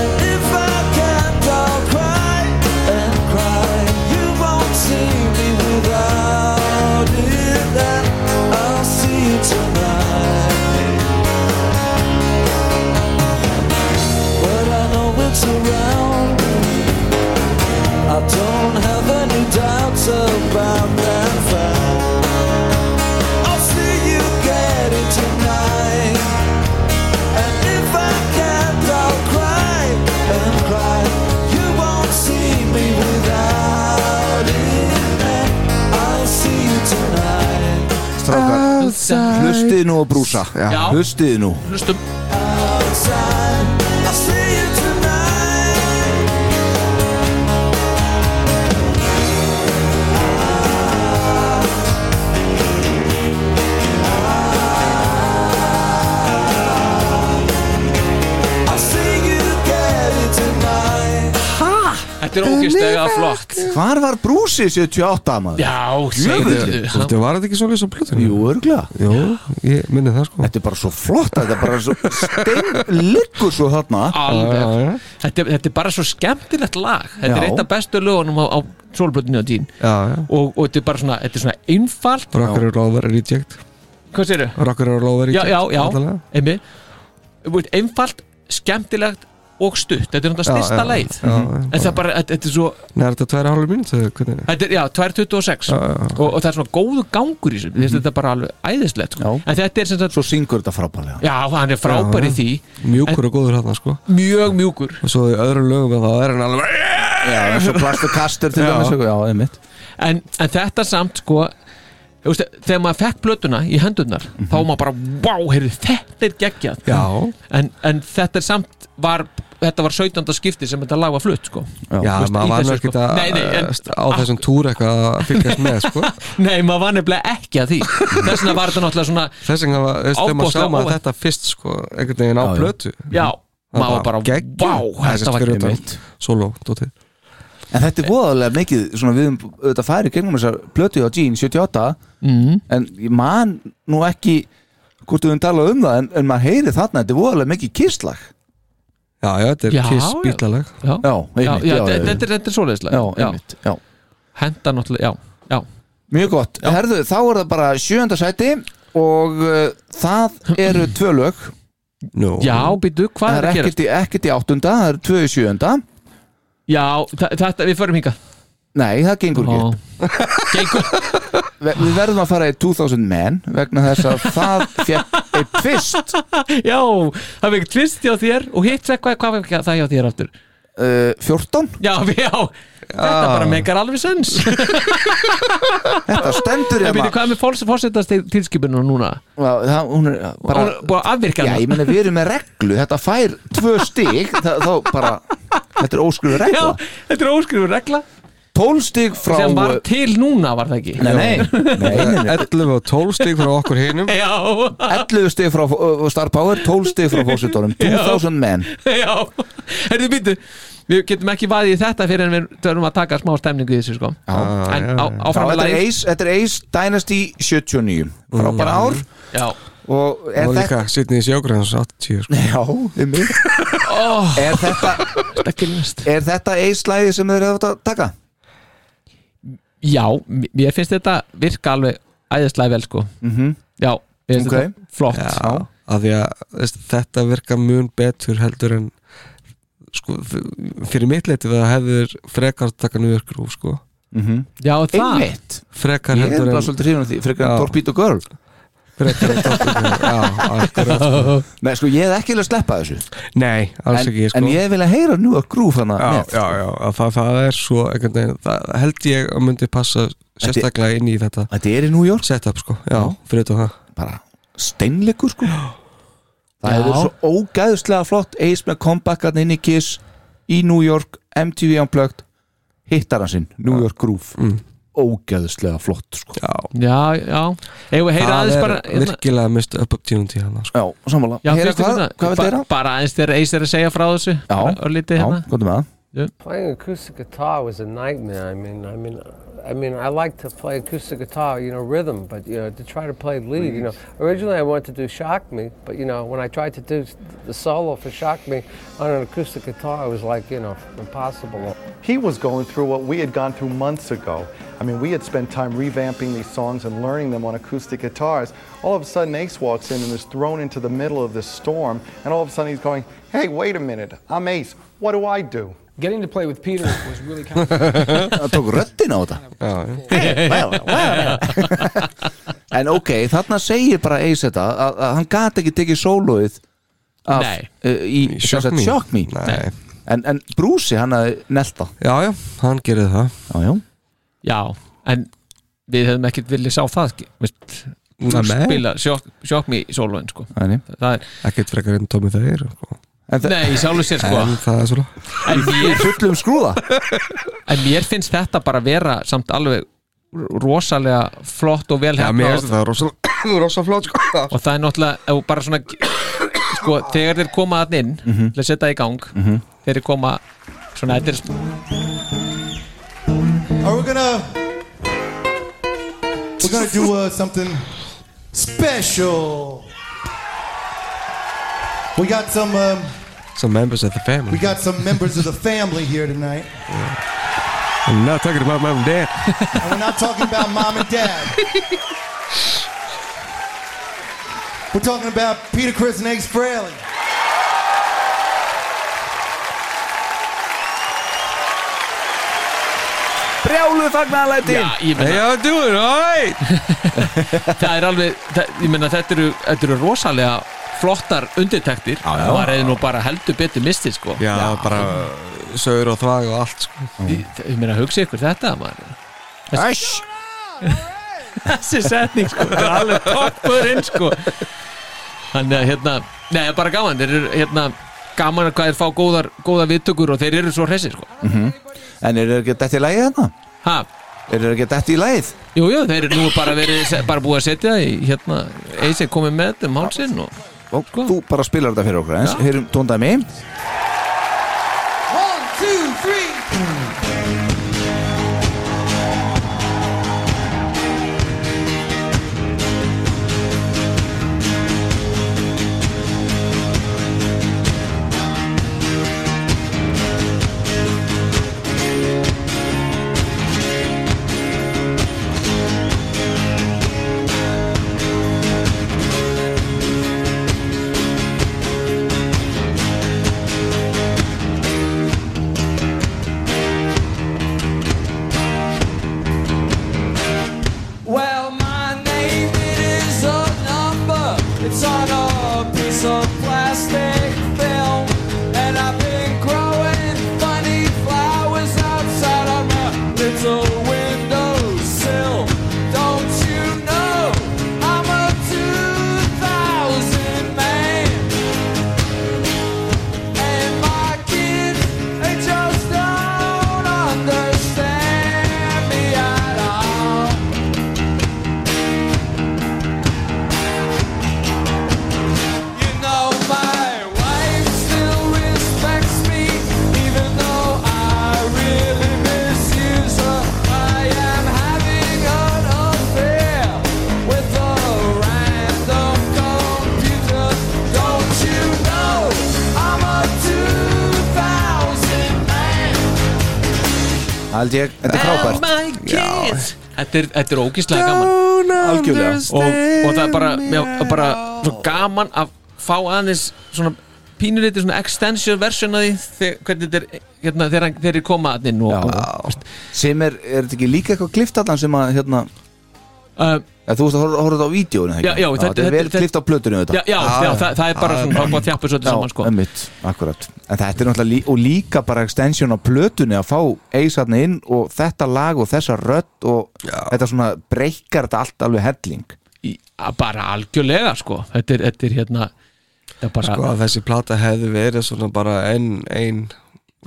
And if I can't, I'll cry and cry. You won't see me without it, and I'll see you tonight. But I know it's around. I don't have any doubts about that fact. I'll see you get it tonight. And if I can't, I'll cry and cry. You won't see me without it. And I'll see you tonight. Strákar, hlustið nú og brúsa Já. Hlustið nú Hlustum Outside, I'll see you tonight. I'll see you get it tonight. Ha? Þetta er ógeðslega flott Hvar var brúsi 78 maður? Já, segðu Þetta var þetta ekki svo lýsa plötunum? Jú, örglega Jú, ég minni það sko Þetta er bara svo flott Þetta er (laughs) bara svo steinliggur svo þarna Alveg. Þetta, er- þetta er bara svo skemmtilegt lag Þetta er Já. eitt af bestu lögunum á, á solblöðinu á tín Já, já og, og þetta er bara svona, þetta er svona einfalt Rocker are over reject Hvað sérðu? Rocker are já, over reject já, já, náttúrulega. einmitt Þú veist, einfalt, skemmtilegt og stutt, þetta er náttúrulega Já, styrsta já, leið Mhm. já, en það er bara, þetta- þetta er svo Nei, er þetta tværi hálfur mínútu? Hvernig? þetta er, já, 2.26 og, og það er svona góðu gangur í þessu mm -hmm. Mhm. þetta er bara alveg æðislegt sko. en þetta er sem sagt, Svo syngur þetta frábælega já, hann er frábær Já, í já. því Mjúkur og góður hann sko mjög mjúkur Og svo í öðrum lögum að það er hann alveg Já, eins og plastur kastur til Já. dæmis sko. Já, einmitt en, en þetta samt sko þú veist, þegar maður fekk blötuna í hendunar þá var maður bara, vá, heyrðu, þetta er geggjað Já en, en þetta er samt var, þetta var 17. skipti sem þetta lag var flutt sko. Þú Já, veist, í maður var þessu, nú ekkert sko. að Nei, nei, en- Ah. á þessum túr eitthvað að fylgjast með sko (laughs) Nei, maður var nefnilega ekki að því Þess vegna var þetta náttúrulega svona Þess vegna var, veist, þegar maður sá Ofboðslega maður óvænt. þetta fyrst sko einhvern veginn á Já, já. plötu Já, maður var bara, vá, þetta var geggjum Sóló, dótið En þetta er voðalega mikið Svona við um þetta færi gegnum þessar Plötu á Gene 78 mm, En ég man nú ekki Hvort við höfum talað um það En, en maður heyri þarna Þetta er voðalega mikið kisslag Já, já, þetta er Já, kiss já. bílalag Já, Já, já, einmitt já, já, þetta- þetta er- þetta er svoleiðislega já, einmitt já. Henda náttúrulega, já, já Mjög gott, herðu, þá er það bara sjönda sæti og uh, það eru tvö lög Nú Já, býtu, hvað það er er að gera? ekkert í, ekkert í áttunda, það eru tvö í sjönda Já, þa- þetta, við förum hingað Nei, það gengur ekki Ó. upp. Ve- (laughs) Við verðum að fara í 2000 menn vegna þess að það (laughs) fekk eitt tvist Já, það fekk tvist hjá þér og hitt fekk hvað, hvað fekk það hjá þér aftur uh, 14, Já, já, þetta bara meikar alveg sens Ah. þetta stendur En hérna. býtu, hvað er með fórs- fórsetastilskipunum núna? Já, það, hún er bara Hún er búin að afvirka Já, hana. ég meina við erum með reglu, þetta fær tvö stig, það, þá bara þetta er óskrifu Já, regla þetta er óskrifur regla 12 stig frá eh, sem var til núna, var það ekki? Nei, nei, nei, nei, nei. 11 og 12 stig frá okkur hinum Já, 11 stig frá uh, Star Power 12 stig frá fósitónum 2000 menn (laughs) já Herðu býtu, við getum ekki vaðið í þetta fyrir en við þurfum að taka smá stemningu í þessu sko já, En á, Já, áfram með þetta, er lagið. Ace, þetta er Ace Dynasty 79 frábæra ár Já, og er Mm. Og líka Sidney Sjógrens 80 sko. þetta já, um mig Oh. er þetta, stakkinnast er þetta Ace slæði sem þeir eru að taka? Já, m- mér finnst þetta virka alveg æðislega vel sko Mhm. já, ég finnst Ok. þetta flott Já, af því að veist, þetta virka mun betur heldur en sko, f- fyrir mitt leiti það hefur frekar taka niður grúf sko. Mhm. Já, það. Einmitt. Frekar Ég er heldur en bara svolítið hrifin af því, frekar en Torpedo Girl Frekar en Torpedo Girl, já, akkurat (laughs) sko. Nei, sko, ég hef ekki vilja sleppa þessu Nei, alls En- ekki sko. en ég vil að heyra nú að grúf hana já, með. já, já, að það, það er svo einhvern veginn, það held ég að myndi passa sérstaklega inn í þetta Þetta er í New York Setup sko, já, fyrir þetta það Bara steinleikur sko Það Já. hefur verið svo ógæðslega flott Ace með comebackarn inn í Kiss í New York, MTV Unplugged hittar hann sinn, New York Groove ógæðslega flott sko Mm. Já, já, já eigum við að heyra aðeins bara hérna- er virkilega mist upp upp tíðum tíðan sko. Já, sammála já, Heyra fyrst hvað- hérna, hvað viltu ba- heyra? bara aðeins þegar Ace er að segja frá þessu já, örlítið hérna góðum að Playing acoustic guitar was a nightmare. I mean, I mean, I mean, I like to play acoustic guitar, you know, rhythm, but you know, to try to play lead, you know, Mm. originally I wanted to do "Shock Me," but you know, when I tried to do s- the solo for "Shock Me" on an acoustic guitar, it was like, you know, impossible. He was going through what we had gone through months ago. I mean, we had spent time revamping these songs and learning them on acoustic guitars. All of a sudden, Ace walks in and is thrown into the middle of this storm, and all of a sudden he's going, Hey, wait a minute, I'm Ace. What do I do? Getting to play with Peter was really kind Það (laughs) tók röddin á þetta Hey, well, well. En ok, þarna segir bara Ace þetta að, að hann gat ekki tekið sólóið af, Nei. uh, í sem Shock sagt, Me. Shock Me Nei. en, en Brúsi hann að nelta Já, já, hann gerir það Já, já Já, en við hefum ekkert viljað sá það ekki, veist, Nei, nei. spila sjokk, sjokk mig í sólóin sko. Nei, það er, Ekkert frekar en Tommy þeir sko. nei, í sjálfu sér (laughs) sko. En það er svona en, mér, fullum skrúða en mér finnst þetta bara vera samt alveg rosalega flott og vel Já, heppnað mér og- finnst það rosa, (coughs) rosa flott sko. og það er náttúrulega ef þú bara svona sko, þegar þeir koma að inn Mhm. til að setja í gang Mhm. þeir koma svona þetta er Are we gonna We're gonna do uh, something special. We got some um, Some members of the family we (laughs) got some members of the family here tonight. I'm not talking about my dad (laughs) And we're not talking about mom and dad. We're talking about Peter Chris and Ace Frehley. Brjálu fagnarlæti Já, ég meina Já, do it, alright (laughs) Það er alveg, það, ég meina þetta eru, þetta eru rosalega flottar undirtektir já. og það er nú bara heldur betur mistið sko Já, bara sögur og þvag og allt sko. Ég, ég meina hugsa ykkur þetta maður Æsj Þessi setning sko, það er alveg toppurinn sko Þannig að hérna, nei það er bara gaman Þeir eru hérna, gaman að hvað þeir fá góðar, góðar viðtökur og þeir eru svo hressir sko mm En eru þeir ekki að detta í lagið þarna? Ha? Eru þeir ekki að detta í lagið? Jú, jú, þeir eru nú bara, verið, bara búið að setja í hérna, Eisi komið með þetta um hálsinn og Og þú bara spilar þetta fyrir okkur eins Heyrum tóndæmi One, two, three. Well, my name it is a number. It's on a piece of plastic film, and I've been growing funny flowers outside on my little windowsill. Don't you know I'm a 2000 man? And my kids, they just don't understand me at all. You know my wife still respects me, even though I really misuse her. I am having an affair with a random computer. Don't you know I'm a 2000 man? Haldi ég, þetta And er frábært my kids, þetta er, þetta er ógíslega gaman Algjörlega. og, og það er bara, já, bara svo gaman að fá aðeins svona pínulítið svona extension version af því þegar, hvernig þetta er hérna, þegar, hann- þegar þeir koma að inn og, og sem er, er þetta ekki líka eitthvað klift allan sem að hérna að þú veist að horfa horfa þetta á vídjónu Já, já, þetta, þetta er vel klift á plötunum þetta Já, já, já, það- það er bara svona, það er bara þjappið svolítið saman, sko. einmitt, akkurat en þetta er náttúrulega lí, og líka bara extension á plötunni að fá eisarni inn og þetta lag og þessa rödd og þetta svona breykar þetta allt alveg helling í, að bara algjörlega sko þetta er, þetta er hérna þetta er bara sko að þessi plata hefði verið svona bara enn ein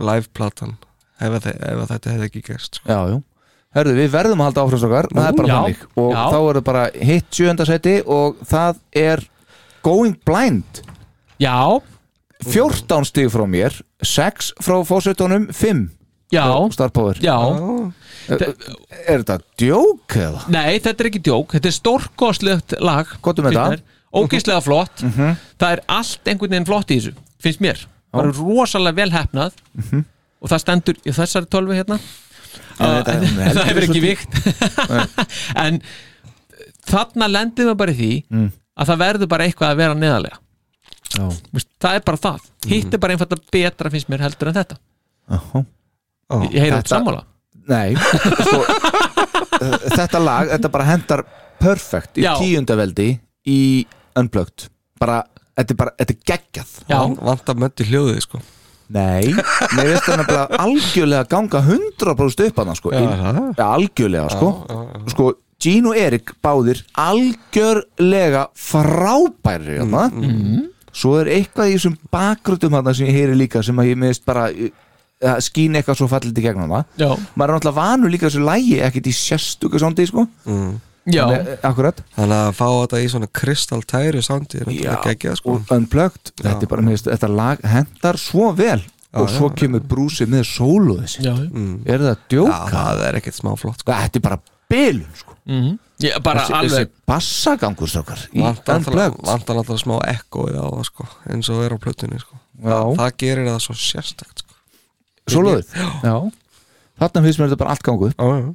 live platan ef, að þe- ef að þetta hefði ekki gerst sko. já, já Hörðu, við verðum að halda áfram strákar, það er bara Já, þannig og já. þá er það bara hitt sjöunda seti og það er Going Blind Já 14 stig frá mér 6 frá fósveitunum 5 Já Starpower Já Er er þetta djók eða? Nei, þetta er ekki djók, þetta er stórkoslegt lag Gottum með það. Ógislega Mhm. flott Mhm. Það er allt einhvern veginn flott í þessu, finnst mér Það er rosalega vel hefnað Mhm. og það stendur í þessari tölvu hérna þetta Að- (laughs) heldur Það hefur ekki svolítið. vikt (laughs) En þarna lendir við bara í því Mm. að það verður bara eitthvað að vera neðarlega Já. Vist, Það er bara það Mhm. Hitt er bara einfalda betra finnst mér heldur en þetta Oh, Ég heyri þetta sammála Nei sko, eh, Þetta lag, þetta bara hendar perfect í Já. tíundaveldi í Unplugged bara, þetta er bara, þetta er geggjað Já. Vantar möndi hljóðið sko Nei, mér veist það nefnilega algjörlega ganga 100% upp hann sko. Já, Í- ja, algjörlega sko. sko, Gene og Erik báðir algjörlega frábæri hérna. Mm, svo er eitthvað í þessum bakgröndum hann sem ég heyri líka sem að ég meðist bara eh, skín eitthvað svo fallið í gegnum það Já. maður er náttúrulega vanur líka þessu lægi ekkert í sérstuka sondi sko. mm. Já. Þannig, Eh, akkurat Þannig að fá þetta í svona kristaltæri sándi er náttúrulega geggjað sko og unplugged, þetta er bara, mér veist, þetta lag hendar svo vel og já, Mm. svo kemur brúsið með sóluðið sitt Já. er það að djóka? Já, það er ekkert smá flott sko. þetta er bara bilun sko. mm Ég, bara þessi, alveg þessi bassagangur strókar í Vantar unplugged náttúrulega- vantar náttúrulega smá ekkoið á það sko eins og er á plötunni sko Já. Það gerir það svo sérstakt sko sóluðið, já þarna finnst mér þetta bara allt gangu já, já.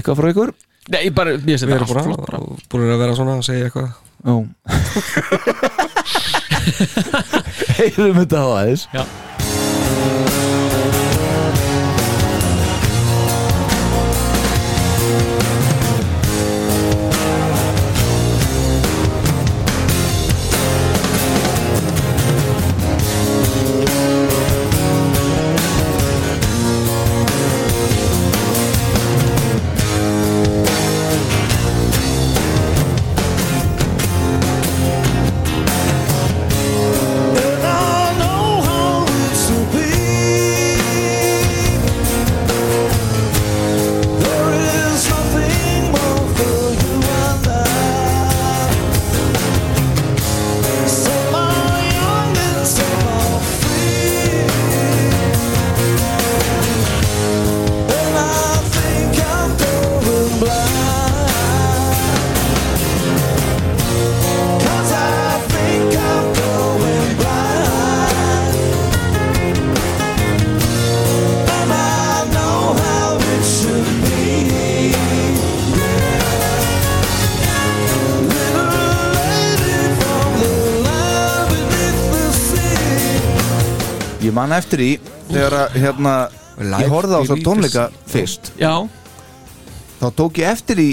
eitthvað frá ykkur? Nei, bara, mér finnst Við þetta allt erum bara, flott bara. bara. búin að vera svona að segja eitthvað Já heyrum þetta á aðeins já And I know how this will be. There is nothing more for you and I. Set my young and set my free. And I think I'm going blind. 'Cause I think I'm going blind. And I know how it should be. Little lady from the land beneath the sea. ég man eftir í þegar að hérna, Live ég horfði á þessa releases. tónleika fyrst já þá tók ég eftir í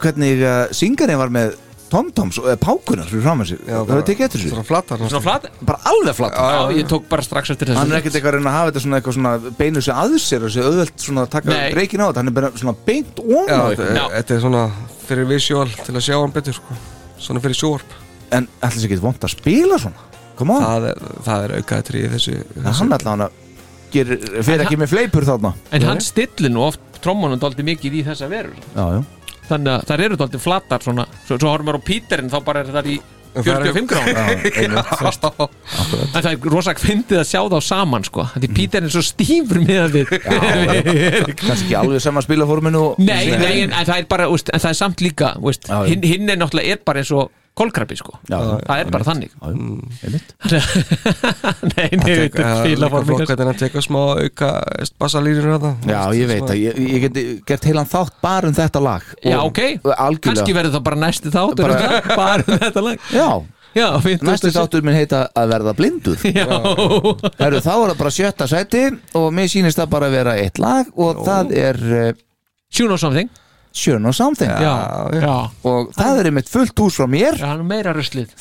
hvernig uh, syngarinn var með tomtoms og eh, pákunar fyrir fram að sig það hefur tekið eftir þessu flatar, Svona flat bara alveg flatar Já, ég tók bara strax eftir þessu hann er ekkert eitthvað að reyna að hafa þetta svona eitthvað svona beinu sig að sér og sér auðvelt svona að taka Nei. reikin á þetta hann er bara svona beint ón Já, á þetta er- þetta er svona fyrir visual til að sjá hann betur sko. Svona fyrir sjóarp En ætlis ekki vond að spila svona? Come on Það er, það er aukaðatri í þessu, En hann allan að gerir, fyrir ekki með fleipur þarna en hann stillir nú oft trommunum daldi mikið í þessa verur Já, (laughs) já þannig að þær eru daldi flatar svona svo, svo horfum við á Píterinn þá bara er það í 45 grána (laughs) en það er rosak fyndið að sjá þá saman sko því Píterinn er svo stífur með að (laughs) við Kannski ekki alveg sama spilaforminu og- Nei, nei en, en það er bara úst, en það er samt líka úst, já. hinn, hinn er náttúrulega er bara eins og kolkrabi sko Já, já, það er bara þannig nei, nei, Það þetta er er fíla líka flott formið hvernig hann tekur smá auka bassalínur að það Já, ég veit að ég, ég geti gert heilan þátt bara um þetta lag já, Og ok, kannski Algjörlega verður það bara næsti þáttur Bara- bara, (laughs) bara um þetta lag Já, já, Næsti þáttur minn heita að verða blindur Já. Herru, þá er það bara sjötta sæti og mér sýnist það bara að vera eitt lag og það er Sjún og Something Sjún og Something Já, já. og það er einmitt fullt hús frá mér Já, hann er meira ruslið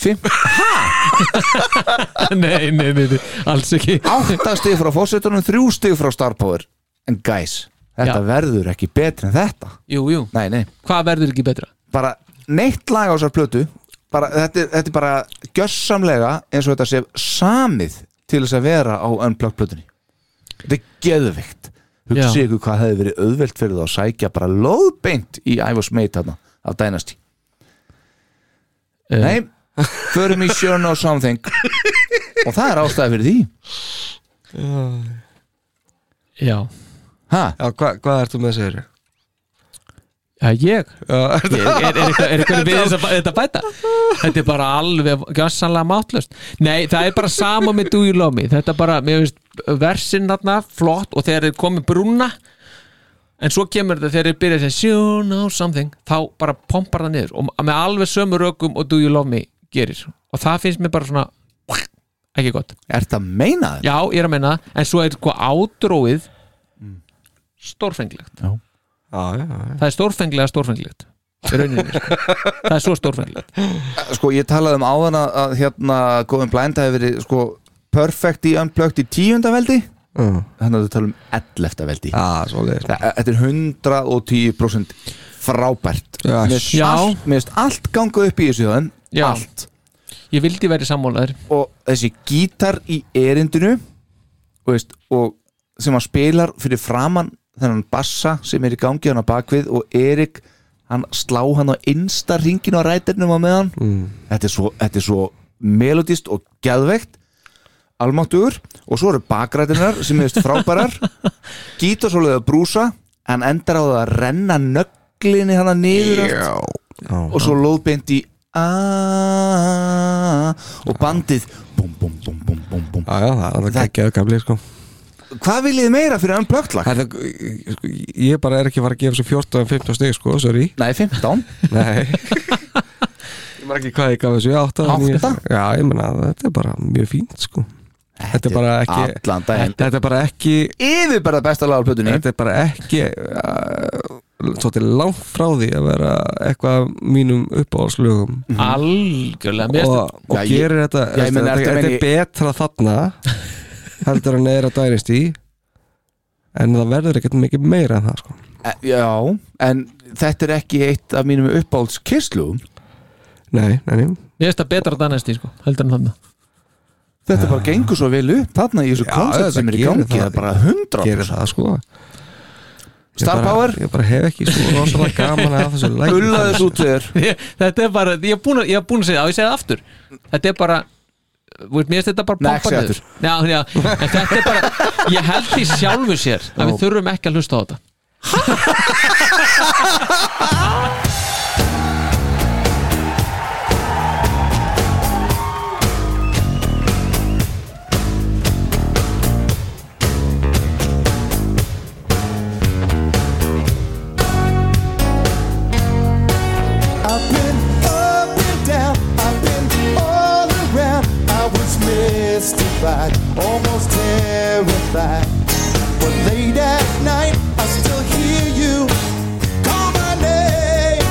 Nei, nei, nei, nei, alls ekki Átta stig frá fósitunum, þrjú stig frá Star Power En guys, þetta verður ekki betri en þetta Jú, jú Nei, nei Hvað verður ekki betra? Bara neitt lag á þessar plötu bara, þetta, er, þetta er bara gjössamlega eins og þetta sé samið til þess að vera á Unplugged plötunni Þetta er geðveikt Hugsið ykkur hvað hefði verið auðvelt fyrir það að sækja bara lóðbeint í I was made þarna af Dynasty Nei, förum í Sure No Something og það er ástæði fyrir því Já Hæ? Já, hva, hvað ertu með segir? Já, ég er, er, er, eitthvað- er eitthvað við þess að bæ- þetta bæta þetta er bara alveg gjössanlega máttlöst nei það er bara sama með Do You Love Me þetta er bara, mér finnst versin þarna flott og þegar þeir komið brúna en svo kemur þetta þegar þeir byrja að segja You know something, þá bara pompar það niður og með alveg sömu rökum og Do You Love Me gerir og það finnst mér bara svona ekki gott Er þetta að meina það? Já, ég er að meina það, en svo er hvað ádróið Mm. stórfenglegt Já. Já, já, já. það er stórfenglega stórfenglegt Í rauninni, sko. það er svo stórfenglegt Sko ég talaði um áðan að, að hérna Góðum Blind hefði verið sko Perfect í Unplugged í tíunda veldi uh. Þannig að þú tala um 11. veldi eh, ah, Þetta er 110% frábært Já. Mér finnst Já. allt- Mér finnst allt ganga upp í þessu þaðan Já. Allt Ég vildi verið sammálaður Og þessi gítar í erindinu og, veist, og sem hann spilar fyrir framann þennan bassa sem er í gangi hann á bakvið og Erik hann slá hann á innsta ringinu á rætirnum á meðan þetta er svo, þetta er svo melodist og geðveikt almáttugur og svo eru bakrætirnar sem er (laughs) frábærar gítar svoleiði að brúsa hann endar á það að renna nöglinni hann niður allt og svo lóðbeint í aaa og bandið Já, já, það er alveg geggjaðu gamli sko. hvað viljið þið meira fyrir unplugged lag? Það, sko, Ég bara er ekki að fara að gefa þessu 14-15 stig sko, sorry Nei, 15 Nei Ég maður ekki hvað ég gaf þessu 8 Átta? Já, ég meina, þetta er bara mjög fínt sko Þetta er bara ekki allan daginn. Þetta er bara ekki Yfir bara besta lagarplötunni Þetta er bara ekki Þóttir eh, langt frá því að vera eitthvað af mínum uppáhalslögum Algjörlega mér og, finnst- og gerir þetta Mhm. Já, ég meina, þetta, ertu að þetta meina er í- betra þarna (laughs) heldur hann er að dænist í en það verður ekkert mikið meira en það sko. E- Já, en þetta er ekki eitt af mínum uppáhaldskysluðum nei, nei, nei. Mér finnst það betra dannesti sko, heldur en þarna Þetta Ah. bara gengur svo vel upp þarna í þessu koncept sem er í gangi það er bara 100 gerir það sko Ég Star bara- Power? ég bara hef ekki svo rosalega gaman að þessu (laughs) lægi Ullaðu þessu út þér Ég- Þetta er bara, ég er búin að, ég er búin að segja það og ég segja það aftur Þetta er bara þú veist, Mér finnst þetta bara Nei, pompað ekki niður. Já, já, en þetta er bara Ég held því sjálfu sér að við þurfum ekki að hlusta á þetta I've been up and down, I've been all around. I was mystified, almost terrified. But late at night, I still hear you call my name.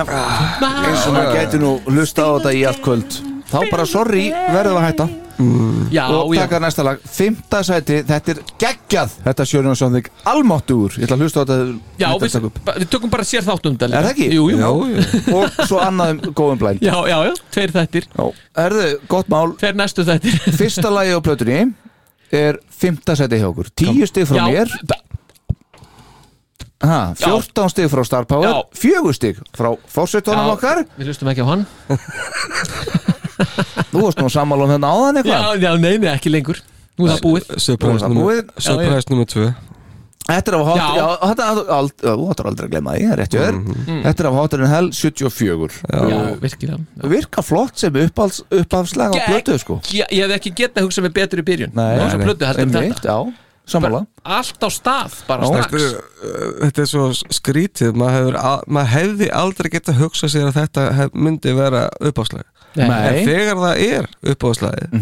Uh-huh. sem að gæti nú hlusta á þetta í allt kvöld þá bara sorry, verðum við að hætta Mm. Já, og já. taka næsta lag, fymta sæti þetta er geggjað, þetta sjörin og samþygg almáttur, ég ætla að hlusta á þetta Já, þetta við, taka upp. ba- við tökum bara sér þátt um þetta er það ekki? Jú, jú, og svo annaðum góðum blænd Já, já, já, tveir þættir já. Erðu, gott mál Tveir næstu þættir Fyrsta lagi á plötunni er fymta sæti hjá okkur, tíu stig Já, frá mér ha, 14 stig frá Star Power, fjögur stig frá fórsetunum Já, okkar Við hlustum ekki á hann Þú varst nú sammála um þetta áðan Já, eitthvað já, nei, nei, ekki lengur Nú er það búið Surprise númer- surprise nummer 2 Þetta er Já. af hátur Já, þetta er af ald- Þú ættir aldrei að glemma því, það er rétt hjá þér Mhm. Þetta er af hátur en hel 74 Já, virkilega Og virka flott sem uppáhalds- uppáhaldslag á Gegn- blötu (laughs) sko Já, Ég hef ekki getað hugsað mig betur í byrjun Ná, svo plötu heldur en einmitt, þetta já, sammála Allt á stað, bara strax eh, Þetta er svo skrítið maður, hefur, al- maður hefði aldrei geta hugsað sér að þetta hef, myndi vera uppáðslega Nei. en þegar það er uppáðslega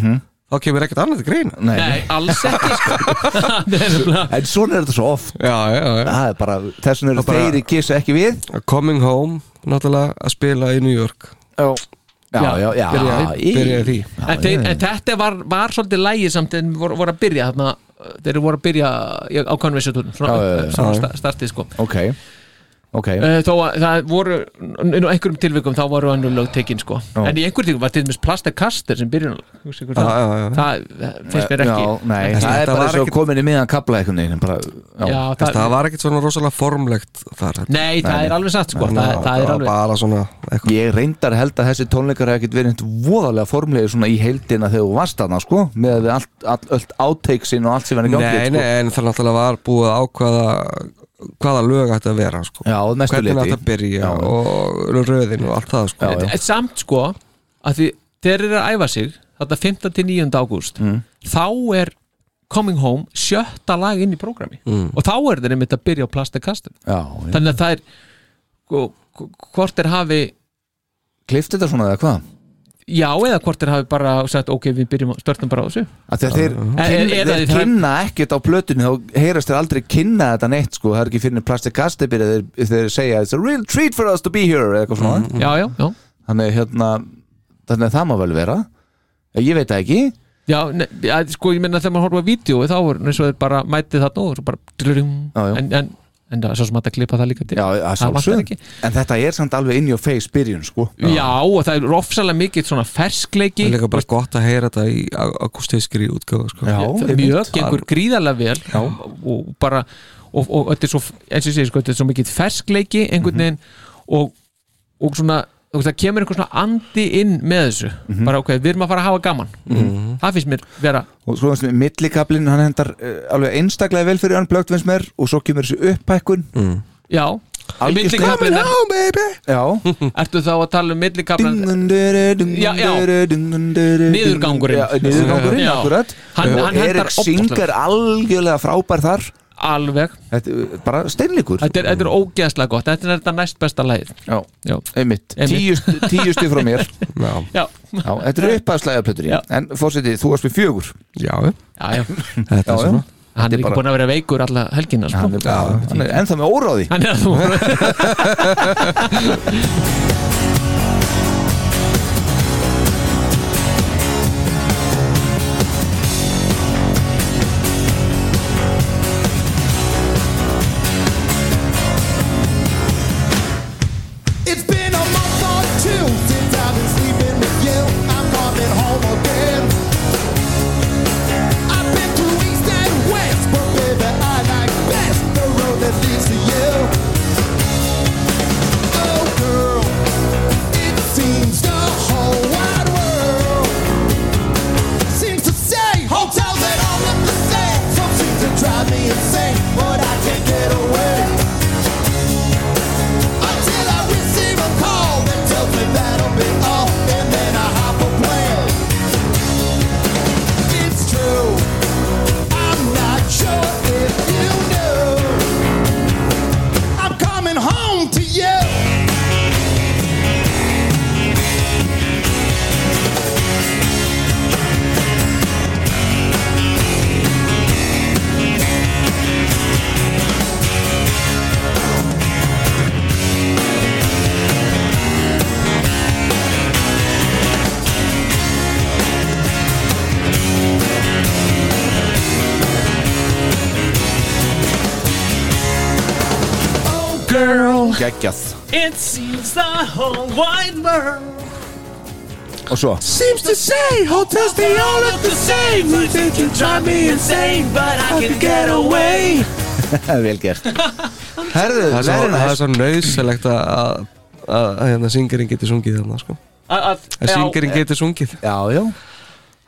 þá kemur ekkert annað til greina Mhm. Nei, alls ekki sko. (laughs) En svona er þetta svo oft já, já, já. Það er bara, þess vegna eru þeir í kissa ekki við Coming home, náttúrulega að spila í New York Já, (laughs) já, já, já Byrjaði, í- byrjaði því en, þeir, en þetta var, var svolítið lægi samt en voru, voru að byrja þarna uh, þeir voru að byrja í- á konversjótun Já, já, já. Já. startið sko Ok, ok Uh, þó að það voru í nú einhverjum tilvikum þá voru önnur lög tekin sko Já. en í einhverjum tilvikum var til dæmis Plastakaster sem byrjun það, Já, já, já. það, það finnst mér ekki Já, nei, ekki- það er bara svo komin í miðan kabla einhvern veginn bara, Já, það, það, var ekkert svona rosalega formlegt þar Nei, það er alveg satt, sko, Nei, það- það er var alveg- bara svona eitthvað. Ég reyndar held að þessi tónleikar hef ekkert verið eitt voðalega formlegir svona í heildina þegar þú varst þarna sko með að við allt, allt, allt áteiksin og allt sem verið Nei, gangið sko. nei, en það náttúrulega var búið að ákvaða hvaða lög ætti að vera sko. Já, mestu hvernig leyti. ætti að byrja og röðin og allt það sko. En samt sko að því þeir eru að æfa sig þetta 15. til 9. ágúst þá er Coming Home sjötta lag inn í prógrami Mm. og þá er þeir einmitt að byrja á Plastakaster Já, já. þannig að það er sko, hvort þeir hafi Klifti þetta svona eða hvað? já eða hvort þeir hafi bara sagt ok við byrjum að störtum bara á þessu Að þegar þeir, En- kynna, eða þeir þeir- kynna ekkert á plötunni þá heyrast þeir aldrei kynna þetta neitt sko það er ekki fyrir plastikastipir þeir, þeir segja it's a real treat for us to be here eða eitthvað svona já, já, já. Þannig, hérna, þannig að það má vel vera Ég veit það ekki já, ne, ja, sko ég menna þegar maður horfa á vídeo þá er eins og þeir bara mætið þarna og svo bara drurrum, Já, já. en, en, en það er svo sem hægt að klippa það líka til já, að sjálfsögum. En þetta er samt alveg in your face byrjun sko Já, og það er ofsalega mikið svona ferskleiki Það er líka bara gott að heyra þetta í akustískri útgáðu sko. Það er mjög gengur gríðarlega vel og bara og, og þetta er svo, eins og ég segi, sko, þetta er svo mikið ferskleiki Mhm. einhvern veginn og, og svona, og það kemur einhver svona andi inn með þessu, bara ok við erum að fara að hafa gaman, Mhm. það finnst mér vera og svo finnst mér millikablin hann hendar uh, alveg einstaklega vel fyrir Unplugged finnst mér og svo kemur þessi upphækkun mm. já, Algjör millikablinn Coming home, baby (laughs) já ertu þá að tala um millikablan Já, já. Niðurgangurinn. Já, niðurgangurinn, Já. akkurat Hann- Og hann hendar Erik Singer ofboðslega. er algjörlega frábær þar alveg þetta, er bara steinleikur þetta er, þetta er ógeðslega gott, þetta er þetta næst besta lagið já, já. einmitt, tíu, Einmitt. st- tíu stið frá mér já. Já. já, þetta er upphæðslega plötur Já. en fórsetið, þú varst við fjögur já, já, já. Þetta er svona. hann Þetta er er ekki bara- búin að vera veikur alla helgina sko. Já, hann er ennþá með óráði Hann er ennþá með óráði It's been a month or two since I've been sleeping with you. I'm coming home again. I've been through east and west, but baby, I like best the road that leads to you. Oh, girl, geggjað It seems the whole wide world og svo seems to say hotels they all look the same. They can drive me insane, but I can get away. (laughs) vel gert Herðu, það er svo, very nice. það er svo nöðsilegt að, að, að, að hérna, syngirinn getur sungið þarna sko. Að- að- að já. syngirinn getur sungið já, já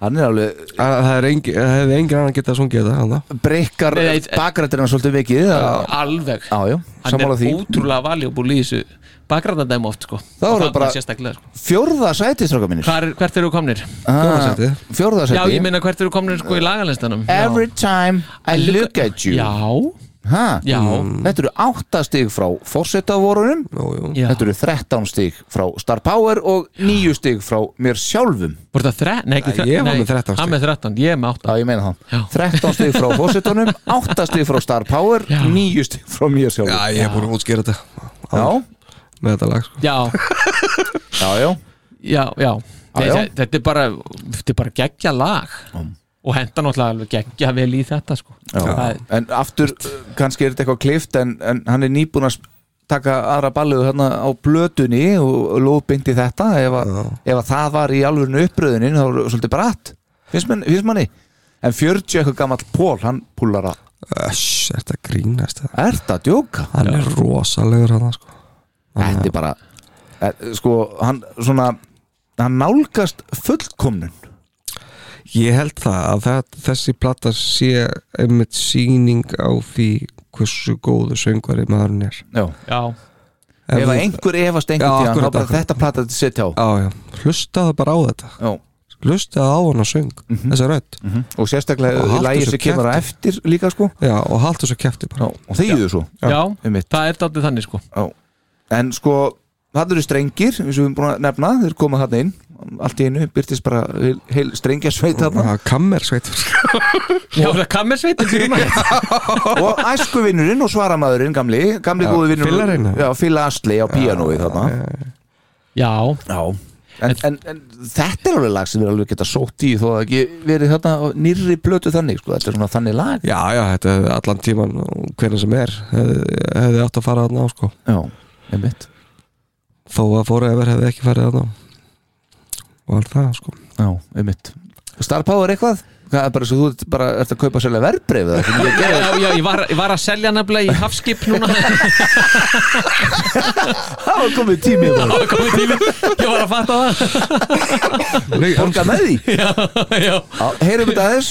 hann er alveg það er engi, það hefði engin annan getað sungið þetta breykar Nei, nei, bakrættirna svolítið vikið að- alveg (laughs) já, já, hann sammála er því ótrúlega valjúbúl í þessu bakgrændandæmi oft sko Þá Og er það þarna bara sérstaklega sko. fjórða sæti, stráka mínir Hvar, hvert eru komnir? Ah, fjórða já, sæti ég meina hvert eru komnir sko í lagalistanum Every time I look at you Já, ha? Mm. Já. Þetta eru átta stig frá fórsetavórunum Já. Þetta eru 13 stig frá Star Power og níu stig frá mér sjálfum Voru það þre... Nei, ekki Nei, ég var með 13 stík Hann með 13, ég með 8 Já, ég meina það 13 stig frá fórsetunum, 8 stig frá Star Power, 9 stig frá mér sjálfum Já, ég er búin að útskýra þetta Já, með þetta lag sko. Já, já, já, já já. Já, Nei, já. þe- Þetta er bara, þetta er bara geggja lag og henda náttúrulega alveg geggja vel í þetta sko Það Já. er- En aftur, uh, kannski er þetta eitthvað klift en, en hann er nýbúin að sp- taka aðra balliðu hérna á blötunni og lóðbyndi þetta ef, að, ef að það var í alvörinu uppröðunin þá var svolítið bratt, finnst, man, finnst manni en 40 eitthvað gamall pól hann púlar að Öss, er þetta grínast það? Er þetta að djóka? Hann er rosalegur hann sko. Þetta er bara eh, sko, hann svona hann nálgast fullkomnun Ég held það að það, þessi plata sé einmitt síning á því hversu góðu söngvari maðurinn er Já, já. Ef að einhver efast einhvern tímann, þá bara þetta plata þetta setja á já, já. Hlustaðu bara á þetta já. Mhm. Hlustaðu á hann að söng þessa rödd og sérstaklega í haltu lagi þessu sem kemur á kjafti. eftir líka sko Já, og haltu þessu kæfti bara og þegiðu svo Já, Einmitt. það er dáttið þannig sko Já. En sko, það eru strengir eins og við erum búin að nefna, þeir koma þarna inn allt í einu, byrtist bara heil, heil strengja sveit þarna Kammer sveit Já, það kammer sveitin fyrir (laughs) og æskuvinnurinn og svaramaðurinn gamli, gamli Já, góði vinnur Fillarinn. Já, hérna. Fylla Asli á píanóið þarna Já, Já En, en, en þetta er alveg lag sem við alveg geta sótt í þó að ekki verið þarna á nýrri blötu þannig, sko, þetta er svona þannig lag Já, já, þetta hefði allan tíman og hvernig sem er hefði, hefði átt að fara þarna á sko Já, einmitt Þó að Forever hefði ekki farið þarna á. og allt það sko Já, einmitt Star Power eitthvað? Hvað er bara svo þú ert bara ert að kaupa sérlega verbreyfið það sem ég já, já, já ég, var, ég var að selja nefnilega í hafskip núna Það var komið tími hérna. Það var komið tími, ég var að fatta það (laughs) Borga með því Já, já Já, heyrum þetta aðeins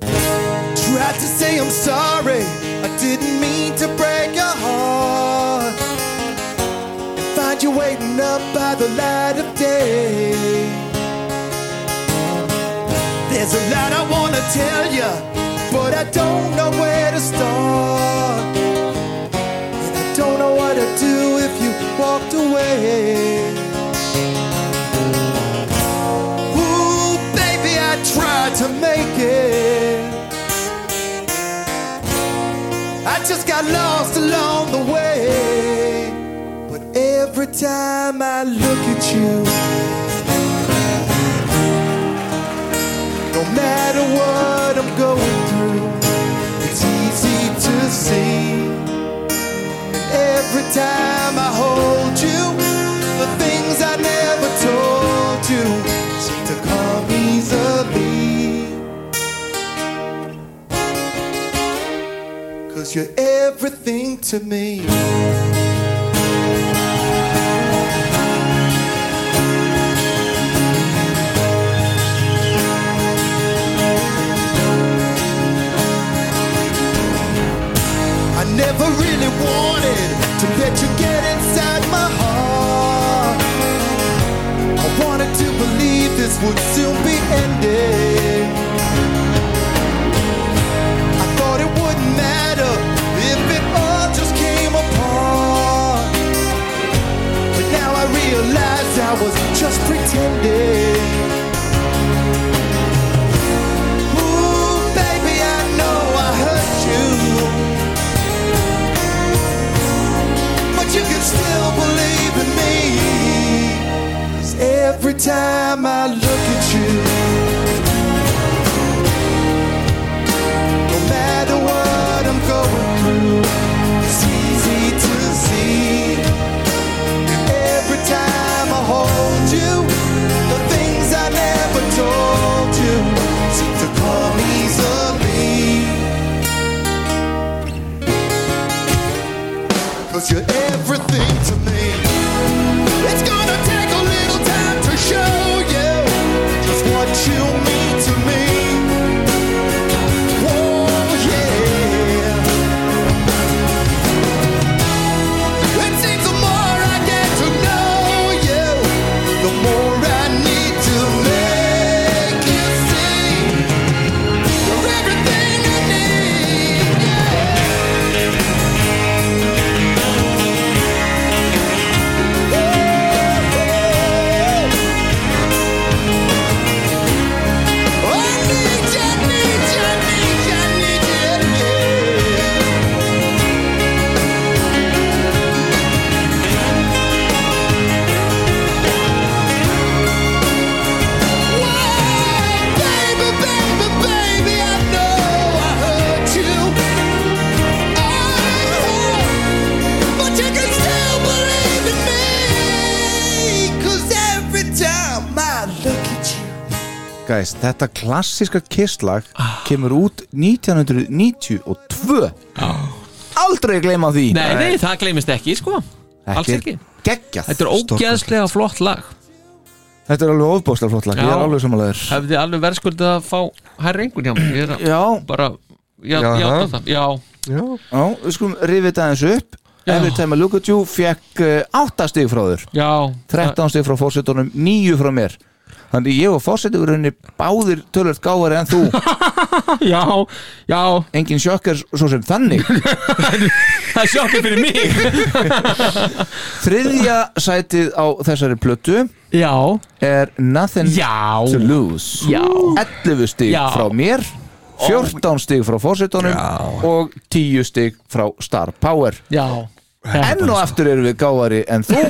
Tried to say I'm sorry. I didn't mean to break your heart. And find you waiting up by the light of day. There's a lot I wanna tell you, but I don't know where to start. And I don't know what to do if you walked away. Ooh, baby, I tried to make it. I just got lost along the way. But every time I look at you, no matter what I'm going through, it's easy to see. And every time I hold you, the things I never told you seem to come easily. Cause you're everything to me. I never really wanted to let you get inside my heart. I wanted to believe this would soon be ended. I thought it wouldn't matter if it all just came apart. But now I realize I was just pretending. Ooh, baby, I know I hurt you. But you can still believe in me. 'Cause every cause you're everything to me. It's gonna take a little time to show you just what you mean to me. Oh, yeah. It seems the more I get to know you, the more I need to make you see you're everything I need. Oh, Guys, þetta klassíska kisslag kemur út 1992 Aldrei gleyma því Nei, nei, það gleymist ekki, sko Alls er ekki geggjað. Þetta er ógeðslega flott lag Þetta er alveg ofbóðslega flott lag, ég Já. er alveg samanlegur Hefði alveg verðskuldið að fá hærri engun hjá mér Ég er að- Já bara Já, já, Já, já, það. það, já. Já, við skulum rifið þetta aðeins upp Every time I look at you fekk uh, 8 stig frá þur Já 13 stig frá fórsetunum, 9 frá mér Þannig ég og fórsetu voru henni báðir tölvöld gáfari en þú (laughs) Já, já Engin sjokkar svo sem þannig (laughs) Það er sjokkið fyrir mig Þriðja sætið á þessari plötu Já Er Nothing Já. to Lose Já. 11 stig Já. frá mér Oh 14 stig frá fórsetunum og 10 stig frá Star Power Já Enn og aftur erum við gáðari en þú (laughs)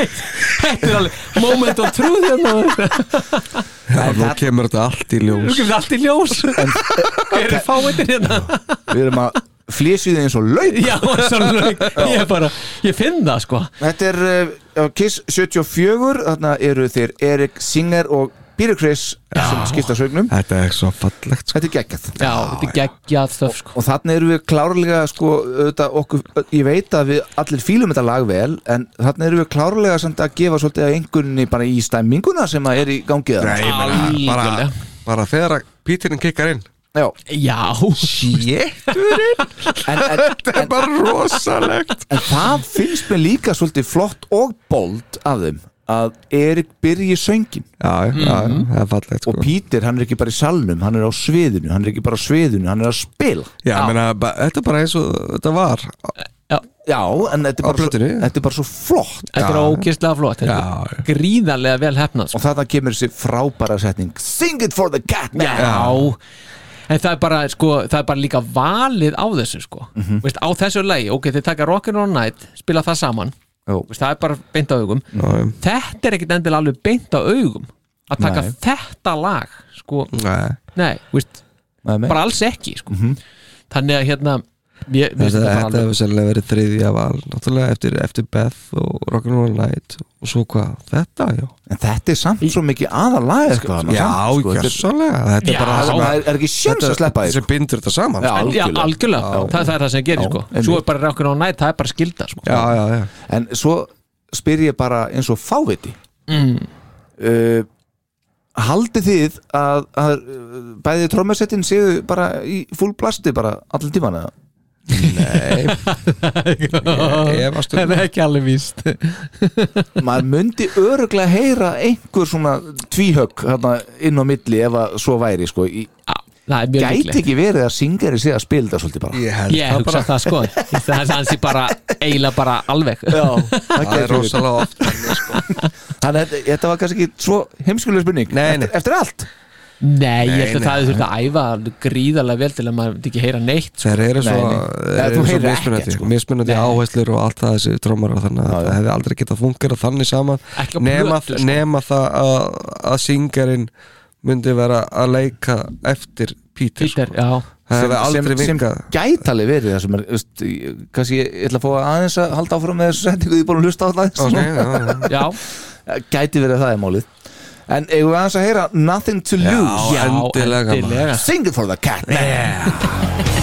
Þetta er alveg moment of truth (laughs) hérna nú kemur þetta allt í Nú ljós kemur allt í ljós Hver er fáitir hérna? (laughs) Við erum að flésið þið eins og lauk (laughs) Já, eins og lauk. Ég bara, ég finn það sko (laughs) Þetta er uh, Kiss 74 Þarna eru þeir Erik Singer og Peter Criss sem skipta sögnum Þetta er svo fallegt Þetta er geggjað sko. Já, þetta er geggjað stöf sko Og þarna eru við klárlega sko, auðvitað, okkur, Ég veit að við allir fílum þetta lag vel En þarna eru við klárlega samt að gefa svolítið að einhverjunni bara í stæminguna sem að er í gangið Nei, ég meina, bara, bara þegar að pítirinn kikkar inn Já, Já Þetta er bara rosalegt En það finnst mér líka svolítið flott og bold af þeim að Erik byrji söngin Já, já, já, það er fallegt sko. og Pítur hann er ekki bara í salnum, hann er á sviðinu hann er ekki bara á sviðinu, hann er að spila Já, já. Meina, ba- þetta er bara eins og þetta var Já, já en þetta er, bara svo, þetta er bara svo flott Þetta er ógeðslega flott Þetta er gríðarlega vel hefnað sko. og þarna kemur þessi frábæra setning Sing it for the cat man Já En það er bara, sko, það er bara líka valið á þessu, sko Mhm. Veist, á þessu lagi, ok, þið taka Rockin' on Night spila það saman, Jó. Veist, það er bara beint á augum Þetta er ekkit endilega alveg beint á augum að taka Nei. þetta lag, sko Nei, Nei, veist, Nei, nei. bara alls ekki, sko Þannig að hérna ég, mér finnst Mhm. Þetta, bara þetta alveg- hefur sennilega verið þriðja val Náttúrulega eftir, eftir Beth og Rock'n'Roll Night Og svo hvað, þetta, já En þetta er samt svo mikið aðalag sko, Já, gjörsanlega Þetta Já. er bara það sem Það er- er ekki séns að sleppa því, sko. Þetta sem bindur þetta (laughs) saman Já, sko. Já, algjörlega, Það, það er það sem gerir, sko Svo er bara Rockin' on Night, það er bara skilda, sko já, já, já. en svo spyr ég bara eins og fáviti Mm. uh, haldið þið að, að uh, bæði trommasettin séu bara í full blasti bara allir tíman eða? (laughs) Ég efast um Það er ekki alveg víst (laughs) maður myndi öruglega heyra einhver svona tvíhögg hérna, inn á milli ef að svo væri sko. í, Það er mjög líklegt. gæti ekki verið að syngari sé að spila þetta svolítið bara Ég held Ég hugsa það sko Það er hans ég bara eiginlega bara alveg (laughs) Já, það Það gæti er verið. rosalega oft þannig að þetta- þetta var kannski ekki svo heimskulega spurning Nei, nei. Eftir, eftir allt Nei, ég held Nei, að það þurft að æfa gríðarlega vel til að maður myndi ekki heyra neitt sko. Þeir eru svo, Nei, nei. þeir Eða, eru þú svo heyrir ekkert, mismunandi, sko. mismunandi áherslur og allt það þessi trómar þannig að það hefði aldrei getað fungerað þannig saman Ekki á nema, plötu, sko. nema það að, að syngarinn myndi vera að leika eftir Peter, sko. Peter, já það hefði sem, aldrei sem vingað gætali verið það sem er veist, ég- kannski ég ég ætla að fá aðeins að halda áfram með þessu setningu því ég er búin að hlusta á það Ok, já, já. (laughs) Já, gæti verið að það er málið en eigum við aðeins að heyra Nothing to Lose já endilega, maður. Sing it for the cat man Yeah. Oh, Oh,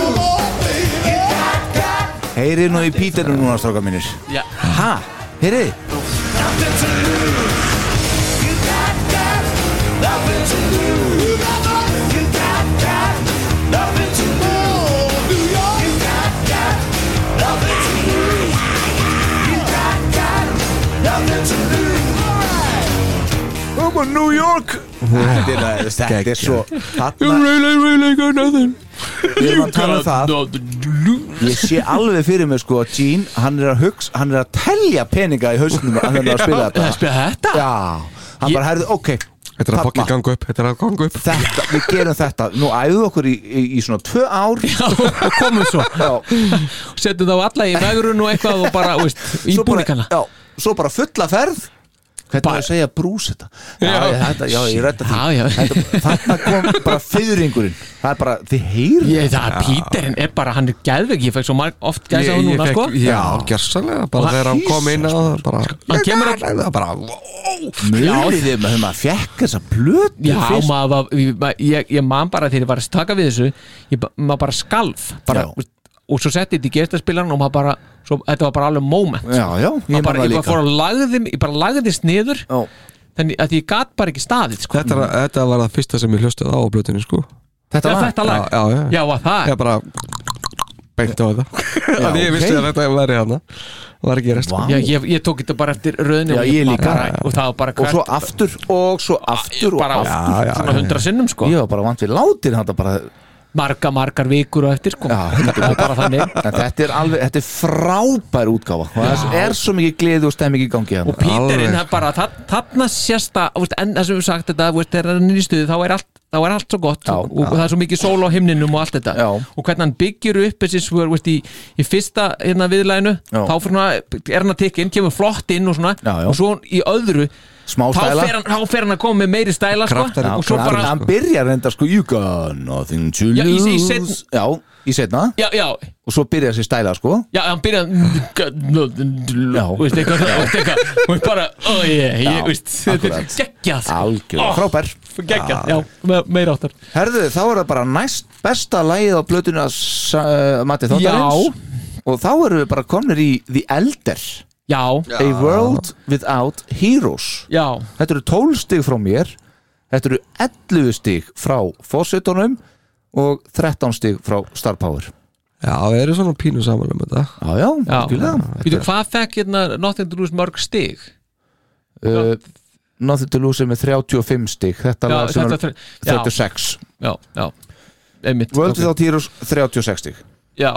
Oh, Heyrið nú í Píterum núna, stráka mínir Já. Ha? Heyrið? I'm a New York Þetta er, þú veist, þetta er svo Þarna really, really got nothing. Við erum að tala um það Ég sé alveg fyrir mig sko að Gene, hann er að hugsa, hann er að telja peninga í hausnum að hann er að spila þetta Já, spila þetta? Já, hann bara herði, ok Þetta er að fokkin ganga upp, þetta er að ganga upp Þetta, við gerum þetta, nú æðum okkur í, í, í svona tvö ár Já, og komum svo setjum þá alla í vegrun og eitthvað og bara, veist, í Svo bara- búningana já, svo bara fulla ferð hvernig var að segja brús þetta Já. já, já, þetta, já ég rætta því Já, já. Þetta, þarna kom bara fyrringurinn það er bara, þið heyrir ég, það er Píterinn er bara, hann er geðveg ég fekk svo marg, oft gæsa á Ég- ég núna fekk- sko Já, gersanlega, bara Og þegar hann Jesus, sko. kom inn á það bara, hann kemur að það bara munið þið með maður fekk þessa blötu Já, fyrst? maður, var- ég- ma- ég, ég man bara þegar ég var að taka við þessu ég, ba- maður bara skalf bara, veist, og svo setti þetta í gestaspilarn og maður bara, svo, þetta var bara alveg moment Já, já, ég ég, man bara, ég, bara það líka. fór að lagði, ég bara lagðist niður já. þannig að ég gat bara ekki staðið sko. þetta, er- þetta var það fyrsta sem ég hlustið á á blötunni sko Þetta Já, lag? þetta lag. Já, já, Já, var það? Ég bara beint á þetta Þannig ég vissi ok. að þetta væri hana Var ekki rest Já, ég, ég tók þetta bara eftir röðinu Já, og ég bara- líka. bara- og það var bara og hvert svo aftur og svo aftur og bara aftur, svona hundra sinnum sko ég var bara vant við látir þetta bara marga, margar vikur og eftir sko það var bara þannig en þetta er alveg, þetta er frábær útgáfa og það Já. er svo mikið gleði og stemming í gangi hérna. og Píterinn það bara, þa- þarna sést að þú veist, en það sem við sagt þetta, þú veist, þegar hann er í stuði þá er allt, þá er allt svo gott og, og það er svo mikið sól á himninum og allt þetta já. og hvernig hann byggir upp þessi svör veist, í, í fyrsta hérna, viðlæðinu Já. þá fyrir, hann að- er hann að tikka inn, kemur flott inn og svona, já. og svo í öðru Smá þá stæla. fer, hann, þá fer hann að koma með meiri stæla sko, Já, og svo kraftar- bara hann byrjar reynda sko you got nothing to Já, í- í lose seinna. já, í setna já, já, og svo byrjar sér stæla sko já, hann byrja já, veist eitthvað og veist eitthvað, og veist bara, ó ég, Já, ég veist, þetta er akkurat. geggjað sko." algjörlega Ó, frábær geggjað, já, me- meira áttar herðu, þá er það bara næst besta lagið á blötuna uh, Matti Þóttarins já. og þá erum við bara komnir í The Elder já. A World Without Heroes já. þetta eru 12 stig frá mér þetta eru 11 stig frá Fossetunum og 13 stig frá Star Power Já, við erum svona pínu samanlega með þetta Já, já, Já, algjörlega. Býtu, hvað fekk hérna Nothing to Lose mörg stig? uh, Nothing to Lose er með 35 stig þetta Já, lag sem er þetta er- já. 36 Já, já, einmitt World ok. Without Heroes 36 stig Já,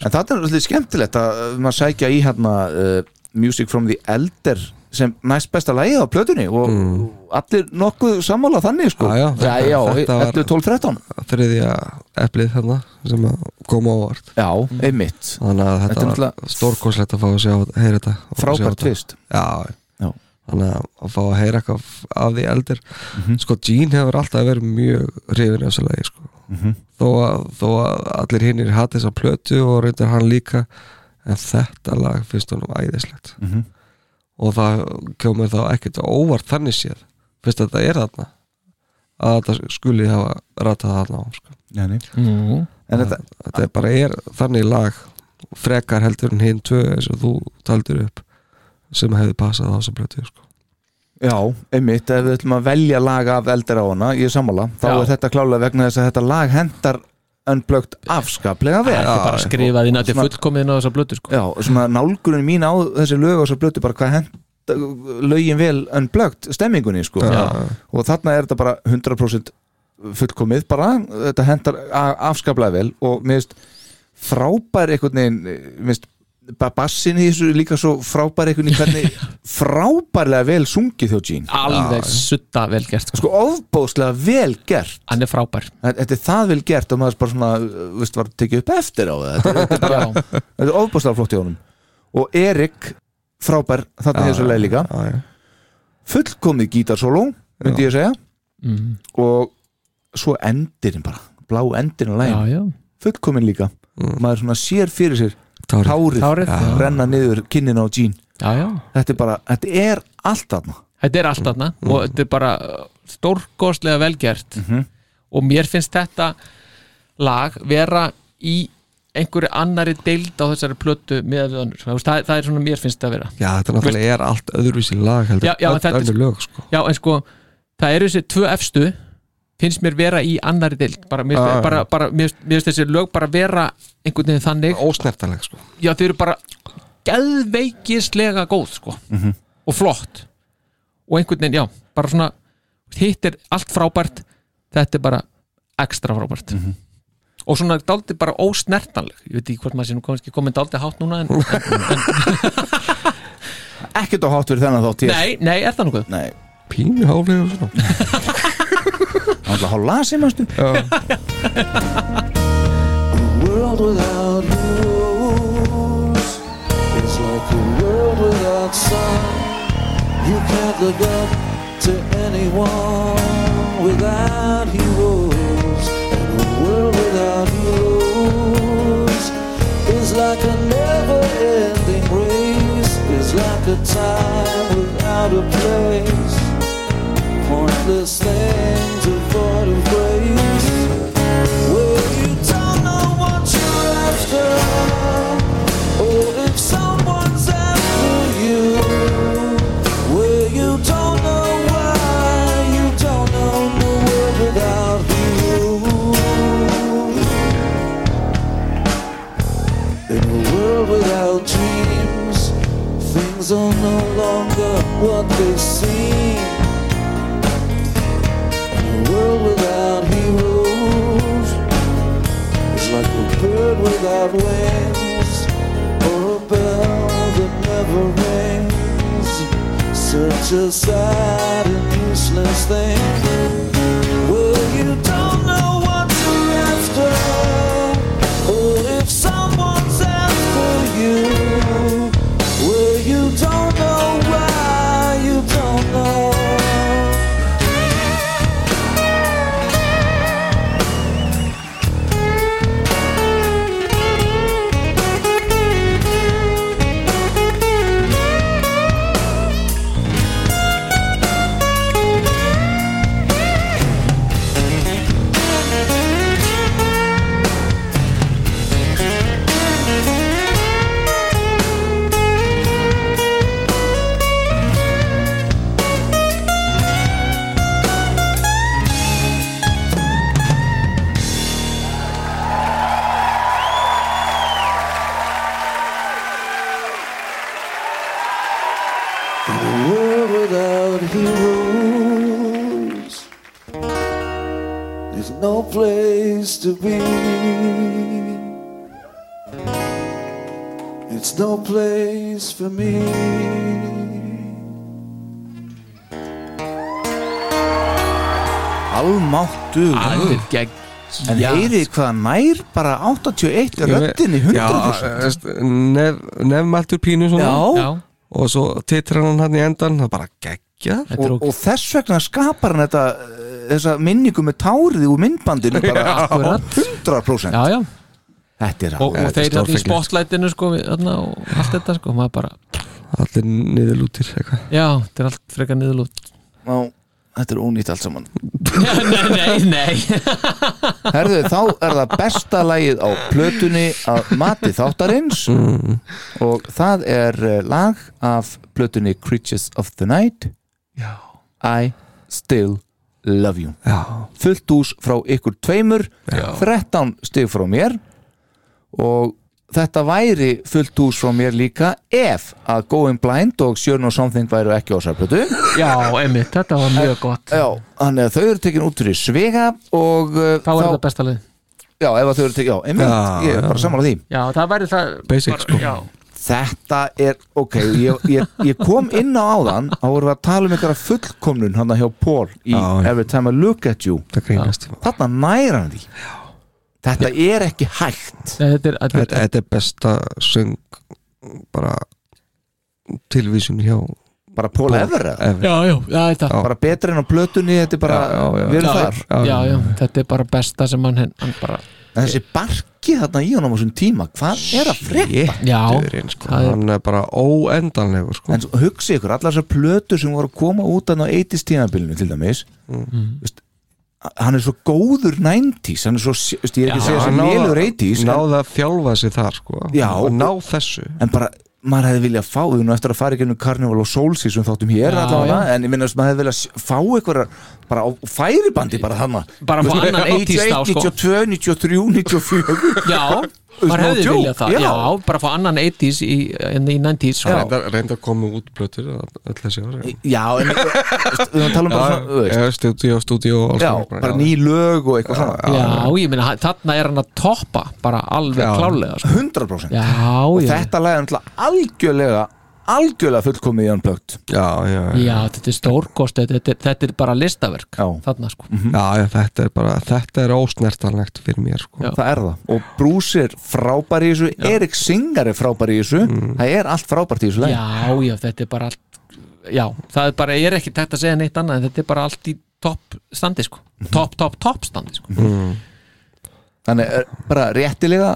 en þetta er alveg skemmtilegt að uh, maður sækja í hérna uh, Music from the Elder sem næst besta lagið á plötunni og allir nokkuð sammála þannig sko Mm. Já, já, já, já þetta var- 11, 12, 13 Þriðja eplið þarna sem að koma á vart Já, einmitt Þannig Þetta að er þetta náttúrulega- var stórkoslegt að fá að sjá, heyra þetta og sjá Frábært þetta. twist. Já, já Þannig að að fá að heyra eitthvað af því eldir Sko, Gene hefur alltaf verið mjög hrifin af þessu lagi sko. Mhm. þó, að, þó að allir hinnir hatt þessa plötu og reyndar hann líka en þetta lag finnst honum æðislegt Mhm. og það kemur þá ekkert á óvart þannig séð finnst að þetta er þarna að þetta skuli hafa ratað þarna á sko. Nei, nei. Mm. En þetta, þetta er bara er þannig lag frekar heldur en hinn tvö eins og þú taldur upp sem hefði passað á þessa plötu sko. Já, einmitt, ef við ætlum að velja lag af eldir á hana, ég er sammála þá Já. er þetta klálega vegna þess að þetta lag hendar önblökt afskaplega vel það er bara skrifað inn að þetta er fullkomið inn á þessa blötu sko Já, og svona nálgunin mín á þessi lög og svo blötu bara hvað henda lögin vel önblökt stemmingunni sko Já. og þarna er þetta bara 100% fullkomið bara, þetta hendar a- afskaplega vel og minnst frábær einhvern veginn minnst bassin í þessu líka svo frábær einhvern (laughs) veginn hvernig frábærlega vel sungið þjó Gene Alveg sutta vel gert sko ofbóðslega vel gert Hann er frábær Þetta er það vel gert og maður bara svona, uh, veist, var tekið upp eftir á það Þetta er- (laughs) þetta er bara, þetta er ofbóðslega flott í honum Og Erik, frábær, þarna Já, hefur svo leið líka Fullkomið gítarsóló, myndi ég segja Mm. Og svo endirinn bara, blá endirinn á Já, já. Mm. lægin Fullkomin líka Maður svona sér fyrir sér Tárið, Tárið, já. renna niður kinnin á Jean já, já. Þetta er bara, þetta er allt þarna Þetta er allt þarna Mm. og þetta er bara uh, stórkostlega Mhm. vel gert og mér finnst þetta lag vera í einhverju annari deild á þessari plötu með við önnur, Þú veist, það, það er svona mér finnst það að vera Já, þetta náttúrulega er allt öðruvísi lag heldur já, já, en öll þetta, önnur lög sko. já, en sko það eru þessi tvö efstu finnst mér vera í annari deild bara, mér, Já, ah, já. bara, bara, mér, finnst- mér finnst þessi lög bara vera einhvern veginn þannig ósnertaleg sko já þau eru bara geðveikislega góð sko Mhm. og flott og einhvern veginn, já, bara svona hitt er allt frábært þetta er bara ekstra frábært og svona dálítið bara ósnertanleg ég veit ekki hvort maður sé nú kannski komin dálítið hátt núna en, en, Ekkert á hátt fyrir þennan þátt hér. nei, sko. nei, er það nokkuð? Nei Pínu háflega (laughs) og svona Það er alltaf hálf lasi, mannstu world without rules is like a world without sun. You can't look up to anyone without heroes. And a world without rules is like a never-ending race. Is like a time without a place. Pointless things devoid of grace. Well, you don't know what you're after, or if someone's after you. Well, you don't know why, you don't know the world without you. In a world without dreams, things are no longer what they seem. In a world without heroes is like a bird without wings or a bell that never rings. Such a sad and useless thing. Well, you don't know what you're after, or if someone's after you. Well, you don't know why, you don't know. A world without heroes is no place to be. It's no place for me. Almáttu En heyrið hvað hann nær bara 81 röddin í 100% nef, Nefmæltur pínu svona Já. Já. Og svo titrar hann hann í endan Það er bara geggja og, og þess vegna skapar hann þetta eh, þessa minningu með tárið úr myndbandinu Já, bara akkurat. 100% já, já. Þetta er og, og alveg- þeir þarna í spotlightinu sko, við- þarna, og allt þetta sko, maður bara Allir niðurlútir eitthvað já, þetta er allt frekar niðurlút Má, þetta er ónýtt allt saman nei, nei, nei (laughs) Herðu, þá er það besta lagið á plötunni að mati þáttarins og það er eh, lag af plötunni Creatures of the Night Já. I Still Love You Já. fullt ús frá ykkur tveimur Já. 13 stig frá mér og þetta væri fullt ús frá mér líka ef að Going Blind og Sure No Something væru ekki á þessari plötu já, einmitt, þetta Eh, var mjög gott já, þannig að þau eru tekin út fyrir svega og uh, þá er þetta besta lið já, ef að þau eru tekin, já, einmitt, Já, ég er bara já. sammála því já, það væri það Basic, bara, sko já, þetta er, ok, ég, ég, ég kom inn á áðan, þá vorum við að tala um einhverja fullkomnun hann hjá Paul í Every Time I Look At You þarna næra hann því þetta er ekki hægt Nei, þetta, er, þetta, þetta er besta söng Bara Tilvísun hjá Bara Paul Everett? já, já, já, þetta bara betra enn á plötunni, þetta er bara við erum já, þar já, já, þetta er bara besta sem hann, hann bara En þessi barki þarna í honum á þessum tíma hvað er að frétta? Rétturinn sko það er- Hann er bara óendanlegur sko En svo hugsið ykkur, allar þessar plötur sem voru að koma út þarna á 80s tímabilinu til dæmis Mm. veist, hann er svo góður 90s hann er svo, ég er ekki að segja hann svo náði- nélur 80s en- náði að þjálfa sig þar sko Já, og ná þessu en bara, maður hefði viljað fá þau nú eftir að fara í gennum karnival og sólsís sem þáttum hér Já, allavega, já. en ég minna að maður hefði viljað s- fá einhverjar, bara á færibandi bara þarna, Bara fá annan 80s þá, sko. 92, 93, 94 (laughs) Já, It's maður no hefði joke, viljað það já. já. bara fá annan 80s í, en í 90s sko. reynda, reynda að koma út blöttur öll þessi ári Já, en við höfum talað um bara svona, þú veist. svona Stúdíó, stúdíó og alls Já, konar bara ný lög og eitthvað svona Já, ég meina, hann- þarna er hann að toppa bara alveg Já. klálega sko. 100% Já, og já. þetta lag er náttúrulega algjörlega algjörlega fullkomið í Unplugged já, já, Já, þetta er stórkost, þetta, þetta, þetta er bara listaverk já. þarna sko Mhm. já, já, þetta er bara þetta er ósnertanlegt fyrir mér sko. það er það og Bruce er frábær í þessu Erik Singer er frábær í þessu Mm. það er allt frábært í þessu lag Já, já, þetta er bara allt Já, það er bara, ég er ekki tægt að segja neitt annað en þetta er bara allt í topp standi sko topp, topp, topp standi sko Mm. þannig er bara réttilega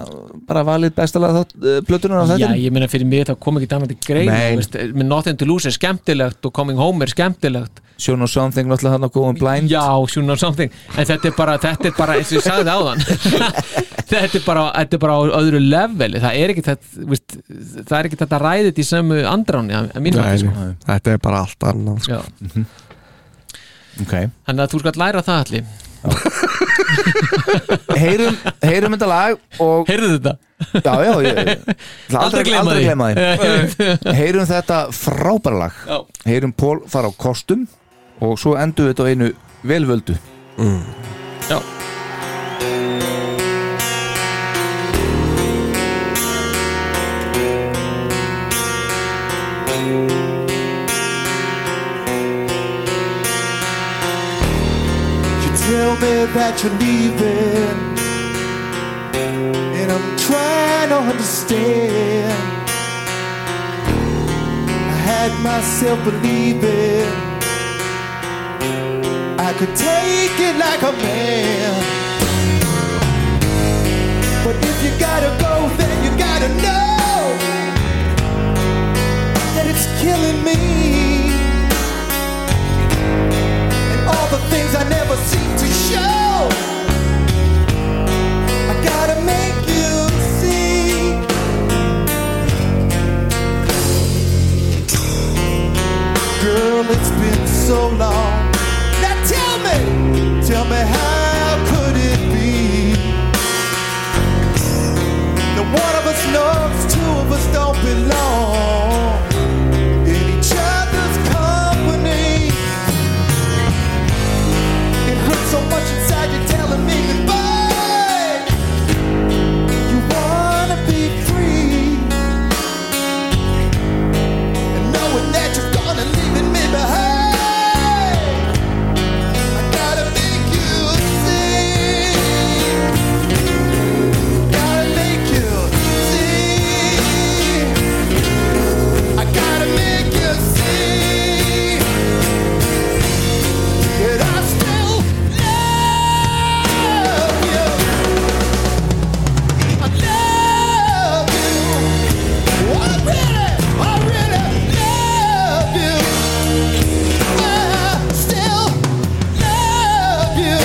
bara valið bestalega þátt uh, plötunar af Já, þetta ég meina fyrir mig það kom ekki dæmandi greið Nei. veist, með Nothing to Lose er skemmtilegt og Coming Home er skemmtilegt Sjón og Something náttúrulega hann á góðum blind Já, sko. Sjón og Something en þetta er bara, þetta er bara eins og ég sagði áðan (laughs) þetta er bara, þetta er bara á öðru leveli, það er ekki þetta veist, það er ekki þetta ræðið í sömu andráni að, að mínu Nei, hætti sko nei, þetta er bara allt annað sko. Já. Mhm. ok Þannig að þú skalt læra það allir heyrum, heyrum þetta lag og heyrðu þetta já, já, ég, (laughs) ætla Aldrei gleyma aldrei því. gleyma því (laughs) Nei. heyrum þetta frábæra lag Já. heyrum Pól fara á kostum og svo endur við þetta á einu velvöldu mm. Já You tell me that you're leaving, and I'm trying to understand. I had myself believing I could take it like a man. But if you gotta go, then you gotta know that it's killing me and all the things I never seem to show. I gotta make you see. Girl, it's been so long. Now tell me, tell me how could it be? That one of us knows, two of us don't belong in each other's company. It hurts so much inside, you're telling me goodbye. You wanna be free. And knowing that you're gonna leaving me behind. I gotta make you see. Gotta make you see. I gotta make you see. That I still love you. I love you. I really, I really love you. I still love you.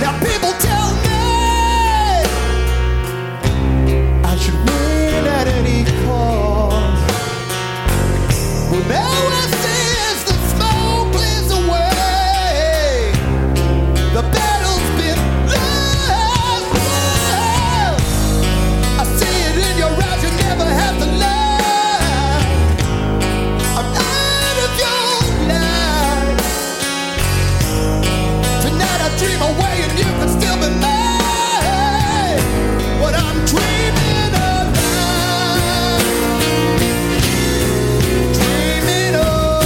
Now people tell me I should win at any cost. Well, now I see as the smoke clears away, the battle's been lost. I see it in your eyes. You never have to lie. I'm out of your life. Tonight I dream away and you can still be mine. What I'm dreaming of. Dreaming of.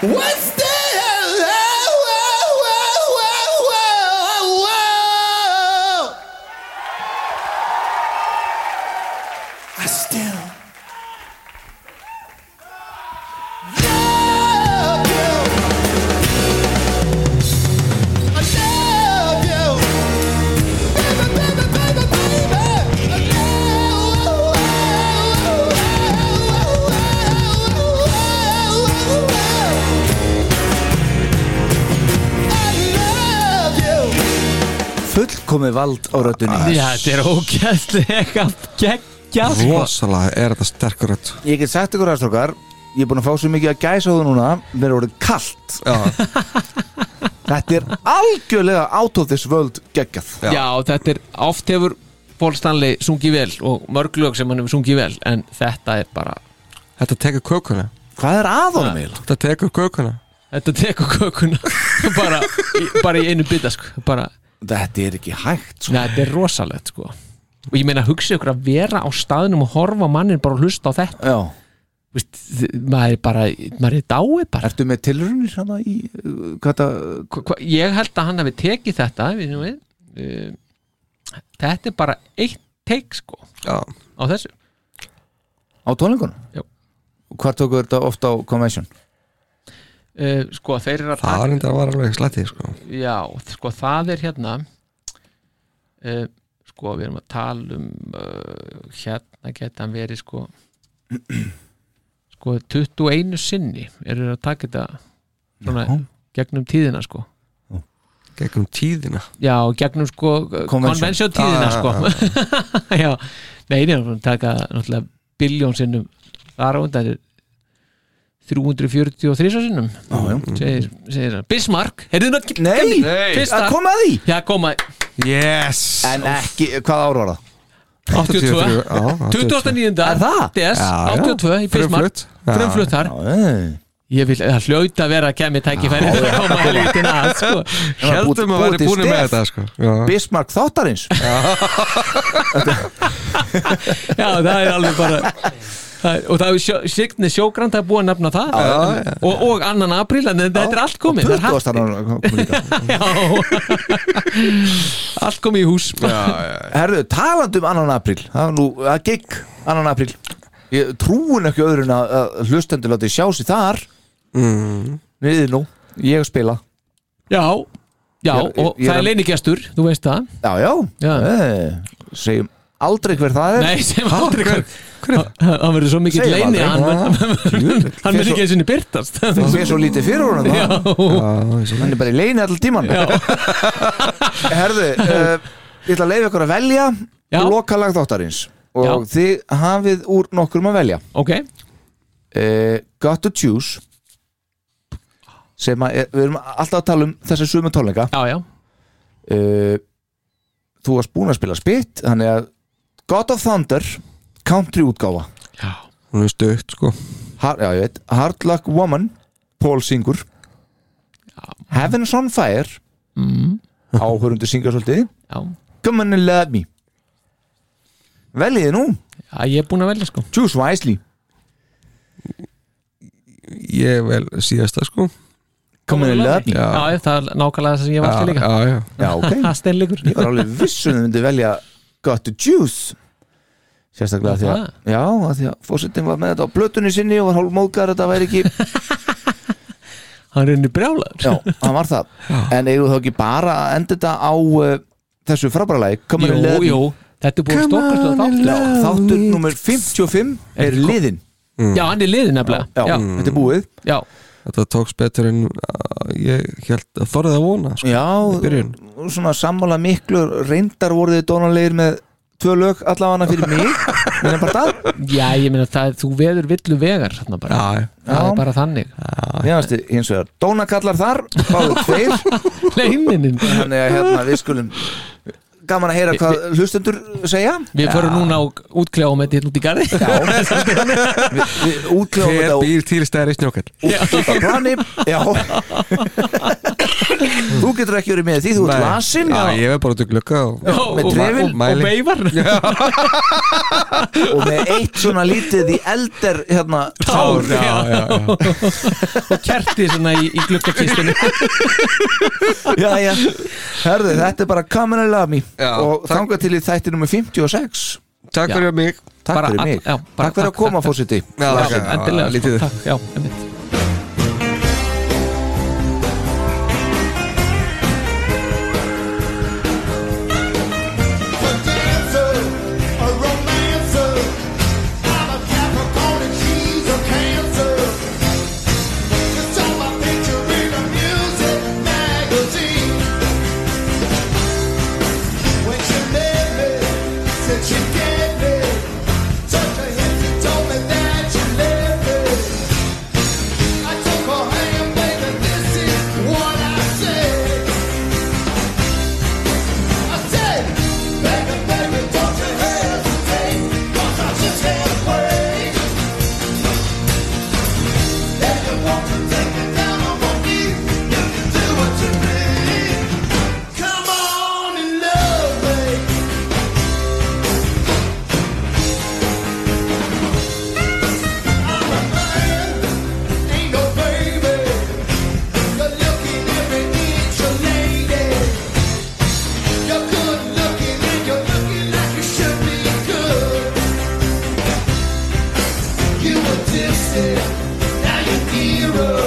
What's the hell? I still fullkomið vald á röddunni Já, þetta er ógæðslega geggjað sko. Rosalega er þetta sterkur rödd Ég get sagt ykkur aðstrókar Ég er búin að fá svo mikið að gæsa á það núna Mér er orðið kallt (laughs) Þetta er algjörlega out of this world geggjað Já. þetta er oft hefur Paul Stanley sungið vel og mörg lög sem hann hefur sungið vel en þetta er bara Þetta tekur kökuna Hvað er að honum eiginlega? Þetta tekur kökuna Þetta tekur kökuna bara, í- bara í einu bita sko bara Þetta er ekki hægt sko. Nei, þetta er rosalegt sko Og ég meina, hugsa ykkur að vera á staðnum og horfa á mannin bara að hlusta á þetta Já Vist, maður er bara, maður er dái bara Ertu með tilrunir hana í uh, hvað það Ég held að hann hafi tekið þetta við, nú við, uh, Þetta er bara eitt teik sko Já. á þessu Á tónleikunum? Já Hvar tóku þetta ofta á convention? uh, Sko, þeir eru að Það er þetta var alveg slættið sko Já, sko það er hérna uh, sko við erum að tala um uh, hérna geta hann verið sko (clears throat) sko 21 sinni eru þeir að taka þetta svona gegnum tíðina sko Gegnum tíðina Ah, Já, gegnum sko konvensjón tíðina sko (laughs) Já, nei, nei, við erum að taka náttúrulega biljón sinnum þar á undan þetta er 343 sinnum segir, Mm. segir hann Bismarck, heyrðu náttúrulega Nei, að koma að því Já, koma að Yes En ekki, hvað ára var það? 82 29. Er það? DS, Já, já. 82 í Bismarck Frumflutt. Já. Frumflutt þar Ég vil, það hljóta að vera að kemja (laughs) tækifæri Já, að koma að lítina að (laughs) sko Heldum að væri búin með þetta sko Já. Bismarck þáttarins Já, það er alveg bara það er- Og það er sjó- Signi Sjógrand það er búið að nefna það Já, já, Og, og annan apríl, en þetta er allt komið Það er hægt 20. ára kom líka (laughs) Allt komið í hús Herðu, talandi um annan april Það er nú, það gekk annan april Ég trúin ekki öðrun að, að hlustendur láti sjá sig þar mm. Niður nú, ég að spila Já, já, Ég- ég- og ég það er er að- leinigestur, þú veist það Já, já, Eh, segjum aldrei hver það er Nei, sem aldrei hver Hver- Hann verður svo mikill Segjum leini að aldrei. Hann verður- (laughs) hann Fer verður svo- ekki einu sinni byrtast Það er svo lítið (laughs) fyrir honum Já. það Hann er bara í leini allir tíman Herðu, uh, ég ætla að leifa ykkur að velja Já. Lokalag þáttarins Og Já. þið hafið úr nokkur um að velja Ok uh, Got to Choose sem að, er- við erum alltaf að tala um þessi sömu tónleika Eh, já, já. þú varst búin að spila spitt þannig að God of Thunder country útgáfa já. Hún er stökt sko Har, já, ég veit, Hard Luck Woman Paul Singur Heaven's on Fire mm. áhörundu syngar svolítið já. Come on and love me Veljiði nú Já, ég er búin að velja sko Choose wisely Ég vel síðasta sko Come on and love me Já. Já, það er nákvæmlega það sem ég valdi líka Já, já Já, ok (laughs) Það er steinleikur Ég var alveg viss um að þið myndi velja Got to Juice Sérstaklega því að Já, að því að fórsetin var með þetta á blötunni sinni og var hálf móðgar þetta væri ekki Hann er henni brjálaður Já, hann var það En eigum þú þá ekki bara að enda þetta á uh, þessu frábæra lagi Come on Jú, and love me. jú, þetta er búið að stókast og Já, þáttur Þáttur nummer 55 er liðin Já, hann er liðin nefnilega Já, þetta er búið Já, Mm. Þetta tóks betur en uh, ég held að þorðið að vona sko í Já, (laughs) byrjun. svona sammála miklu reyndar voruð þið dónalegir með tvö lög allavega (laughs) fyrir mig minna bara það já ég meina það, þú veður villu vegar þarna bara Já, Það Já. er bara þannig Mér fannst þið hins vegar dónakallar þar báðu tveir Leiminin þannig að hérna við skulum gaman að heyra hvað hlustendur segja Við förum núna og útkljá með þetta hérna út í garði (laughs) útkláðum Hver um þetta (laughs) býr til stærri snjókall á plani já Þú getur ekki verið með því, þú ert lasinn Já, ég er bara út í glugga og, Já, með trefil mæli. og með eitt svona lítið í eldar hérna Tár, tár já, já, og kerti svona í, í gluggakistinu (laughs) já, já. Herðu, þetta er bara Kamen and Love Me Já, og takk. þangað til í þætti nummer 56 Takk fyrir mig Takk Bara fyrir all- mig já, bara Takk fyrir takk, að koma, takk, fósiti Já, Já, takk. endilega, lítið. sko, takk, já, einmitt. Come on and love me. Ain't no baby. You're looking every inch a lady. You're good looking and you're looking like you should be good. You were distant, now you're nearer.